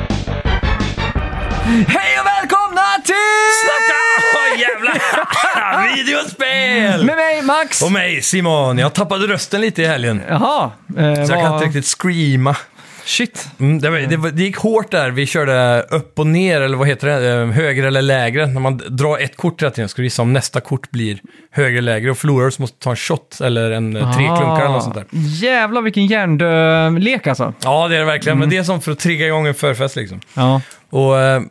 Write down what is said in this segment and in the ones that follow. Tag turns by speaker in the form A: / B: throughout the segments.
A: Max!
B: Och mig, Simon. Jag tappade rösten lite i helgen.
A: Jaha. Eh,
B: Så jag kan
A: vad-
B: inte riktigt screama.
A: Shit.
B: Mm, det, var, det, var, det gick hårt där. Vi körde upp och ner, eller vad heter det? Eh, Högre eller lägre. När man d- drar ett kort hela tiden, ska du gissa om nästa kort blir högre eller lägre. Och förlorar du så måste du ta en shot eller en eh, tre klunkar eller något sånt där.
A: Ah, Jävlar vilken hjärndö lek alltså.
B: Ja, det är det verkligen. Men det är som för att trigga igång en förfest liksom.
A: Ja.
B: Och eh,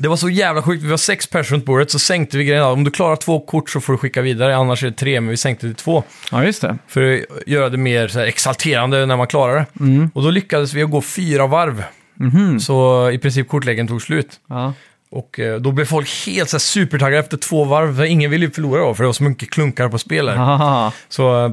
B: det var så jävla sjukt. Vi var sex personer runt bordet, så sänkte vi grejen. Om du klarar två kort så får du skicka vidare, annars är det tre, men vi sänkte till två.
A: ja, just det.
B: För att göra det mer så här, exalterande när man klarar det. Och då lyckades vi att gå fyra varv. Så i princip kortläggen tog slut.
A: Ja.
B: Och eh, då blev folk helt så här, supertaggade efter två varv. för Ingen ville ju förlora då, för det var så mycket klunkar på spel här.
A: Ah,
B: Så eh,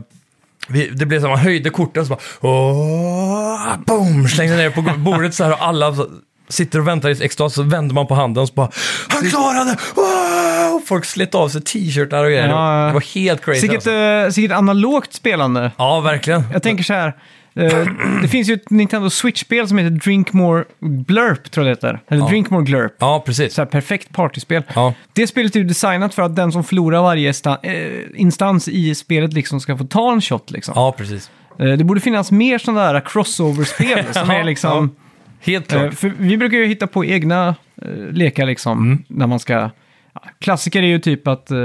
B: vi, det blev så att man höjde korten och så bara... Åh, boom! Slängde ner på bordet så här och alla så, sitter och väntar i extas. Så vänder man på handen och så bara... Han klarade! Wow! Folk slet av sig t-shirtar och grejer.
A: Ja, ja.
B: Det var helt crazy.
A: Sicket,
B: alltså.
A: eh, sicket analogt spelande.
B: Ja, verkligen.
A: Jag tänker så här. eh, det finns ju ett Nintendo Switch-spel som heter Drink More Glurp, tror jag det heter. Eller
B: Ja.
A: Drink More Glurp.
B: Ja, precis.
A: Så här perfekt partyspel.
B: Ja.
A: Det spelet är ju designat för att den som förlorar varje sta- eh, instans i spelet liksom ska få ta en shot. Liksom.
B: ja, precis.
A: Eh, det borde finnas mer sådana där crossover-spel som
B: Ja,
A: är liksom...
B: Helt
A: Eh,
B: klart.
A: För vi brukar ju hitta på egna eh, lekar liksom.
B: Mm.
A: När man ska... ja, Klassiker är ju typ att eh,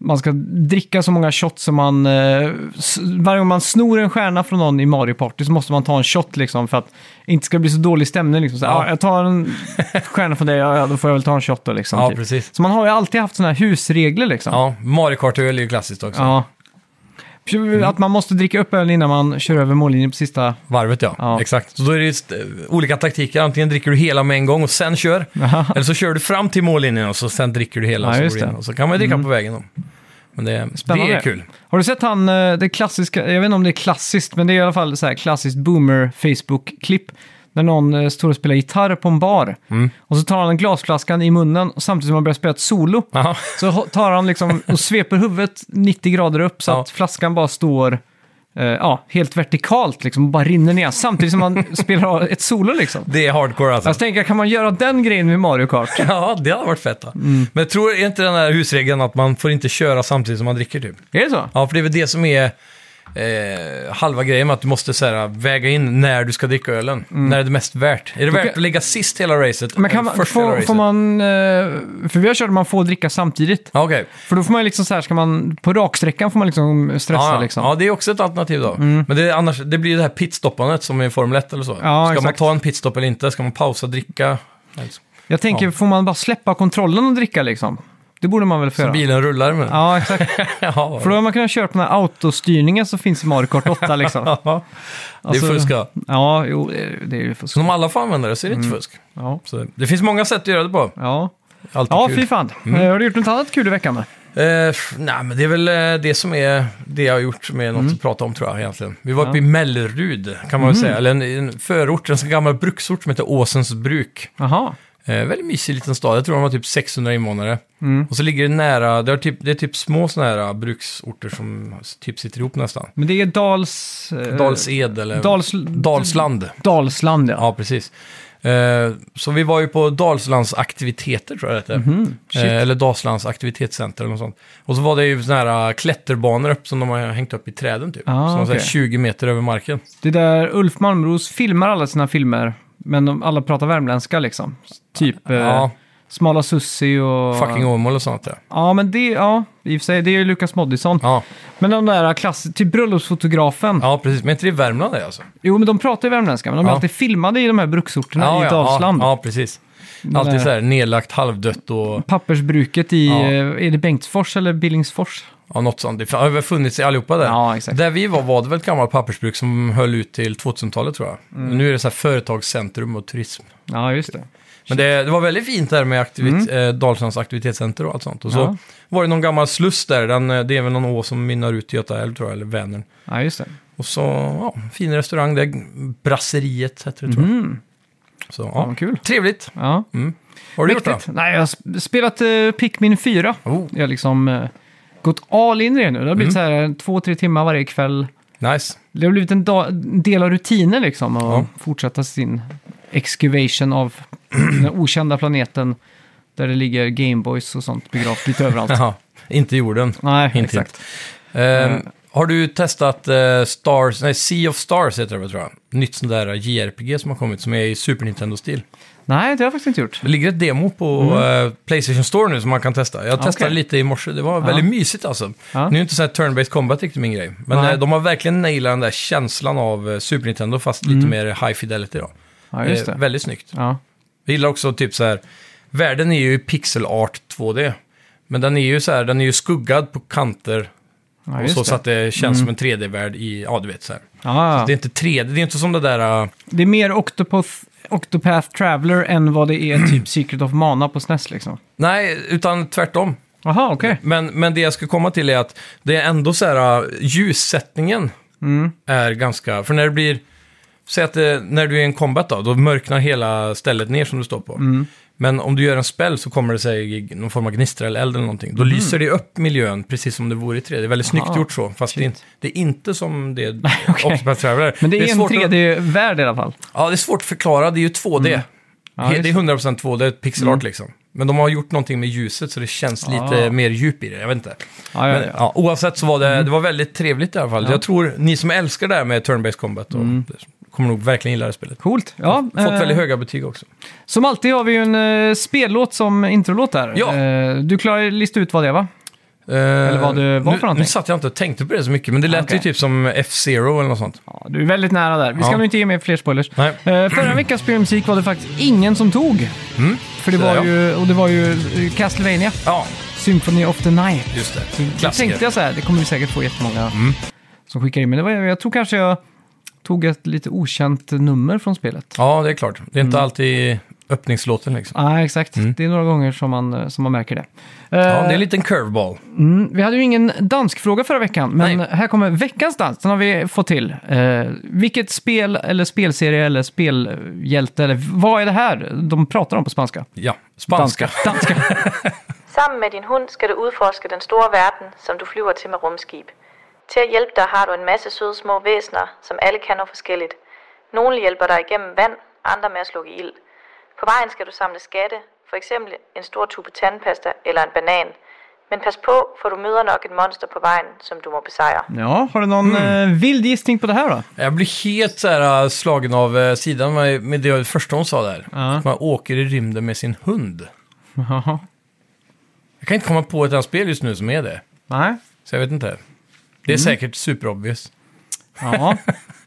A: man ska dricka så många shots som man... Eh, s- varje gång man snor en stjärna från någon i Mario Party så måste man ta en shot liksom för att det inte ska bli så dålig stämning. Liksom. Så,
B: Ja.
A: ja. jag tar en stjärna från dig, ja, ja, då får jag väl ta en shot då liksom.
B: Ja,
A: typ.
B: precis.
A: Så man har ju alltid haft sådana här husregler liksom.
B: Ja, Mario Kart-öl är ju klassiskt också.
A: Ja. Att man måste dricka upp ölen innan man kör över mållinjen på sista...
B: Varvet ja.
A: Ja.
B: exakt. Så då är det just, eh, olika taktiker. Antingen dricker du hela med en gång och sen kör. eller så kör du fram till mållinjen och så sen dricker du hela.
A: Ja,
B: och, så
A: just
B: går du in.
A: det. Mm.
B: och så kan man ju dricka på vägen då. Men det,
A: Spännande.
B: det är kul.
A: Har du sett han, eh, det klassiska, jag vet inte om det är klassiskt, men det är i alla fall så här klassiskt boomer Facebook-klipp. När någon eh, står och spelar gitarr på en bar.
B: Mm.
A: Och så tar han glasflaskan i munnen och samtidigt som han börjar spela ett solo.
B: Jaha.
A: Så ho- tar han liksom och sveper huvudet 90 grader upp så
B: Ja.
A: att flaskan bara står eh, ja, helt vertikalt liksom och bara rinner ner. Samtidigt som han spelar av ett solo liksom.
B: Det är hardcore alltså.
A: Jag tänker, kan man göra den grejen med Mario Kart?
B: Ja, det hade varit fett. Då.
A: Mm.
B: Men jag tror är inte den här husregeln att man får inte köra samtidigt som man dricker typ?
A: Är det så?
B: Ja, för det är väl det som är eh, halva grejen med att du måste så här, väga in när du ska dricka ölen. När det är det mest värt? Är det värt
A: Mm. kan-
B: att ligga sist hela racet?
A: Men kan
B: eller
A: man,
B: först hela
A: får,
B: racet?
A: får man, eh, för vi har kört att man får dricka samtidigt.
B: Ja, Okej.
A: För då får man ju liksom så här, ska man, på raksträckan får man liksom stressa
B: Ja, ja.
A: liksom. Mm.
B: ja, det är också ett alternativ då. Men det, är annars, det blir ju det här pitstoppandet som i Formel 1 eller så. ska man
A: exakt.
B: ta en pitstop eller inte? Ska man pausa, dricka? Alltså,
A: Jag tänker, får man bara släppa kontrollen och dricka liksom? Det borde man väl få göra?
B: Bilen rullar men... Ja.
A: Ja, exakt. För då har man kunnat köra på den här autostyrningen som finns i Mario Kart 8 liksom.
B: Ja, det är
A: Alltså-
B: fusk ja.
A: Ja, jo, eh, det är ju fusk.
B: Så om alla får använda det så är det inte fusk.
A: Mm. Ja.
B: Så det finns många sätt att göra det på.
A: Ja,
B: Alltid
A: ja
B: kul. Mm.
A: fy fan. Eh, Har du gjort något annat kul i veckan? Då?
B: Eh, f- nej, men det är väl eh, det som är det jag har gjort som är något
A: Mm.
B: att prata om tror jag egentligen. Vi var uppe i Mellerud kan man väl säga, eller en, en förort, en sån gammal bruksort som heter Åsens bruk.
A: Jaha.
B: Eh, väldigt mysig liten stad, jag tror de har typ 600 invånare.
A: Mm.
B: Och så ligger det nära, det är typ, det är typ små såna här bruksorter som typ sitter ihop nästan.
A: Men det är Dals... eh,
B: Dalsed eller
A: Dals,
B: Dalsland.
A: Dalsland, ja.
B: Ja, precis. Eh, så vi var ju på Dalslands aktiviteter, tror jag det heter.
A: Mhm. shit.
B: Eh, eller Dalslands aktivitetscenter eller något sånt. Och så var det ju sådana här äh, klätterbanor upp som de har hängt upp i träden typ.
A: Ah,
B: som var så här
A: okej.
B: 20 meter över marken.
A: Det är där Ulf Malmros filmar alla sina filmer, men de, alla pratar värmländska liksom. Typ eh,
B: Ja.
A: Smala Sussi och...
B: Fucking Åmål och sånt där.
A: Ja, men det, ja, i och för sig, det är ju Lukas Moodysson.
B: Ja.
A: Men de där klass, typ bröllopsfotografen.
B: ja, precis. Men är inte det i Värmland det alltså?
A: Jo, men de pratar ju värmländska, men de är
B: Ja.
A: alltid filmade i de här bruksorterna
B: ja,
A: i
B: ja,
A: Dalsland.
B: Ja, ja, precis. Alltid så här nedlagt, halvdött och
A: Pappersbruket i,
B: Ja.
A: eh, är det Bengtsfors eller Billingsfors?
B: ja, något sånt. Det har väl funnits i allihopa där.
A: Ja, exakt.
B: Där vi var var det väl ett gammalt pappersbruk som höll ut till 2000-talet tror jag.
A: Mm.
B: Nu är det så här företagscentrum och turism.
A: Ja, just det.
B: Men det, det var väldigt fint där med aktivit, eh, Dalslands aktivitetscenter och allt sånt. Och så
A: Mm. Ja.
B: var det någon gammal sluss där, den, eh, det är väl någon å som mynnar ut i Göta älv tror jag, eller Vänern.
A: Ja, just det.
B: Och så, ja, fin restaurang där, Brasseriet heter det tror jag. Så,
A: Mm. Ja,
B: ja.
A: vad kul.
B: Trevligt.
A: Ja.
B: Vad har du gjort då?
A: Mäktigt. Nej, jag har sp- spelat eh, Pikmin 4.
B: Oh.
A: Jag har liksom eh, gått all in i det nu. Det har blivit
B: Mm.
A: så här eh, två, tre timmar varje kväll.
B: Oh, Nice.
A: Det har blivit en, da- en del av rutinen liksom att
B: Ja.
A: fortsätta sin excavation av den okända planeten Där det ligger Gameboys och sånt begravt lite överallt.
B: Jaha, inte jorden.
A: Nej,
B: Hint,
A: exakt.
B: Ehm,
A: Mm.
B: Har du testat eh, Stars, nej, Sea of Stars heter det väl, tror jag. Nytt sånt där JRPG som har kommit som är i Super Nintendo-stil.
A: Nej, det har jag faktiskt inte gjort.
B: Det ligger ett demo på eh, Playstation Store nu som man kan testa. Jag testade
A: Mm. Okej.
B: lite i morse, det var väldigt mysigt alltså.
A: Ja.
B: Nu är inte så här turn-based combat riktigt min grej. Men
A: Nej.
B: eh, de har verkligen nailat den där känslan av eh, Super Nintendo fast lite mer high fidelity då.
A: Mm. Ja, just det.
B: Eh, väldigt snyggt.
A: Ja,
B: Jag gillar också typ så här, världen är ju i pixel art 2D. Men den är ju så här, den är ju skuggad på kanter.
A: ja
B: och
A: just
B: så,
A: det. Mm.
B: så att det känns som en 3D-värld i, ja du vet så här.
A: Ja,
B: Det är
A: det...
B: inte 3D, det är inte som det där... äh,
A: är mer Octopath, Octopath Traveler än vad det är typ Secret of Mana på SNES liksom.
B: nej, utan tvärtom.
A: Jaha, okej.
B: Men, men det jag ska komma till är att det är ändå så här, äh, ljussättningen
A: Mm.
B: är ganska... För när det blir... Säg att det, när du är i en combat då, då mörknar hela stället ner som du står på.
A: Mm.
B: Men om du gör en spell så kommer det sig någon form av gnistra eller eld eller någonting. Då
A: Mm.
B: lyser det upp miljön precis som det vore i 3D. Det är väldigt snyggt
A: Aha,
B: gjort så, fast det är,
A: Ah, shit.
B: det är inte som det
A: okej.
B: Octopath Traveler.
A: Men det är, en
B: svårt att-
A: 3D-värld i alla fall.
B: Ja, det är svårt att förklara. Det är ju 2D.
A: Mm. Ja,
B: det är
A: just Mm.
B: 100% 2D, pixelart liksom. Men de har gjort någonting med ljuset så det känns lite
A: Ah.
B: mer djup i det. Jag vet inte.
A: Ja, ja,
B: Men,
A: ja. Mm.
B: ja, oavsett så var det, det var väldigt trevligt i alla fall. Jag tror ni som älskar det här med turn-based combat då, kommer nog verkligen gilla det här spelet.
A: Coolt. Mm. Ja,
B: Fått
A: eh,
B: väldigt höga betyg också.
A: Som alltid har vi ju en eh, spellåt som introlåt där.
B: Ja.
A: Eh, du klarar lista ut vad det är va?
B: Eller
A: vad det var för
B: Eh, nu,
A: någonting. Ah,
B: Nu satt jag inte och tänkte på det så mycket, men det lät
A: okej.
B: ju typ som F-Zero eller något sånt.
A: Ja, du är väldigt nära där. Vi ska
B: Ja.
A: nog inte ge mer fler spoilers.
B: Nej.
A: Eh, förra veckans spelmusik var det faktiskt ingen som tog.
B: Mm.
A: För det
B: Så där,
A: var
B: ja.
A: ju, och det var ju eh, Castlevania,
B: Ja,
A: Symphony of the Night.
B: just det.
A: Då
B: Klassiker. Mm.
A: tänkte jag så här, det kommer vi säkert få jättemånga som skickar in. Men det var, jag tror kanske jag tog ett lite okänt nummer från spelet.
B: Ja, det är klart. Det är
A: Mm.
B: inte alltid öppningslåten liksom.
A: Ja, ah, exakt. Det är några gånger som man, eh, som man märker det. Eh,
B: Ja, det är en liten curveball.
A: Mm, vi hade ju ingen danskfråga förra veckan, men
B: Nej.
A: här kommer veckans dans. Den har vi fått till. Eh, vilket spel, eller spelserie, eller spelhjälte, eller vad är det här de pratar om på spanska?
B: Ja, spanska.
A: Danska. Danska.
C: Sammen med din hund skal du udforske den store verden, som du flyver til med rumskib. Til at hjælpe dig har du en masse søde små væsener, som alle kan noget forskelligt. Nogle hjælper dig igennem vand, andre med at slukke ild. På vejen skal du samle skatte, for eksempel en stor tube tandpasta eller en banan. Men pas på, for du møder nok et monster på vejen, som du må besejre.
A: Ja, har du någon eh, vild gissning på det här då?
B: Jag blir helt så här, äh, slagen av eh, sidan med med det första hon sa där.
A: Ja.
B: Att Man åker i rymden med sin hund.
A: Jaha.
B: Jag kan inte komma på ett annat spel just nu som är det.
A: Nej.
B: Så jag vet inte. Det är säkert superobvious.
A: Ja.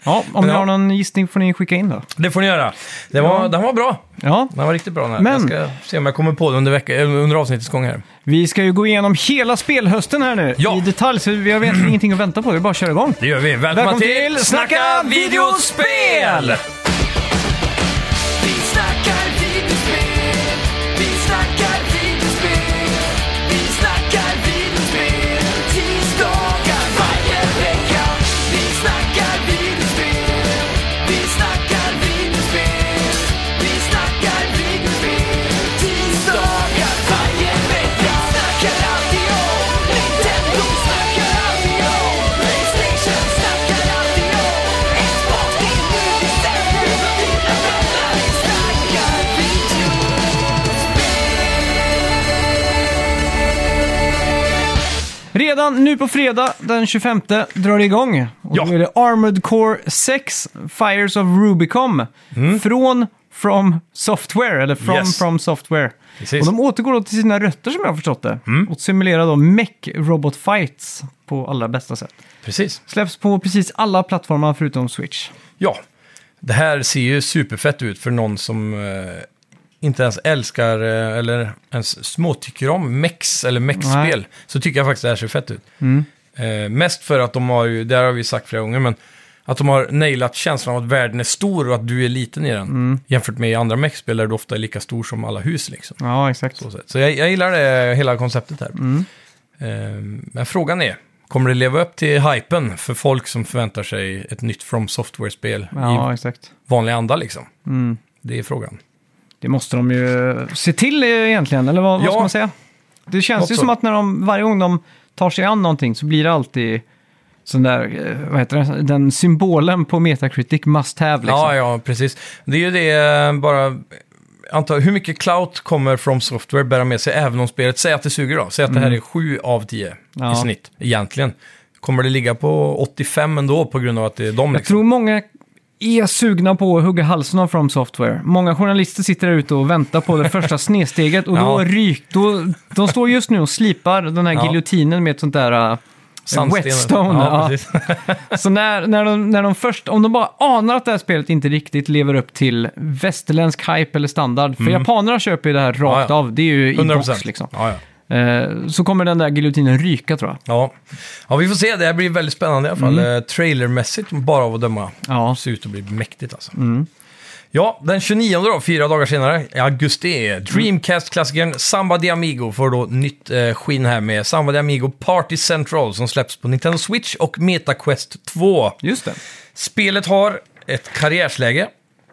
A: ja, om ni
B: Ja.
A: har någon gissning får ni skicka in då.
B: Det får ni göra. Det var,
A: Ja.
B: Den var bra.
A: Ja,
B: Den var riktigt bra. Den här.
A: Men-
B: Jag ska se om jag kommer på det under, vecka, eller under avsnittets gång här.
A: vi ska ju gå igenom hela spelhösten här nu
B: Ja.
A: i detalj, så vi har egentligen ingenting att vänta på. Det är bara att köra igång.
B: Det gör vi. Välkomna
A: Välkommen
B: till
A: till
B: Snacka
A: Snacka
B: videospel!
D: Vi snackar videospel, vi snackar videospel, vi snackar videospel, tisdagar varje vecka. Vi snackar videospel, vi snackar videospel, vi snackar videospel, tisdagar varje vecka. Snackar alltid om Nintendo, snackar alltid om Playstation, snackar alltid om Xbox, det är nu vi sänder för dina vänner. Vi snackar video.
A: Redan nu på fredag den 25 drar det igång. Och
B: Ja.
A: då är det Armored Core 6, Fires of Rubicon. Från From Software, eller From
B: Mm. Yes.
A: From Software.
B: Precis. Mm.
A: Och de återgår då till sina rötter som jag har förstått det. Och simulerar då mech robot fights på allra bästa sätt.
B: Precis.
A: Släpps på precis alla plattformar förutom Switch.
B: Ja. Det här ser ju superfett ut för någon som eh, inte ens älskar eh, eller ens småtycker om mex eller mexspel. Så tycker jag faktiskt det här ser fett ut. Eh, mest för att de har ju, det här har vi sagt flera gånger, men att de har nailat känslan av att världen är stor och att du är liten i den. Jämfört med i andra mexspel där du ofta är lika stor som alla hus liksom.
A: Ja, exakt.
B: Så, så jag, jag gillar det, hela konceptet här.
A: Mm.
B: Eh, men frågan är, kommer det leva upp till hypen för folk som förväntar sig ett nytt From Software-spel
A: Ja, Mm.
B: i
A: exakt.
B: vanlig anda liksom? Det är frågan.
A: Det måste de ju se till eh, egentligen, eller vad,
B: Ja.
A: vad ska man säga? Det känns
B: Något
A: ju
B: så.
A: som att när de, varje gång de tar sig an någonting så blir det alltid sån där, eh, vad heter det, den symbolen på Metacritic must have liksom.
B: Ja, ja, precis. Det är ju det, eh, bara antar, hur mycket clout kommer From Software bära med sig även om spelet, säg att det suger då, säg att det här är 7 av 10
A: Mm. Ja.
B: i snitt egentligen. Kommer det ligga på 85 ändå på grund av att det är de
A: Jag
B: liksom?
A: tror många är sugna på att hugga halsen av From Software. Många journalister sitter där ute och väntar på det första snedsteget och då
B: Ja.
A: ryk, då, de står just nu och slipar den här
B: Ja.
A: giljotinen med ett sånt där äh,
B: Sandsten.
A: whetstone.
B: Ja,
A: ja.
B: precis.
A: Så när, när, de, när de först, om de bara anar att det här spelet inte riktigt lever upp till västerländsk hype eller standard, för japanerna köper ju det här rakt
B: Mm. Ja, ja.
A: av, det är ju i
B: 100%.
A: box liksom.
B: Ja, ja.
A: Eh, så kommer den där giljotinen ryka tror jag.
B: Ja. ja, vi får se. Det här blir väldigt spännande i alla fall. Eh, Trailermässigt, bara av att döma.
A: Ja.
B: Ser ut att bli mäktigt alltså. Ja, den 29 då, fyra dagar senare, i augusti, är Dreamcast-klassikern Samba de Amigo får då nytt eh, skinn här med Samba de Amigo Party Central som släpps på Nintendo Switch och MetaQuest 2.
A: Just det.
B: Spelet har ett karriärsläge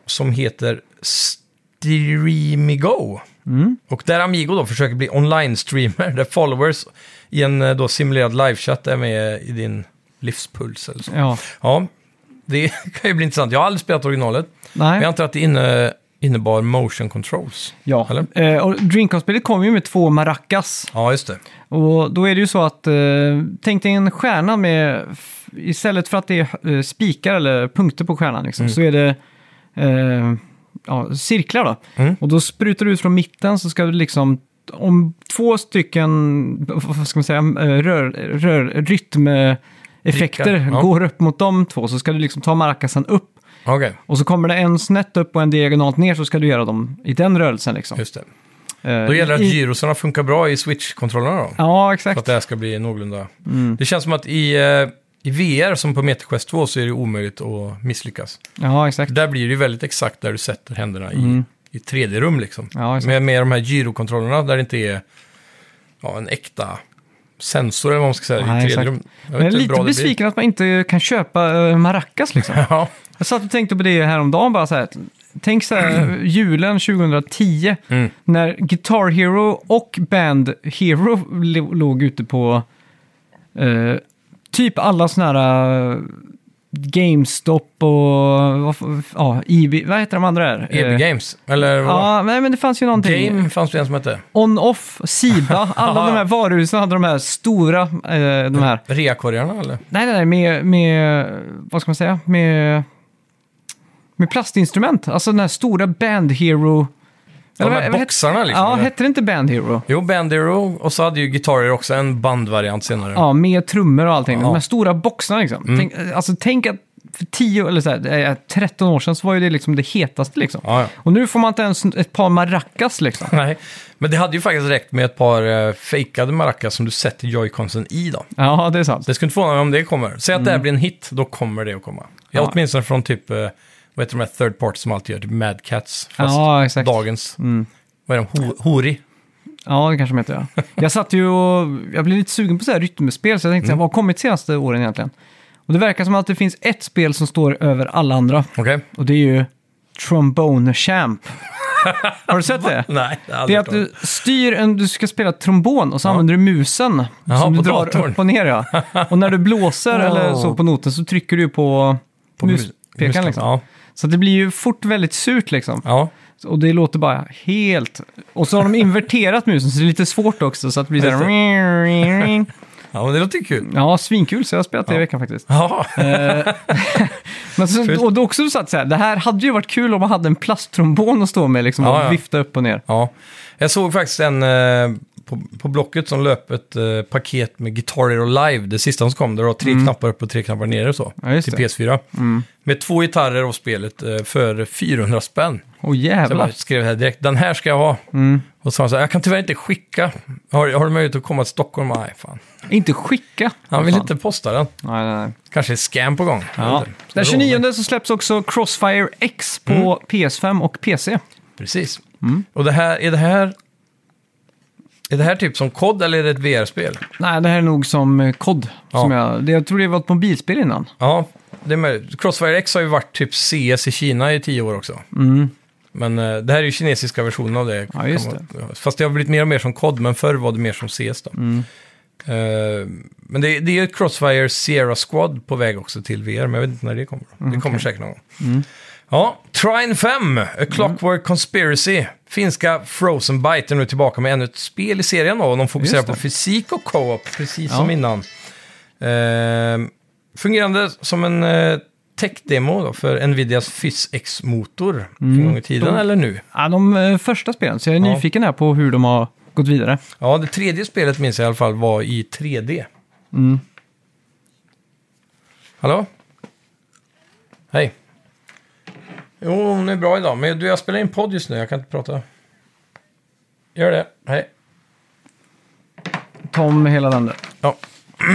B: som heter Streamigo.
A: Mm.
B: Och där Amigo då försöker bli online-streamer, där followers i en eh, då simulerad livechatt är med i din livspuls eller så.
A: Ja.
B: Ja, det kan ju bli intressant. Jag har aldrig spelat originalet, men
A: Nej.
B: jag antar att det inne, innebar motion controls.
A: Ja.
B: Eller?
A: Eh, och Dreamcast-spelet kom ju med två maracas.
B: Ja, just det.
A: Och då är det ju så att, eh, tänk dig en stjärna med, f- istället för att det är eh, spikar eller punkter på stjärnan liksom,
B: Mm.
A: så är det eh, ja, cirklar då.
B: Mm.
A: Och då sprutar du ut från mitten så ska du liksom, om två stycken, vad ska man säga, eh, rör, rör, rytmeffekter
B: Prickar, ja.
A: går upp mot de två så ska du liksom ta maracasen upp.
B: Okej,
A: Och så kommer det en snett upp och en diagonalt ner så ska du göra dem i den rörelsen liksom.
B: just det.
A: Eh,
B: Då gäller det
A: i-
B: att gyrosarna funkar bra i switch-kontrollerna då.
A: Ja,
B: För att
A: exakt.
B: det här ska bli någorlunda...
A: Mm.
B: Det känns som att i, eh, i VR, som på MetaQuest 2, så är det omöjligt att misslyckas.
A: Ja, exakt.
B: Där blir det ju väldigt exakt där du sätter händerna i, i 3D-rum liksom.
A: Mm. Ja, exakt.
B: med, med de här gyrokontrollerna där det inte är ja, en äkta sensor eller vad man ska säga
A: Nej,
B: i
A: exakt.
B: 3D-rum.
A: Jag är lite besviken att man inte kan köpa eh, maracas liksom.
B: Ja,
A: Jag satt och tänkte på det häromdagen bara så här. Tänk så här, julen 2010
B: Mm.
A: när Guitar Hero och Band Hero lo- låg ute på eh, typ alla sådana här eh, GameStop och vad, f- ja, EB, vad heter de andra där?
B: EB E Games, eller vadå?
A: Eh. Ja, nej, men det fanns ju någonting.
B: Game fanns det en som hette.
A: On-Off, Siba, alla de här varuhusen hade de här stora, eh, de här
B: Reakorgarna eller?
A: Nej, nej, nej, med, med, vad ska man säga, med, med plastinstrument. Alltså den här stora Band Hero.
B: De
A: vad-
B: här
A: vad
B: boxarna
A: hette-
B: liksom.
A: Ja,
B: eller?
A: hette det inte Band Hero?
B: Jo, Bandero och så hade ju gitarrer också en bandvariant senare.
A: Ja, med trummor och allting. De här
B: Ja. Mm.
A: stora boxarna liksom. Tänk, alltså tänk att för 10 eller så här, eh, 13 år sedan så var ju det liksom det hetaste liksom.
B: Ja, ja.
A: Och nu får man inte ens ett par maracas liksom.
B: Nej, men det hade ju faktiskt räckt med ett par eh, fejkade maracas som du sätter joyconsen i då.
A: Ja, det är sant.
B: Det skulle inte förvåna mig om det kommer. Säg att det här blir en hit, då kommer det att komma. Ja.
A: Mm. Ja.
B: Åtminstone från typ, eh, vad heter de här third parts som alltid gör, typ Mad Cats, fast
A: Ja, exakt. Mm.
B: dagens. Vad är de, Ho- Hori?
A: Ja, det kanske de heter. Ja. Jag satt ju och, jag blev lite sugen på så här rytmspel, så jag
B: Mm.
A: tänkte så här, vad har kommit senaste åren egentligen? Och det verkar som att det finns ett spel som står över alla andra.
B: Okej?
A: Och det är ju Trombone Champ. Har du sett det?
B: Nej, det har jag
A: Det
B: aldrig
A: är att
B: hört om.
A: du styr en, du ska spela trombon och så använder du musen
B: Jaha,
A: som du
B: på
A: drar
B: datorn.
A: upp och ner. Ja. Och när du blåser eller så på noten så trycker du på,
B: På mus-
A: muspekaren.
B: musklan,
A: Liksom.
B: ja.
A: Så det blir ju fort väldigt surt liksom.
B: Ja,
A: Och det låter bara helt... Och så har de inverterat musen så det är lite svårt också så att det blir så
B: Just
A: här...
B: ja men det låter ju kul.
A: Ja, svinkul så jag har spelat det i veckan faktiskt.
B: Ja,
A: Men så, och då också du satt så här, det här hade ju varit kul om man hade en plasttrombon att stå med liksom
B: Ja,
A: och
B: ja.
A: vifta upp och ner.
B: ja. jag såg faktiskt en eh, på, på Blocket som löp ett eh, paket med Guitar Hero Live, det sista som kom, där det var tre knappar upp och tre knappar ner och så,
A: Mm. Ja, just
B: till
A: det. Mm.
B: PS4. Med två gitarrer och spelet eh, för 400 spänn.
A: Åh
B: Så jag
A: jävlar.
B: bara skrev här direkt, den här ska jag ha.
A: Mm.
B: Och så sa han så här, jag kan tyvärr inte skicka. Har, har du möjlighet att komma till Stockholm? Nej, fan.
A: Inte skicka.
B: Han vill
A: Fan.
B: inte posta den.
A: Nej, nej, nej.
B: Kanske är scam på gång. Jag Mm.
A: Ja.
B: vet inte.
A: Den 29 så släpps också Crossfire X på PS5 och PC.
B: Precis.
A: Mm.
B: Och det här, är det här... Är det här typ som kod eller är det ett VR-spel?
A: Nej, det här är nog som eh, kod.
B: Ja.
A: Som jag, det- jag tror det var ett mobilspel innan.
B: Ja, det är möjligt. Crossfire X har ju varit typ CS i Kina i tio år också. Men eh, det här är ju kinesiska versionen av det.
A: Mm. Ja, just
B: Kan man- Fast det har blivit mer och mer som kod, men förr var det mer som CS då.
A: Mm.
B: Eh, men det, det är ju
A: Mm,
B: ett Crossfire Sierra Squad på väg också till VR, men jag vet inte när det kommer. Det kommer säkert någon gång. Ja, Trine 5, A Clockwork Conspiracy. Finska Frozen Bite är nu tillbaka med ännu ett spel i serien då. Och de fokuserar
A: Just det.
B: på fysik och co-op, precis
A: Ja.
B: som innan. Ehm, fungerande som en eh, tech-demo då för Nvidias FysX-motor.
A: Mm.
B: en gång i tiden
A: Då-
B: eller nu.
A: Ja, de eh, första spelen, så jag är
B: Ja.
A: nyfiken här på hur de har gått vidare.
B: Ja, det tredje spelet minns jag i alla fall var i 3D. Hallå? Hej. Jo, hon är bra idag, men du, jag spelar in podd just nu, jag kan inte prata. Gör det, hej.
A: Tom, hela den där.
B: Ja.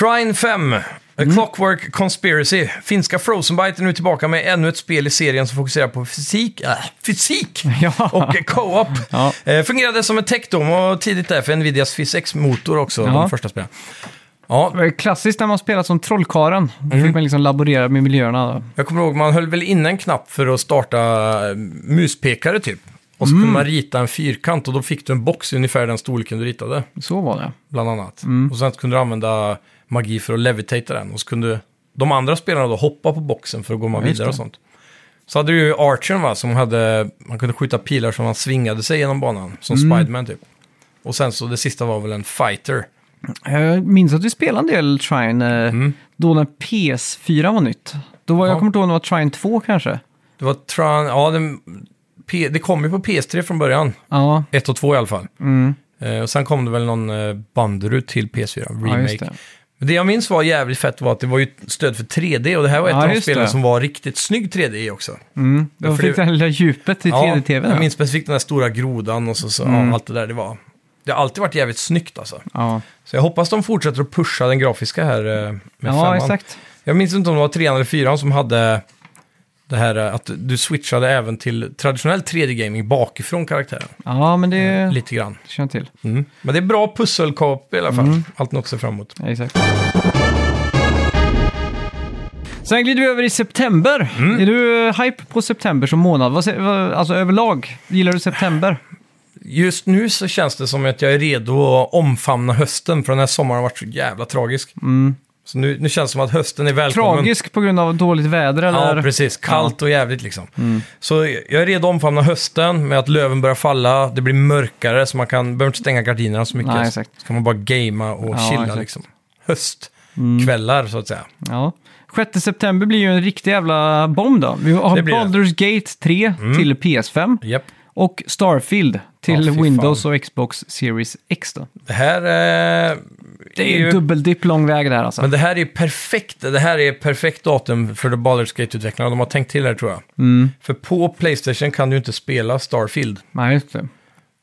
B: Trine 5, A Clockwork Conspiracy. Finska Frozenbite är nu tillbaka med ännu ett spel i serien som fokuserar på fysik, äh, fysik
A: Ja.
B: och co-op.
A: Ja.
B: Eh, fungerade som en tech-dom och tidigt där för Nvidias FysX-motor också, de första spelen. Ja,
A: Det var ju eh, Klassiskt när man spelat som trollkaren. Då
B: Mm.
A: fick man liksom laborera med miljöerna. Då.
B: Jag kommer ihåg, man höll väl in en knapp för att starta eh, muspekare typ. Och så kunde man rita en fyrkant och då fick du en box i ungefär den storleken du ritade,
A: Så var det.
B: bland annat. Och sen kunde du använda magi för att levitata den. Och så kunde de andra spelarna då hoppa på boxen för att gå
A: just
B: vidare och
A: det.
B: sånt. Så hade du ju Archern va, som hade, man kunde skjuta pilar som man svingade sig genom banan, som Spiderman typ. Och sen så det sista var väl en fighter.
A: Jag minns att vi spelade en del Trine eh, då när PS4 var nytt. Då var,
B: Mm. Ja.
A: Jag kommer inte ihåg om det var Trine 2 kanske.
B: Det var Tran, ja den, P, det kom ju på PS3 från början.
A: Ja,
B: Ett och två i alla fall. Eh, och sen kom det väl någon eh, Banderud till PS4,
A: Mm. ja
B: remake.
A: just det.
B: Men det jag minns var jävligt fett var att det var ju stöd för 3D och det här var ett
A: Ja,
B: av de
A: just
B: spelen
A: det.
B: som var riktigt snygg 3D i också.
A: Mm. Då
B: för
A: fick
B: det-
A: det här lilla djupet i 3D-tvn.
B: jag minns specifikt den där stora grodan och så, så
A: Mm.
B: ja, allt det där det var. Det har alltid varit jävligt snyggt alltså.
A: Ja,
B: Så jag hoppas de fortsätter att pusha den grafiska här eh, med
A: ja
B: femman.
A: exakt.
B: Jag minns inte om det var trean eller fyran som hade det här eh, att du switchade även till traditionell 3D-gaming bakifrån karaktären.
A: Ja, men det
B: Lite grann.
A: känner jag till.
B: Mm. Men det är bra pusselkap i alla fall.
A: Mm.
B: Allt något att se fram emot.
A: Ja, exakt. Sen glider vi över i september.
B: Mm.
A: Är du eh, hype på september som månad? Vad sä- vad- Alltså överlag, gillar du september?
B: Just nu så känns det som att jag är redo att omfamna hösten, för den här sommaren har varit så jävla tragisk. Så nu, nu känns det som att hösten är välkommen.
A: Mm. Tragisk på grund av dåligt väder eller? Mm.
B: Ja, precis. Kallt och jävligt liksom. Så jag är redo att omfamna hösten med att löven börjar falla, det blir mörkare så man kan, behöver inte stänga gardinerna så mycket.
A: Nej, exakt.
B: Så kan man bara gamea och
A: Ja,
B: chilla
A: exakt. Mm.
B: liksom. Höstkvällar så att säga.
A: Ja. 6 september blir ju en riktig jävla bomb då. Vi har
B: Det blir det.
A: Baldur's Gate 3 till PS5
B: Japp.
A: och Starfield till
B: Ja, fy
A: Windows och Xbox Series X då.
B: Det här eh,
A: Det är ju dubbeldipp lång väg där alltså.
B: Men det här är ju perfekt, det här är perfekt datum för The Baldur's Gate-utvecklarna. De har tänkt till här tror jag.
A: Mm.
B: För på Playstation kan du inte spela Starfield
A: Nej, just det.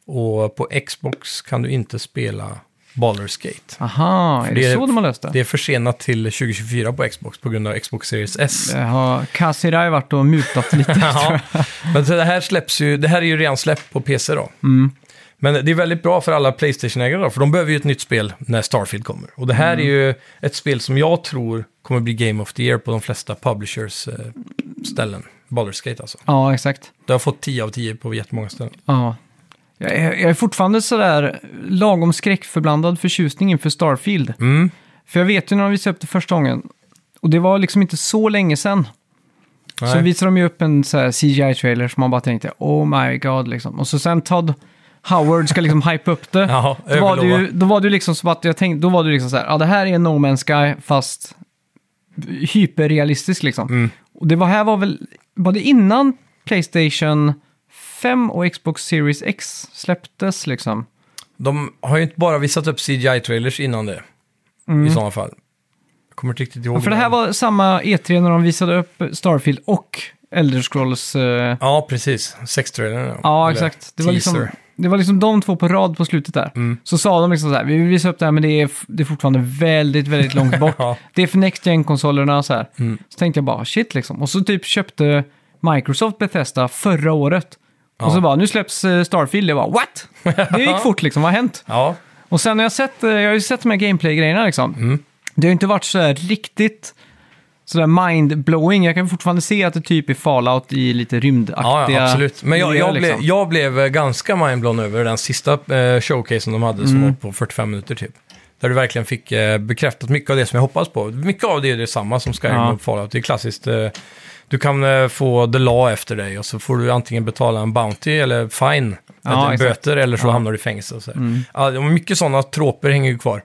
B: och på Xbox kan du inte spela Baldur's Gate.
A: Aha, är det,
B: det är-
A: så de har löst det?
B: Det är försenat till 2024 på Xbox på grund av Xbox Series S.
A: det Eh, har Kasirai varit och mutat lite.
B: Ja. Men så det här släpps ju, det här är ju redan släppt på PC då.
A: Mm.
B: Men det är väldigt bra för alla Playstation-ägare då, för de behöver ju ett nytt spel när Starfield kommer. Och det
A: Mm.
B: här är ju ett spel som jag tror kommer bli Game of the Year på de flesta publishers eh, ställen. Baldur's Gate alltså.
A: ja, exakt.
B: Det har fått 10 av 10 på jättemånga ställen.
A: Ja. Jag är, jag är fortfarande sådär lagom skräckförblandad förtjusning inför Starfield. För jag vet ju när de visade upp det första gången, och det var liksom inte så länge sedan, så
B: Nej.
A: visade de ju upp en så här CGI-trailer som man bara tänkte oh my god liksom. Och så sen Todd Howard ska liksom hype upp det.
B: Ja,
A: då, var det ju,
B: överlova.
A: då var det ju liksom som att jag tänkte, då var det ju liksom så här, ja det här är No Man's Sky fast hyperrealistiskt liksom.
B: Mm.
A: Och det var här var väl, var det innan Playstation 5 och Xbox Series X släpptes liksom?
B: De har ju inte bara visat upp CGI-trailers innan det. I sådana fall. Jag kommer inte riktigt ihåg.
A: Mm. För det här
B: men-
A: var samma E3 när de visade upp Starfield och Elder Scrolls eh,
B: Ja, precis. Sex-trailern.
A: Ja,
B: Eller
A: exakt. Det var, liksom,
B: teaser. Mm.
A: det var liksom de två på rad på slutet där. Så sa de liksom så här, vi vill visa upp det här men det är, f- det är fortfarande väldigt, väldigt långt bort.
B: Ja. Mm.
A: Det är för Next Gen-konsolerna och så här. Så tänkte jag bara, shit liksom. Och så typ köpte Microsoft Bethesda förra året. Och så bara, nu släpps eh, Starfield. Jag bara, what? Det gick fort liksom, vad har hänt?
B: Ja,
A: Och sen har jag sett, eh, jag har ju sett de här gameplay-grejerna liksom.
B: Mm.
A: Det har ju inte varit så här riktigt sådär mind-blowing. Jag kan fortfarande se att det typ är Fallout i lite
B: ja,
A: rymdaktiga... liksom.
B: ja, absolut. Men jag,
A: miljöer,
B: jag, blev, jag eh,
A: Mm.
B: blev ganska mindblown över den sista eh, showcasen de hade som var på 45 minuter typ. Där du verkligen fick eh, bekräftat mycket av det som jag hoppas på. Mycket av det är detsamma som Skyrim
A: Ja.
B: och Fallout. Det är klassiskt. eh, Du kan eh, få the law efter dig och så får du antingen betala en bounty eller fine.
A: Ja,
B: Eller
A: exakt.
B: böter eller så hamnar du i fängelse. Och så. här. Ja, det är mycket sådana tråper hänger ju kvar.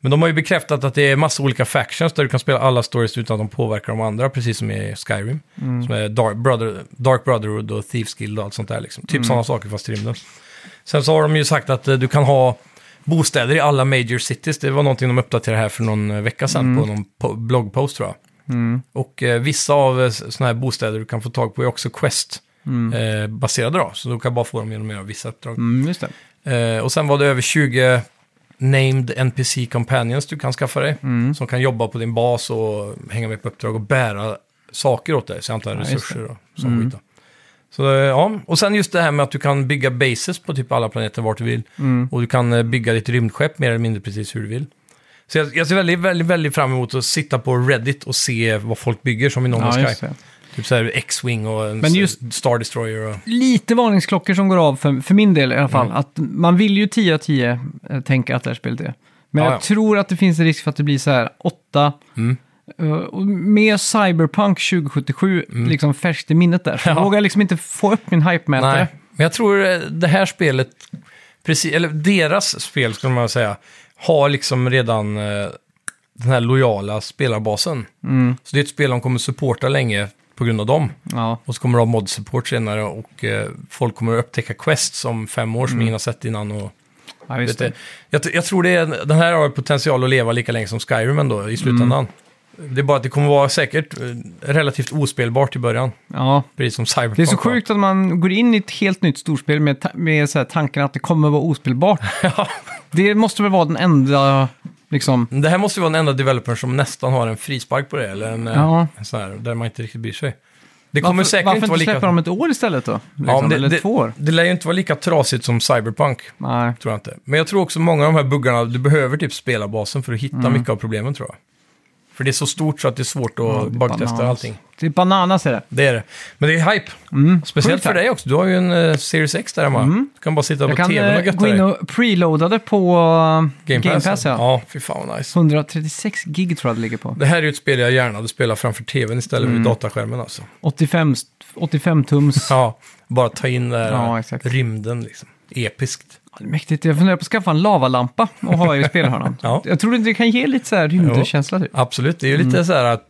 B: Men de har ju bekräftat att det är massa olika factions där du kan spela alla stories utan att de påverkar de andra, precis som i Skyrim. Som är Dark, Brother, Dark Brotherhood och Thieves Guild och allt sånt där. Liksom. Typ sådana saker fast i rymden. Sen så har de ju sagt att eh, du kan ha bostäder i alla major cities. Det var någonting de uppdaterade här för någon eh, vecka sedan på någon po- bloggpost tror jag. Och eh, vissa av sådana här bostäder du kan få tag på är också Quest-baserade då. Så du kan bara få dem genom att göra vissa uppdrag.
A: Mm, just det.
B: Eh, och sen var det över 20 named NPC companions du kan skaffa dig.
A: Mm.
B: Som kan jobba på din bas och hänga med på uppdrag och bära saker åt dig. Så jag antar
A: just Mm.
B: resurser och sån skit då. Så eh, ja, och sen just det här med att du kan bygga bases på typ alla planeter vart du vill.
A: Mm.
B: Och du kan eh, bygga ditt rymdskepp mer eller mindre precis hur du vill. Så jag, jag ser väldigt, väldigt, väldigt fram emot att sitta på Reddit och se vad folk bygger som i No
A: Ja,
B: Man's
A: just
B: Sky.
A: det.
B: Typ så här X-Wing och en
A: Men just-
B: Star Destroyer och...
A: Lite varningsklockor som går av för, för min del i alla
B: Mm.
A: fall. Att man vill ju 10 av 10 eh, tänka att det här spelet är. Men
B: Ja, Mm.
A: jag
B: ja.
A: tror att det finns en risk för att det blir så här 8. och med Cyberpunk 2077 liksom färskt i minnet där. Så
B: Mm. Ja.
A: vågar jag liksom inte få upp min hype-mätare.
B: Nej, men jag tror eh, det här spelet, precis, eller deras spel skulle man säga, har liksom redan eh, den här lojala spelarbasen.
A: Mm.
B: Så det är ett spel de kommer supporta länge på grund av dem.
A: Ja.
B: Och så kommer de ha mod-support senare och eh, folk kommer att upptäcka quests om fem år som ingen har sett innan. Och,
A: Ja, Mm. just
B: vet du,
A: det.
B: jag, tr- jag tror det är, den här har potential att leva lika länge som Skyrim ändå i slutändan.
A: Mm.
B: Det är bara att det kommer vara säkert eh, relativt ospelbart i början,
A: Ja.
B: precis som Cyberpunk.
A: Det är så
B: var.
A: sjukt att man går in i ett helt nytt storspel med, ta- med så här tanken att det kommer vara ospelbart. Det måste väl vara den enda, liksom...
B: Det här måste ju vara den enda developern som nästan har en frispark på det, eller en, eh,
A: Ja.
B: en sån här, där man inte riktigt bryr sig. Det kommer
A: Varför,
B: säkert
A: varför
B: inte
A: inte
B: vara lika...
A: släppa dem ett år istället då? Liksom,
B: men
A: eller två år?
B: Det, det lär ju inte vara lika trasigt som Cyberpunk,
A: Nej.
B: tror jag inte. Men jag tror också många av de här buggarna, du behöver typ spelarbasen för att hitta
A: Mm.
B: mycket av problemen tror jag. För det är så stort så att det är svårt att
A: det är bananas.
B: bugtesta allting.
A: Det är bananas är det.
B: Det är det. Men det är hype. Speciellt
A: Mm, Sjukt
B: för
A: hype. Mm.
B: dig också. Du har ju en eh, Series X där hemma. Du kan bara sitta
A: Jag
B: på
A: kan
B: tvn och
A: eh,
B: götta
A: gå in
B: dig.
A: och preloada det på eh, Game Pass. ja.
B: ja, fy fan vad nice.
A: 136 gig tror jag det ligger på.
B: Det här är ju ett spel jag gärna hade spelat framför tvn istället
A: Mm.
B: för vid dataskärmen alltså.
A: 85, 85 tums.
B: Ja, bara ta in den här
A: Ja, exakt.
B: rymden liksom. Episkt.
A: Det är Mäktigt. Jag funderar på att skaffa en lavalampa och ha i spelhörnan.
B: Ja.
A: Jag tror det kan ge lite så här rymdkänsla typ.
B: Absolut, det är ju lite så här att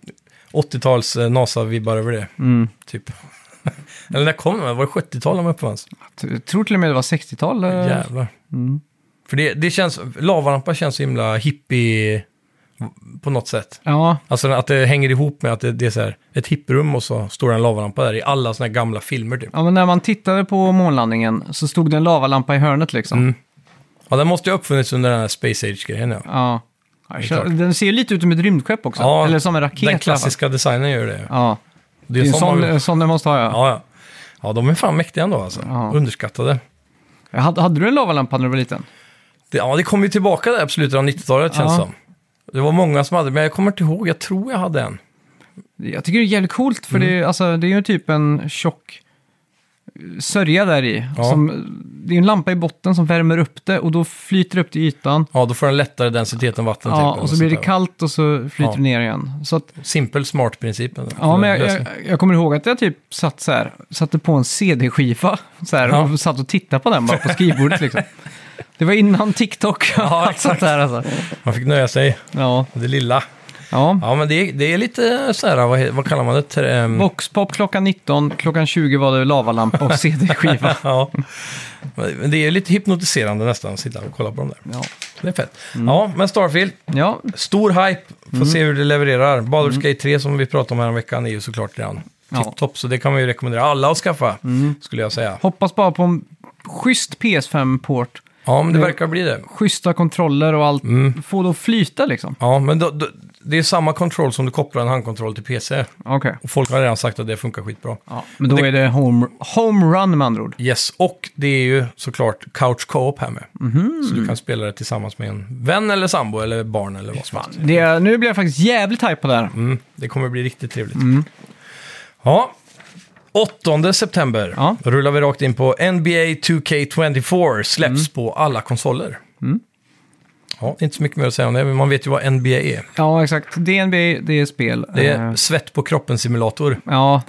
B: 80-tals eh, NASA-vibbar över det.
A: Mm.
B: Typ. Eller när kom de? Var det 70-tal de uppfanns?
A: Jag tror till och med det var 60-tal. eh,
B: Jävlar.
A: Mm.
B: För det, det känns, lavalampa känns så himla hippie på något sätt.
A: Ja,
B: Alltså att det hänger ihop med att det, det är så här ett hipprum och så står det en lavalampa där i alla såna här gamla filmer typ.
A: Ja, men när man tittade på månlandningen så stod det en lavalampa i hörnet liksom.
B: Ja, den måste ju ha uppfunnits under den här Space Age-grejen ja.
A: Ja.
B: klart.
A: den ser ju lite ut som ett rymdskepp också.
B: Ja,
A: Eller som en raket. i alla
B: Den
A: fall.
B: klassiska designen gör det.
A: Ja,
B: Det
A: det
B: är,
A: är en
B: sån man
A: sån, eh,
B: vill-
A: sån den måste ha ja.
B: Ja, ja. ja, de är fan mäktiga ändå alltså.
A: Ja.
B: Underskattade.
A: ja. Hade, hade du en lavalampa när du var liten?
B: Det, ja, det kom ju tillbaka där på slutet av 90-talet känns
A: Ja.
B: som. Det var många som hade, men jag kommer inte ihåg, jag tror jag hade en.
A: Jag tycker det är jävligt coolt för
B: Mm.
A: det, är- alltså, det är ju typ en tjock sörja där i.
B: Ja.
A: Som, det är en lampa i botten som värmer upp det och då flyter det upp till ytan.
B: Ja, då får den lättare densitet än vatten.
A: Ja,
B: typ,
A: och så
B: eller
A: blir det
B: något sånt
A: kallt och så flyter
B: Ja.
A: det ner igen. Så att,
B: där. Simpel smart princip. ändå.
A: Ja, men jag,
B: Lösning.
A: jag, jag kommer ihåg att jag typ satt så här, satte på en CD-skiva så här,
B: Ja.
A: och satt och tittade på den bara på skrivbordet liksom. Det var innan TikTok och
B: Ja,
A: allt sånt där alltså.
B: Man fick nöja sig
A: Ja,
B: med det lilla.
A: ja.
B: Ja, men det, är- det är lite så här, vad, he- vad kallar man det? Trä- ehm,
A: Voxpop klockan 19, klockan 20 var det lavalampa och CD-skiva.
B: ja. Men det är lite hypnotiserande nästan att sitta och kolla på dem där.
A: Ja.
B: Det är fett.
A: Mm.
B: Ja, men Starfield,
A: ja,
B: Stor hype, får
A: Mm.
B: se hur det levererar. Baldur's Gate 3 som vi pratade om här en veckan är ju såklart redan
A: Ja. Mm.
B: tipptopp, så det kan man ju rekommendera alla att skaffa, skulle jag säga.
A: hoppas bara på en schysst PS5-port,
B: Ja, men det
A: Det-
B: verkar bli det.
A: schyssta kontroller och allt.
B: Mm.
A: Få det att flyta liksom.
B: Ja, men då, då, det är samma kontroll som du kopplar en handkontroll till PC.
A: Okej,
B: Och folk har redan sagt att det funkar skitbra.
A: ja, men då
B: Det-
A: är det home, home run med andra ord.
B: Yes, och det är ju såklart couch co-op här med.
A: Mhm.
B: Så du kan spela det tillsammans med en vän eller sambo eller barn eller vad som helst.
A: Det, nu blir jag faktiskt jävligt hype på det här.
B: Mm, det kommer bli riktigt trevligt. Ja. 8 september
A: Ja.
B: rullar vi rakt in på NBA 2K24. Släpps på alla konsoler. Ja, inte så mycket mer att säga om det, men man vet ju vad NBA är.
A: Ja, exakt. DNB, det är spel.
B: Det är
A: Eh,
B: svett på kroppen-simulator.
A: Ja.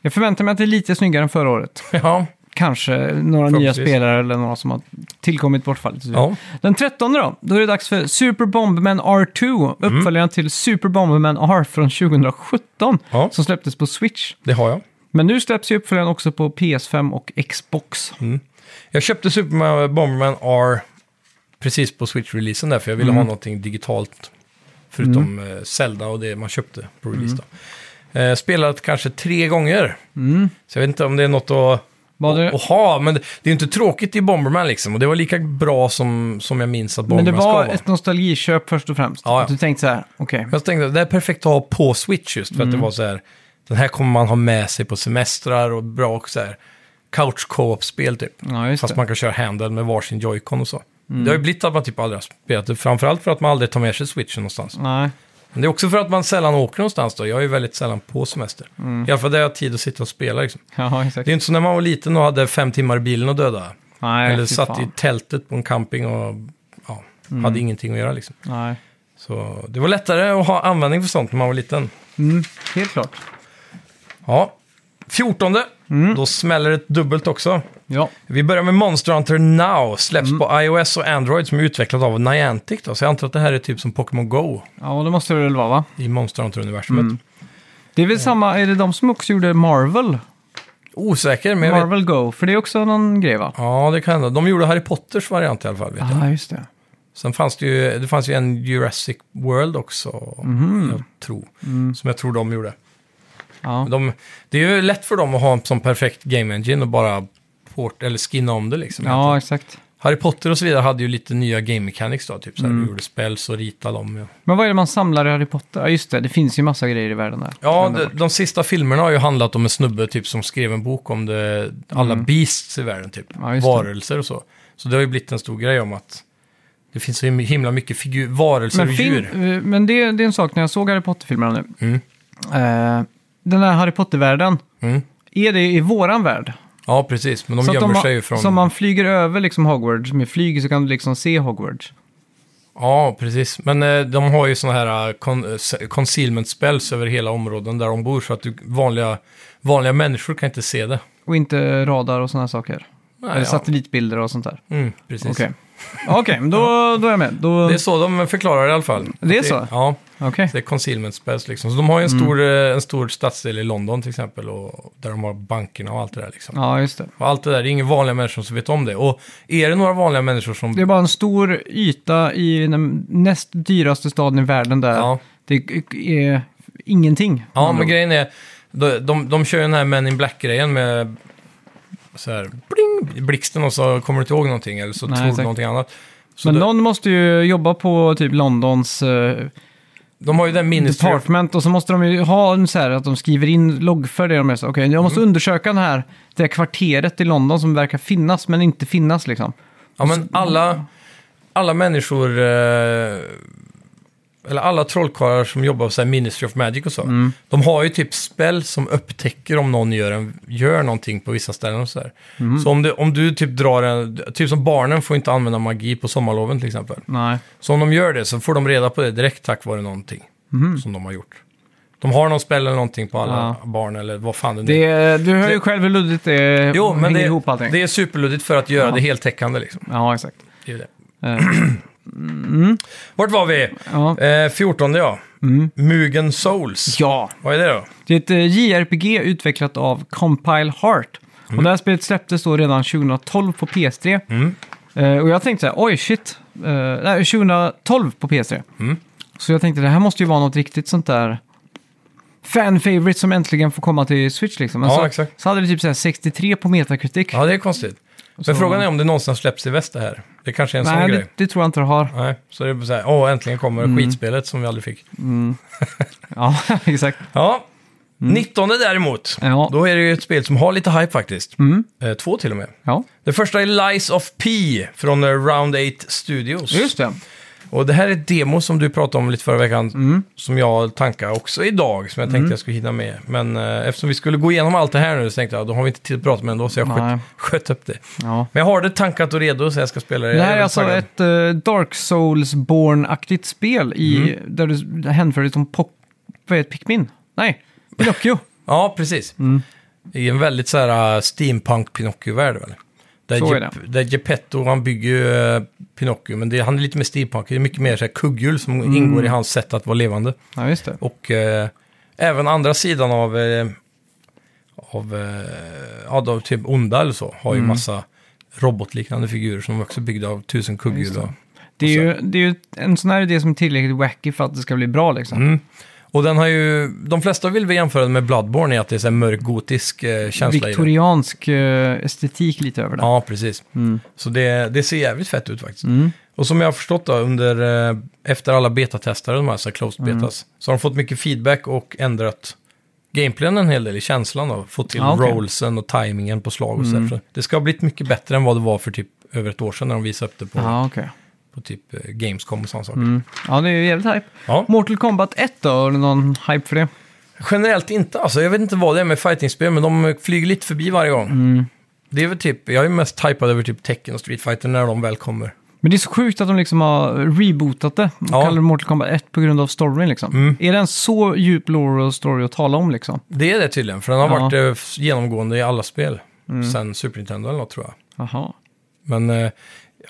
A: Jag förväntar mig att det är lite snyggare än förra året.
B: Ja,
A: Kanske några nya
B: Förhoppningsvis.
A: spelare eller några som har tillkommit bortfallet.
B: ja.
A: Den 13 då, då är det dags för Super Bomberman R2,
B: Mm.
A: uppföljaren till Super Bomberman R från 2017,
B: Ja.
A: som släpptes på Switch.
B: det har jag.
A: Men nu släpps ju uppföljaren också på PS5 och Xbox.
B: Jag köpte Super Bomberman R precis på Switch-releasen där, för jag ville
A: Mm.
B: ha någonting digitalt. Förutom mm. Zelda och det man köpte på release
A: Mm.
B: då. Eh, Spelat kanske tre gånger.
A: Mm.
B: Så jag vet inte om det är något att,
A: Var det-
B: att ha, men det det är ju inte tråkigt i Bomberman liksom. Och det var lika bra som, som jag minns att
A: Men
B: Bomberman
A: det var
B: ska vara.
A: ett nostalgiköp först och främst.
B: Ja, ja.
A: Du tänkte så här, okej.
B: Men Jag tänkte att det är perfekt att ha på Switch just, för att
A: Mm.
B: det var så här, den här kommer man ha med sig på semestrar och bra och så här, couch co-op-spel typ.
A: Ja, just
B: Fast
A: det. Mm.
B: man kan köra handel med varsin Joy-Con och så. Det har ju blivit att man typ aldrig har spelat det, framförallt för att man aldrig tar med sig switchen någonstans.
A: Nej.
B: Men det är också för att man sällan åker någonstans då. Jag är ju väldigt sällan på semester.
A: Mm.
B: I alla fall där jag har tid att sitta och spela liksom.
A: Ja, exakt.
B: Det är inte som när man var liten och hade fem timmar i bilen och döda.
A: Nej,
B: Eller
A: fy
B: satt
A: fan. Mm.
B: i tältet på en camping och ja, hade ingenting att göra liksom.
A: Nej.
B: Så det var lättare att ha användning för sånt när man var liten.
A: Mm, helt klart.
B: Ja, 14. Då smäller det dubbelt också.
A: Ja.
B: Vi börjar med Monster Hunter Now, släpps
A: Mm.
B: på iOS och Android som är utvecklat av Niantic. Då. Så jag antar att det här är typ som Pokémon Go
A: ja, det måste det väl vara va?
B: i Monster Hunter-universumet.
A: Mm. Det är väl samma, är det de som också gjorde Marvel?
B: Osäker, men jag vet.
A: Marvel Go, för det är också någon grej va?
B: Ja, det kan hända. De gjorde Harry Potters variant i alla fall. Vet jag.
A: Ja, just det.
B: Sen fanns det ju, det fanns ju en Jurassic World också, jag tror. Som jag tror de gjorde.
A: Mhm. Mm. Ja.
B: Men De, det är ju lätt för dem att ha en sån perfekt game engine och bara port, eller skinna om det liksom.
A: Ja, exakt.
B: Harry Potter och så vidare hade ju lite nya game mechanics då, typ så här, du gjorde spells och ritade dem. Ja,
A: Men vad är Mm. det man samlar i Harry Potter? Ja, just det. Det finns ju massa grejer i världen där.
B: ja de, de sista filmerna har ju handlat om en snubbe typ som skrev en bok om det, alla beasts i världen typ,
A: Mm. Ja, just det.
B: varelser och så. Så det har ju blivit en stor grej om att det finns så him- himla mycket figur, varelser
A: Men,
B: och
A: fin-
B: djur.
A: eh, men det, det är en sak när jag såg Harry Potter-filmerna nu.
B: Mm.
A: Eh, den här Harry Potter-världen,
B: Mm.
A: är det i våran värld?
B: Ja, precis, men de
A: så att
B: gömmer
A: de har-
B: sig ju från...
A: Så om man flyger över liksom Hogwarts med flyg så kan du liksom se Hogwarts.
B: Ja, precis. Men eh, de har ju sådana här eh, con- eh, s- concealment spells över hela områden där de bor, så att du, vanliga, vanliga människor kan inte se det.
A: Och inte radar och sådana saker.
B: Nej,
A: Eller
B: ja.
A: satellitbilder och sånt där.
B: Mm, precis.
A: Okej, Okej, men då, då är jag med. Då,
B: Det är så de förklarar det i alla fall.
A: Det är så? Mm.
B: Ja,
A: Okej.
B: det är concealment spells liksom. Så de har ju en stor, eh, en stor stadsdel i London till exempel, och där de har bankerna och allt det där liksom.
A: Ja, just det.
B: Och allt det där, det är inga vanliga människor som vet om det. Och är det några vanliga människor som...
A: Det är bara en stor yta i den näst dyraste staden i världen där
B: Ja.
A: det är ingenting.
B: Ja, men grejen är, de, de, de kör ju den här Men in Black-grejen med så här, bling, blixten och så kommer du inte ihåg någonting eller så
A: Nej,
B: tror du
A: exakt.
B: någonting annat. Så
A: Men
B: de,
A: någon måste ju jobba på typ Londons eh,
B: de har ju den ministry... of-
A: department och så måste de ju ha en så här att de skriver in loggför det de är så. Okej, jag
B: Mm.
A: måste undersöka den här, det här kvarteret i London som verkar finnas men inte finnas liksom.
B: Ja, men alla, alla människor, eh, eller alla trollkarlar som jobbar på så här Ministry of Magic och så,
A: Mm.
B: de har ju typ spel som upptäcker om någon gör, en, gör någonting på vissa ställen och så här.
A: Mm.
B: Så om, det, om du typ drar en, typ som barnen får inte använda magi på sommarloven till exempel.
A: Nej,
B: Så om de gör det så får de reda på det direkt tack vare någonting
A: Mhm.
B: som de har gjort. De har någon spel eller någonting på alla barn eller vad fan det nu är.
A: det, du hör ju
B: Det-
A: själv hur luddigt det
B: Jo,
A: hänger
B: men det,
A: ihop allting.
B: det är superluddigt för att göra det heltäckande liksom.
A: Ja, exakt.
B: Det är det. Mm.
A: Eh,
B: Vart var vi?
A: ja.
B: Eh, 14 ja. Mugen Souls.
A: Mm. ja,
B: Vad är det då?
A: Det är ett eh, JRPG utvecklat av Compile Heart.
B: Mm.
A: Och det här spelet släpptes då redan 2012 på PS3. Eh, och jag tänkte så här, oj shit, Eh, nej, 2012 på PS3.
B: Mm.
A: Så jag tänkte det här måste ju vara något riktigt sånt där fan favorite som äntligen får komma till Switch liksom. Men
B: Ja,
A: så,
B: exakt.
A: så hade det typ så här 63 på Metacritic.
B: Ja, det är konstigt. Men
A: Så-
B: frågan är om det någonsin har släppts i väst det här. Det kanske är en
A: nej, Mm.
B: sån
A: det,
B: grej.
A: det tror jag inte det har.
B: Nej, så det är så här, åh, äntligen kommer skitspelet som vi aldrig fick.
A: Ja, exakt.
B: Ja, 19 däremot.
A: Mm. Ja. Mm.
B: Då är det ju ett spel som har lite hype faktiskt. Eh, två till och med.
A: Ja,
B: Det första är Lies of P från eh, Round 8 Studios.
A: just det.
B: Och det här är ett demo som du pratade om lite förra veckan,
A: Mm.
B: som jag tankade också idag, som jag tänkte jag skulle hinna med. Men eh, eftersom vi skulle gå igenom allt det här nu så tänkte jag, då har vi inte tid att prata med ändå, så jag
A: Nej.
B: sköt, sköt upp det.
A: Ja.
B: Men jag har det tankat och redo, så jag ska spela det.
A: Det här
B: Jag
A: är alltså
B: taggad.
A: ett eh, Dark Souls-born-aktigt spel i,
B: Mm.
A: där du hänför dig som pop... Vad är det? Pikmin? Nej, Pinocchio.
B: Ja, precis.
A: Mm.
B: I en väldigt så här äh, steampunk Pinocchio-värld. Väl? Där,
A: Så är
B: Ge- där Geppetto, han bygger ju äh, Pinocchio, men det, han är lite mer steampunk. Det är mycket mer så här kugghjul som
A: Mm.
B: ingår i hans sätt att vara levande.
A: ja, just det.
B: Och eh, även andra sidan av, eh, av, eh, ja, då typ onda eller så, har ju massa robotliknande figurer som också är byggda av tusen kugghjul. och-
A: Det är,
B: Alltså.
A: ju, det är ju en sån här idé som är tillräckligt wacky för att det ska bli bra liksom.
B: Mm, Och den har ju, de flesta vill vi jämföra den med Bloodborne i att det är så här mörk gotisk eh, känsla i den.
A: Viktoriansk eh, estetik lite över det.
B: Ja, precis.
A: Mm.
B: Så det, det ser jävligt fett ut faktiskt. Och som jag har förstått då, under, eh, efter alla betatestare, de här så här closed
A: Mm.
B: betas, så har de fått mycket feedback och ändrat gameplayen en hel del i känslan då. Fått till
A: Ja, Ah, okej. Mm.
B: rollsen och tajmingen på slag och så där. Så Det ska ha blivit mycket bättre än vad det var för typ över ett år sedan när de visade upp det på,
A: Ja, Mm. okej.
B: på typ eh, Gamescom och sådana saker.
A: Ja, det är ju jävligt hype.
B: Ja.
A: Mortal Kombat 1 då, har du någon hype för det?
B: Generellt inte alltså. Jag vet inte vad det är med fightingspel, men de flyger lite förbi varje gång.
A: Mm.
B: Det är väl typ, jag är mest hypad över typ Tekken och Street Fighter när de väl kommer.
A: Men det är så sjukt att de liksom har rebootat det och
B: Ja. Mm.
A: kallar det Mortal Kombat 1 på grund av storyn liksom. Är det en så djup lore och story att tala om liksom?
B: Det är det tydligen, för den har
A: Ja. Mm.
B: varit eh, f- genomgående i alla spel. Sen Super Nintendo eller något tror jag.
A: Jaha.
B: Men eh,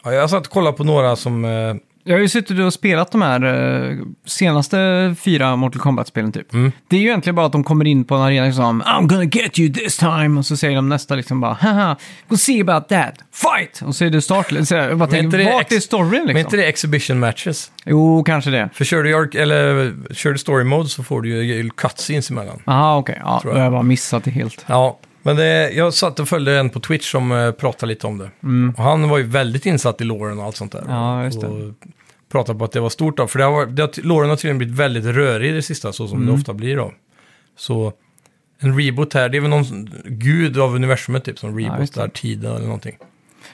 B: ja, jag satt och kollade på några som... Eh,
A: Jag har ju suttit och spelat de här eh, senaste fyra Mortal Kombat-spelen typ.
B: Mm.
A: Det är ju egentligen bara att de kommer in på en arena liksom I'm gonna get you this time! Och så säger de nästa liksom bara haha, we'll see about that, fight! Och så är det start. Så jag bara
B: inte
A: tänker,
B: det
A: vart
B: ex-
A: är storyn
B: Men inte
A: liksom?
B: det exhibition matches?
A: Jo, kanske det.
B: För kör du, York, eller, kör du story mode så får du ju cutscenes emellan.
A: Jaha, okej. Ja, då
B: Tror jag.
A: har jag bara missat det helt.
B: Ja, men det, jag satt och följde en på Twitch som eh, pratade lite om det. Och han var ju väldigt insatt i låren och allt sånt där.
A: Mm. Ja, just det.
B: Och pratade på att det var stort då, för det har, varit- det har, ty- låren har tydligen blivit väldigt rörig i det sista, så som
A: Mm.
B: det ofta blir då. Så en reboot här, det är väl någon sån- gud av universumet typ som
A: just det.
B: rebootar tiden eller någonting.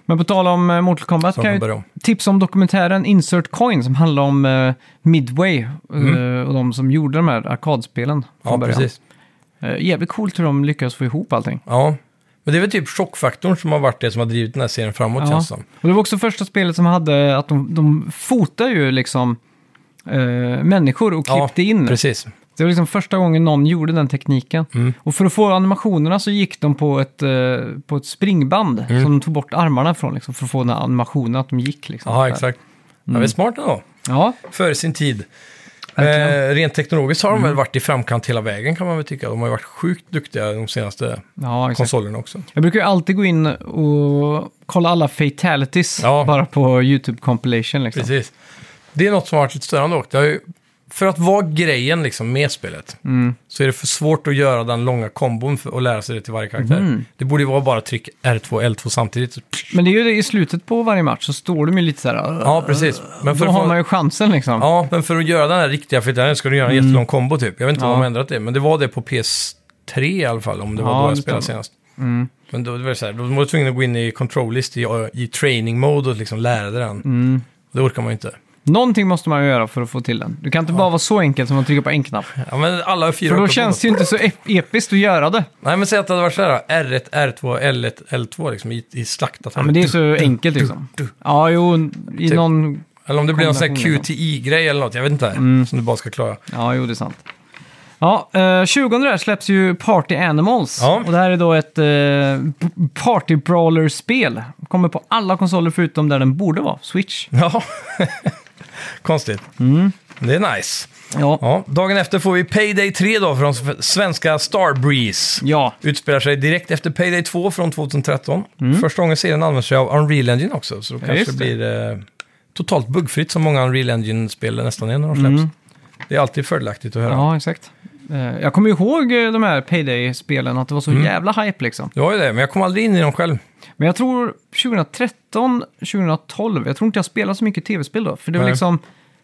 A: Men på tal om eh, Mortal Kombat
B: Så
A: kan
B: de
A: jag
B: börjar
A: ju
B: om.
A: tipsa om dokumentären Insert Coin som handlar om eh, Midway eh, och de som gjorde de här arkadspelen från
B: Mm. Ja,
A: början.
B: precis.
A: Eh, jävligt coolt hur de lyckas få ihop allting.
B: Ja. Men det är väl typ chockfaktorn som har varit det som har drivit den här serien framåt
A: Ja.
B: känns det som.
A: Och det var också första spelet som hade att de, de fotar ju liksom eh, människor och
B: Ja,
A: klippte in.
B: Precis. Mm.
A: Det var liksom första gången någon gjorde den tekniken. Och för att få animationerna så gick de på ett, eh, på ett springband
B: Mm.
A: som de tog bort armarna från liksom, för att få den här animationen att de gick. Liksom,
B: Ja, exakt.
A: Mm.
B: Ja, det är smart ändå.
A: Ja,
B: före sin tid.
A: Verkligen. Mm.
B: Eh, rent teknologiskt har de väl varit i framkant hela vägen kan man väl tycka. De har ju varit sjukt duktiga de senaste
A: ja exakt.
B: konsolerna också.
A: Jag brukar ju alltid gå in och kolla alla fatalities
B: Ja.
A: bara på YouTube compilation. Liksom.
B: Precis. Det är något som har varit lite störande dock. Det har ju, för att vara grejen liksom med spelet
A: Mm.
B: så är det för svårt att göra den långa kombon för, och lära sig det till varje karaktär.
A: Mm.
B: Det borde ju vara bara tryck R2 L2 samtidigt. Så-
A: Men det är ju det, i slutet på varje match så står de ju lite så här...
B: Ja, precis. Men
A: Då
B: för, att
A: har man
B: få,
A: ju chansen liksom.
B: ja, men för att göra den här riktiga fritären ska du göra en jättelång kombo typ. Jag vet inte
A: Mm. Ja.
B: om de har ändrat det, men det var det på PS3 i alla fall, om det var
A: Ja,
B: då
A: det
B: jag spelade
A: stämmer. Mm.
B: senast. Men då, det var det så här, då var du tvungen att gå in i control list i, i training mode och liksom lära dig den.
A: Mm.
B: Det orkar man ju inte.
A: Någonting måste man ju göra för att få till den. Du kan inte bara vara så enkelt som att trycka på en knapp.
B: Ja, men alla fyra
A: För då
B: åtta
A: känns
B: kombos.
A: det ju inte så ep- episkt att göra det.
B: Nej, men säg att det hade varit så här då, R1, R2, L1, L2 liksom i, i slaktat.
A: Ja, men det är så enkelt liksom. Ja, jo, i
B: Typ.
A: någon...
B: Eller om det blir någon sån här
A: kombination, liksom. Mm.
B: QTI-grej eller något, jag vet inte, som du bara ska klara.
A: Ja, jo, det är sant. Ja, eh, 20 där släpps ju Party Animals.
B: Ja.
A: Och det här är då ett eh, b- party brawler-spel. Kommer på alla konsoler förutom där den borde vara, Switch.
B: Ja, konstigt.
A: Mm.
B: Det är nice.
A: Ja, ja.
B: Ja, dagen efter får vi Payday 3 då från s- svenska Starbreeze. Utspelar sig direkt efter Payday 2 från 2013. Första gången serien använder sig av Unreal Engine också, så då kanske
A: Mm. just
B: det
A: det.
B: blir eh, totalt buggfritt som många Unreal Engine-spel nästan är när de släpps. Det är alltid fördelaktigt att höra.
A: Mm. ja exakt. Eh, jag kommer ju ihåg eh, de här Payday-spelen, att det var
B: Mm.
A: så jävla hype liksom.
B: Det var ju det, men jag kom aldrig in i dem själv.
A: Men jag tror 2013, 2012, jag tror inte jag spelade så mycket tv-spel då. För det var
B: Nej.
A: liksom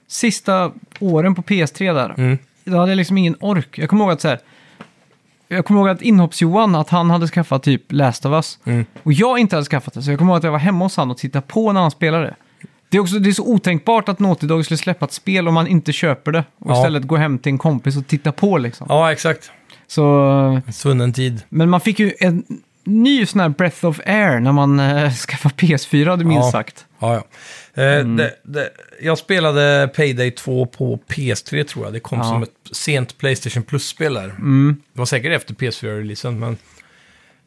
A: sista åren på PS3 där.
B: Mm.
A: Då hade jag liksom ingen ork. Jag kommer ihåg att så här, jag kommer ihåg att inhopps-Johan, att han hade skaffat
B: Mm.
A: typ Last of Us. Och jag inte hade skaffat det, så jag kommer ihåg att jag var hemma hos han och tittade på när han spelade. Det är också det är så otänkbart att Naughty Dog skulle släppa ett spel om man inte köper det. Och
B: Ja.
A: istället gå hem till en kompis och titta på liksom.
B: Ja, exakt.
A: Så, eh,
B: En svunnen tid.
A: men man fick ju en ny sån här Breath of Air när man eh, skaffade PS4, det minst
B: Ja.
A: sagt.
B: Ja, ja. Eh,
A: Mm.
B: det, det, jag spelade Payday 2 på PS3 tror jag. Det kom
A: Ja. Mm.
B: som ett sent Playstation Plus-spel där. Det var säkert efter PS4-releasen, men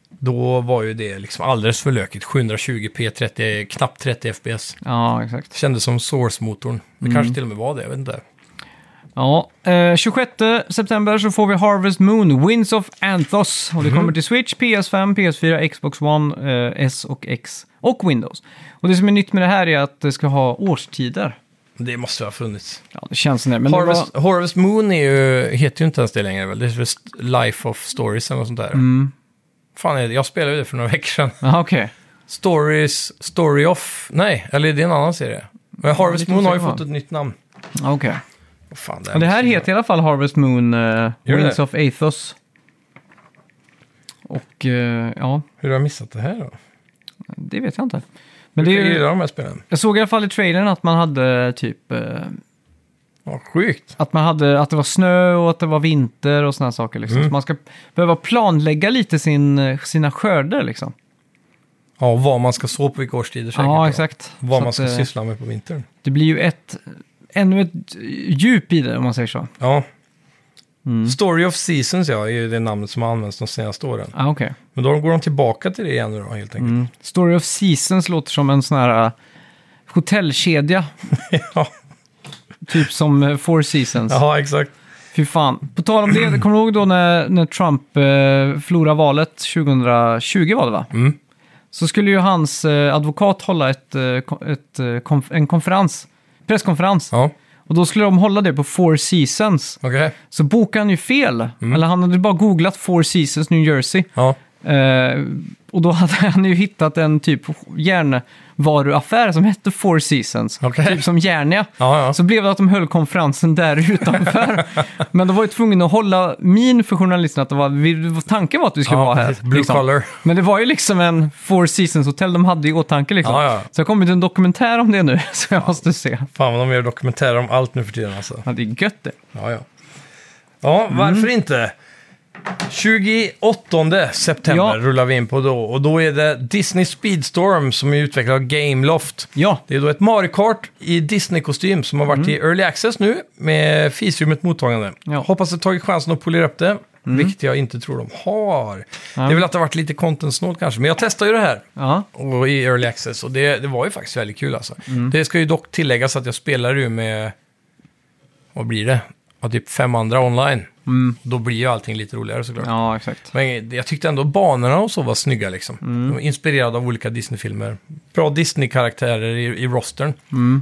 B: då var ju det liksom alldeles för lökigt. 720p, 30, knappt 30 FPS.
A: Ja, exakt.
B: Kändes som Source-motorn. Det
A: Mm.
B: kanske till och med var det, jag vet inte.
A: Ja, eh, 26 september så får vi Harvest Moon, Winds of Anthos. Och det kommer till Switch, PS5, PS4, Xbox One, eh, S och X och Windows. Och det som är nytt med det här är att det ska ha årstider.
B: Det måste ha funnits.
A: Ja, det känns som det. Men det
B: Harvest,
A: var-
B: Harvest Moon är ju, heter ju inte ens det längre väl? Det är väl St- Life of Stories eller något sånt där.
A: Mm.
B: Fan, är det- jag spelade ju det för några veckor sedan.
A: Ja, okej.
B: Stories, Story Off. Nej, eller det är en annan serie. Men Harvest
A: lite
B: Moon har ju
A: osäker
B: fått
A: på.
B: ett nytt namn.
A: Ja, okej.
B: Vad fan,
A: Men det här heter i alla fall Harvest Moon, eh,
B: det?
A: Winds of Athos. Och eh, ja,
B: Hur har jag missat det här då?
A: det vet jag inte. Men det
B: Det
A: är ju,
B: gillar de här spelen.
A: jag såg i alla fall i trailern att man hade typ eh,
B: Ja, sjukt.
A: Att, man hade, att det var snö och att det var vinter och sådana saker. Liksom.
B: Mm.
A: Så man ska behöva planlägga lite sin, eh, sina skörder. Liksom.
B: Ja, vad man ska så på vilka årstider säkert. då.
A: Ja, exakt.
B: Vad
A: Så
B: man
A: att,
B: ska
A: eh,
B: syssla med på vintern.
A: Det blir ju ett, ännu ett djup i det, om man säger så. Mm.
B: Ja. Story of Seasons ja, är ju det namnet som har använts de senaste åren.
A: Ah, okay.
B: Men då går de tillbaka till det igen nu då, helt
A: Mm.
B: enkelt.
A: Story of Seasons låter som en sån här eh, hotellkedja.
B: Ja.
A: Typ som eh, Four Seasons.
B: Jaha, exakt.
A: Fy fan. På tal om det, kommer du ihåg då när, när Trump eh, förlorade valet 2020 var det va?
B: Mm.
A: Så skulle ju hans eh, advokat hålla ett, eh, kon- ett, eh, konf- en konferens, presskonferens.
B: Ja,
A: Och då skulle de hålla det på Four Seasons.
B: okej.
A: Så bokade han ju fel.
B: Mm.
A: Eller han hade bara googlat Four Seasons New Jersey.
B: Ja.
A: Eh, och då hade han ju hittat en typ järnvaruaffär som hette Four Seasons.
B: Okej.
A: Typ som Järnia.
B: Ja, ja.
A: Så blev det att de höll konferensen där utanför. Men de var ju tvungna att hålla min för journalisten att det var, vi, tanken var att vi skulle
B: Ja,
A: vara här. liksom.
B: precis. Blue collar.
A: Men det var ju liksom en Four Seasons-hotell de hade i åtanke liksom.
B: Ja, ja.
A: Så jag kommit en dokumentär om det nu, så jag måste se.
B: Fan vad de gör dokumentärer om allt nu för tiden alltså.
A: Ja, det är gött det.
B: Ja, ja. Ja, varför
A: Mm.
B: inte? 28 september
A: Ja.
B: rullar vi in på då. Och då är det Disney Speedstorm som är utvecklad av Gameloft.
A: Ja, Mm.
B: Det är då ett Mario Kart i Disney-kostym som har varit i Early Access nu med fisrymt mottagande.
A: Ja. Mm.
B: Hoppas att tagit chansen att polera upp det, vilket jag inte tror de har. Det är väl att det har varit lite content-snålt kanske, men jag testar ju det här
A: ja.
B: och i Early Access. Och det, det var ju faktiskt väldigt kul alltså. Det ska ju dock tilläggas att jag spelar ju med, vad blir det? Ja, typ fem andra online. Då blir ju allting lite roligare såklart.
A: ja exakt.
B: Men jag tyckte ändå banorna och så var snygga liksom. De var inspirerade av olika Disney-filmer. Bra Disney-karaktärer i, i rostern.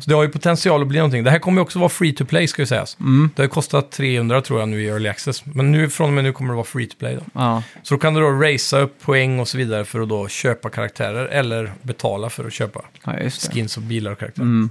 B: Så det har ju potential att bli någonting. Det här kommer ju också vara free to play ska ju sägas. Det har ju kostat 300 tror jag nu i Early Access. Men nu, från och med nu kommer det vara free to play då.
A: Ja.
B: Så då kan du då racea upp poäng och så vidare för att då köpa karaktärer eller betala för att köpa
A: Ja, just det.
B: skins och bilar och karaktärer.
A: Mm.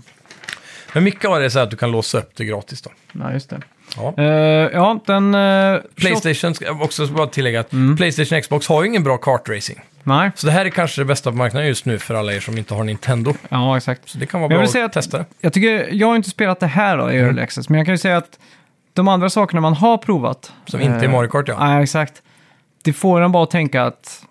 B: Men mycket av det är så här att du kan låsa upp det gratis då.
A: Ja, just det.
B: Ja.
A: Eh, ja, den... eh,
B: Playstation, ska jag också bara tillägga att
A: Mm.
B: Playstation och Xbox har ju ingen bra kartracing.
A: Nej,
B: Så det här är kanske det bästa på marknaden just nu för alla er som inte har Nintendo.
A: ja exakt.
B: Så det kan vara
A: Men jag
B: bra
A: vill säga
B: att testa det.
A: Jag, tycker, jag har inte spelat det här då, i Early
B: Mm.
A: Access, men jag kan ju säga att de andra sakerna man har provat...
B: Som inte är
A: eh,
B: Mario Kart ja.
A: Nej, exakt. Det får en bara att tänka att